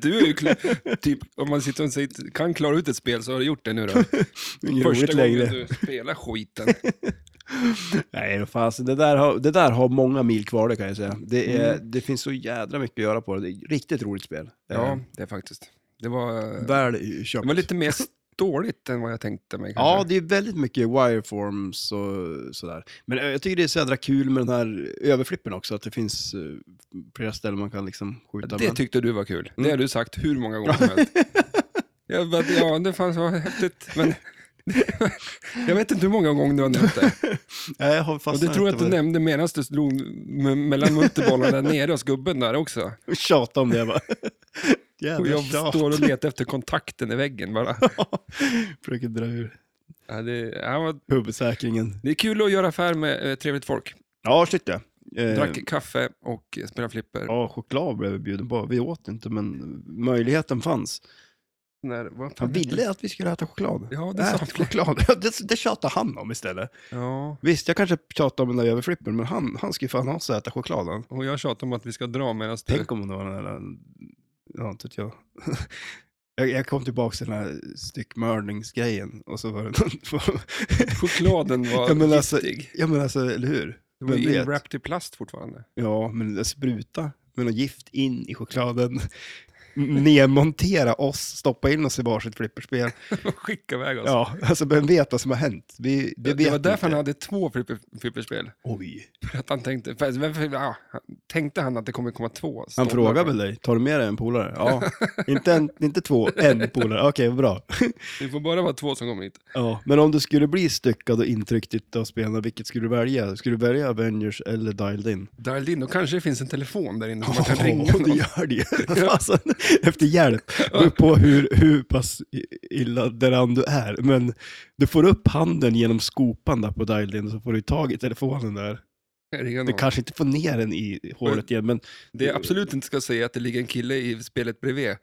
[SPEAKER 1] Du är ju kl- typ, om man sitter och säger, kan klara ut ett spel så har du gjort det nu då.
[SPEAKER 2] Det är inget
[SPEAKER 1] Första
[SPEAKER 2] roligt
[SPEAKER 1] gången
[SPEAKER 2] längre.
[SPEAKER 1] du spelar skiten.
[SPEAKER 2] Nej, då fan, så det, där har, det där har många mil kvar det kan jag säga. Det, är, det finns så jädra mycket att göra på det. Det är riktigt roligt spel.
[SPEAKER 1] Ja,
[SPEAKER 2] Eh,
[SPEAKER 1] det är faktiskt. Det var,
[SPEAKER 2] Väl köpt.
[SPEAKER 1] det var lite mer ståligt än vad jag tänkte mig.
[SPEAKER 2] Ja,
[SPEAKER 1] Kanske.
[SPEAKER 2] det är väldigt mycket wireforms och sådär. Men eh, jag tycker det är så jädra kul med den här överflippen också, att det finns eh, flera ställen man kan liksom skjuta.
[SPEAKER 1] det
[SPEAKER 2] med.
[SPEAKER 1] tyckte du var kul.
[SPEAKER 2] Mm.
[SPEAKER 1] Det har du sagt hur många gånger som helst. Jag, bara, ja, det fanns var häftigt, men jag vet inte hur många gånger du har nämnt det.
[SPEAKER 2] Nej, jag har
[SPEAKER 1] Och
[SPEAKER 2] fastnat
[SPEAKER 1] det tror jag att
[SPEAKER 2] efter
[SPEAKER 1] du
[SPEAKER 2] vad-
[SPEAKER 1] nämnde medan du slog m- mellan multibollarna där nere hos gubben där också.
[SPEAKER 2] Tjata om det bara.
[SPEAKER 1] Och
[SPEAKER 2] Jävla
[SPEAKER 1] jag
[SPEAKER 2] tjat.
[SPEAKER 1] står och letar efter kontakten i väggen bara.
[SPEAKER 2] Försöker dra ur
[SPEAKER 1] Ja, det, ja, vad-
[SPEAKER 2] huvudsäkringen.
[SPEAKER 1] det är kul att göra affär med eh, trevligt folk.
[SPEAKER 2] Ja, shit ja. Eh,
[SPEAKER 1] Drack kaffe och eh, spelade flipper.
[SPEAKER 2] Ja, choklad blev vi bjuden på. Vi åt inte, men möjligheten fanns.
[SPEAKER 1] När, vad fan
[SPEAKER 2] Han
[SPEAKER 1] heter det?
[SPEAKER 2] ville Äh. att vi skulle äta choklad.
[SPEAKER 1] Ja, det sa
[SPEAKER 2] Ät
[SPEAKER 1] han.
[SPEAKER 2] choklad. Ja, Det, det tjatade han om istället.
[SPEAKER 1] Ja,
[SPEAKER 2] Visst, jag kanske tjatade om den där överflippen, men han, han skulle fan ha sig att äta chokladen.
[SPEAKER 1] och jag tjatar om att vi ska dra medan du...
[SPEAKER 2] Tänk om det var den där... Ja, inte vet jag. jag. Jag kom tillbaka till den här styckmördningsgrejen och så var det någon...
[SPEAKER 1] Chokladen var
[SPEAKER 2] Ja, men alltså-
[SPEAKER 1] giftig.
[SPEAKER 2] ja, men alltså, eller hur?
[SPEAKER 1] Det var
[SPEAKER 2] vem
[SPEAKER 1] ju
[SPEAKER 2] vet?
[SPEAKER 1] inwrapped i plast fortfarande.
[SPEAKER 2] Ja, men spruta med något gift in i chokladen. Nedmontera oss, stoppa in oss i varsitt flipperspel.
[SPEAKER 1] Skicka iväg oss.
[SPEAKER 2] Ja, alltså vem vet vad som har hänt? Vi, det
[SPEAKER 1] det,
[SPEAKER 2] vet
[SPEAKER 1] var därför
[SPEAKER 2] inte.
[SPEAKER 1] han hade två flipper, flipperspel.
[SPEAKER 2] Oj.
[SPEAKER 1] För att han tänkte, för, varför- ja, han- tänkte han att det kommer komma två?
[SPEAKER 2] Han frågar väl dig, tar du med dig en polare? Ja, inte, en, inte två, en polare. Okej, vad bra.
[SPEAKER 1] Det får bara vara två som kommer hit.
[SPEAKER 2] Ja. Men om du skulle bli styckad och intryckt av spelarna, vilket skulle du välja? Skulle du välja Avengers eller Dialed In?
[SPEAKER 1] Dialed in, då kanske det finns en telefon där inne som man kan
[SPEAKER 2] Ja,
[SPEAKER 1] ringa
[SPEAKER 2] det
[SPEAKER 1] någon.
[SPEAKER 2] gör det ju. Fasen, efter hjälp. Beror på hur, hur pass i- illa däran du är. Men du får upp handen genom skopan där på dialin så får du tag i telefonen där.
[SPEAKER 1] Ringa
[SPEAKER 2] Du
[SPEAKER 1] någon.
[SPEAKER 2] kanske inte får ner den i håret igen, men
[SPEAKER 1] Det jag absolut inte ska säga att det ligger en kille i spelet bredvid.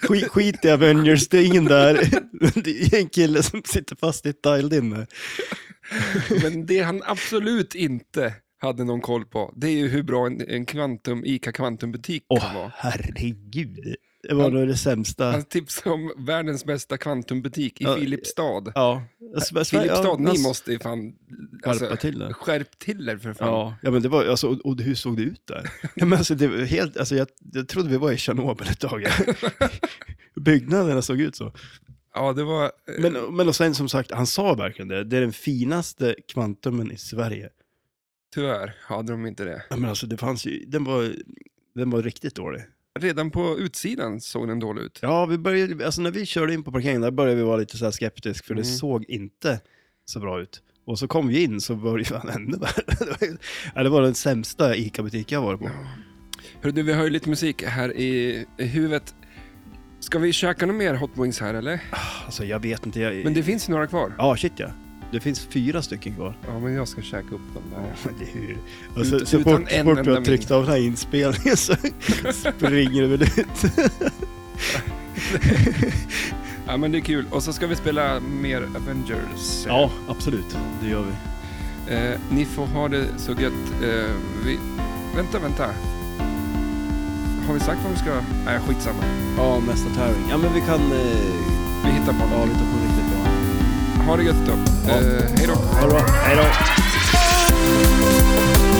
[SPEAKER 2] skit, skit i Avengers, det är ingen där. Det är en kille som sitter fast i ett dialed-in där.
[SPEAKER 1] Men det han absolut inte hade någon koll på, det är ju hur bra en, en kvantum, ICA Kvantumbutik
[SPEAKER 2] Åh,
[SPEAKER 1] kan vara.
[SPEAKER 2] herregud. Det var nog det sämsta.
[SPEAKER 1] Han tipsade om världens bästa kvantumbutik i
[SPEAKER 2] Ja,
[SPEAKER 1] Filipstad.
[SPEAKER 2] Ja. Sver- Sverige-
[SPEAKER 1] Filipstad,
[SPEAKER 2] ja,
[SPEAKER 1] ni
[SPEAKER 2] alltså,
[SPEAKER 1] måste ju fan... alltså,
[SPEAKER 2] skärpa till det.
[SPEAKER 1] Skärp till er för fan.
[SPEAKER 2] Ja, ja men det var, alltså, och, och hur såg det ut där? Ja, men alltså, det var helt, alltså, jag, jag trodde vi var i Tjernobyl ett tag. Byggnaderna såg ut så.
[SPEAKER 1] Ja, det var...
[SPEAKER 2] Men, men och sen som sagt, han sa verkligen det. Det är den finaste kvantumen i Sverige.
[SPEAKER 1] Tyvärr hade de inte det.
[SPEAKER 2] Ja, men alltså det fanns ju, den var, den var riktigt dålig.
[SPEAKER 1] Redan på utsidan såg den dålig ut.
[SPEAKER 2] Ja, vi började, alltså när vi körde in på parkeringen där började vi vara lite så här skeptisk för det
[SPEAKER 1] Mm.
[SPEAKER 2] såg inte så bra ut. Och så kom vi in så började fan ännu värre. Det var ju- ja, det var den sämsta ICA-butik jag varit på.
[SPEAKER 1] Hörru du, vi har ju lite musik här i, i huvudet. Ska vi käka några mer Hot Wings här eller?
[SPEAKER 2] Alltså jag vet inte, jag...
[SPEAKER 1] Men det finns några kvar.
[SPEAKER 2] Ja, shit ja. Det finns fyra stycken kvar.
[SPEAKER 1] Ja, men jag ska käka upp dem där.
[SPEAKER 2] Men det är ju... Alltså,
[SPEAKER 1] Ut-
[SPEAKER 2] så
[SPEAKER 1] utan
[SPEAKER 2] fort,
[SPEAKER 1] en
[SPEAKER 2] så fort vi
[SPEAKER 1] enda
[SPEAKER 2] har tryckt av den här inspelningen så springer det väl ut.
[SPEAKER 1] Ja, men det är kul. Och så ska vi spela mer Avengers.
[SPEAKER 2] Ja, absolut. Det gör vi.
[SPEAKER 1] Eh, ni får ha det så gött. Eh, vi... Vänta, vänta. Har vi sagt vad vi ska... Nej, skitsamma.
[SPEAKER 2] Ja, nästa tävling. Ja, men vi kan... Eh,
[SPEAKER 1] Vi hittar på
[SPEAKER 2] ja,
[SPEAKER 1] något.
[SPEAKER 2] vi tar på riktigt bra.
[SPEAKER 1] Ha det gött då.
[SPEAKER 2] Ja.
[SPEAKER 1] Eh, hej då.
[SPEAKER 2] Ha det bra. Hej då.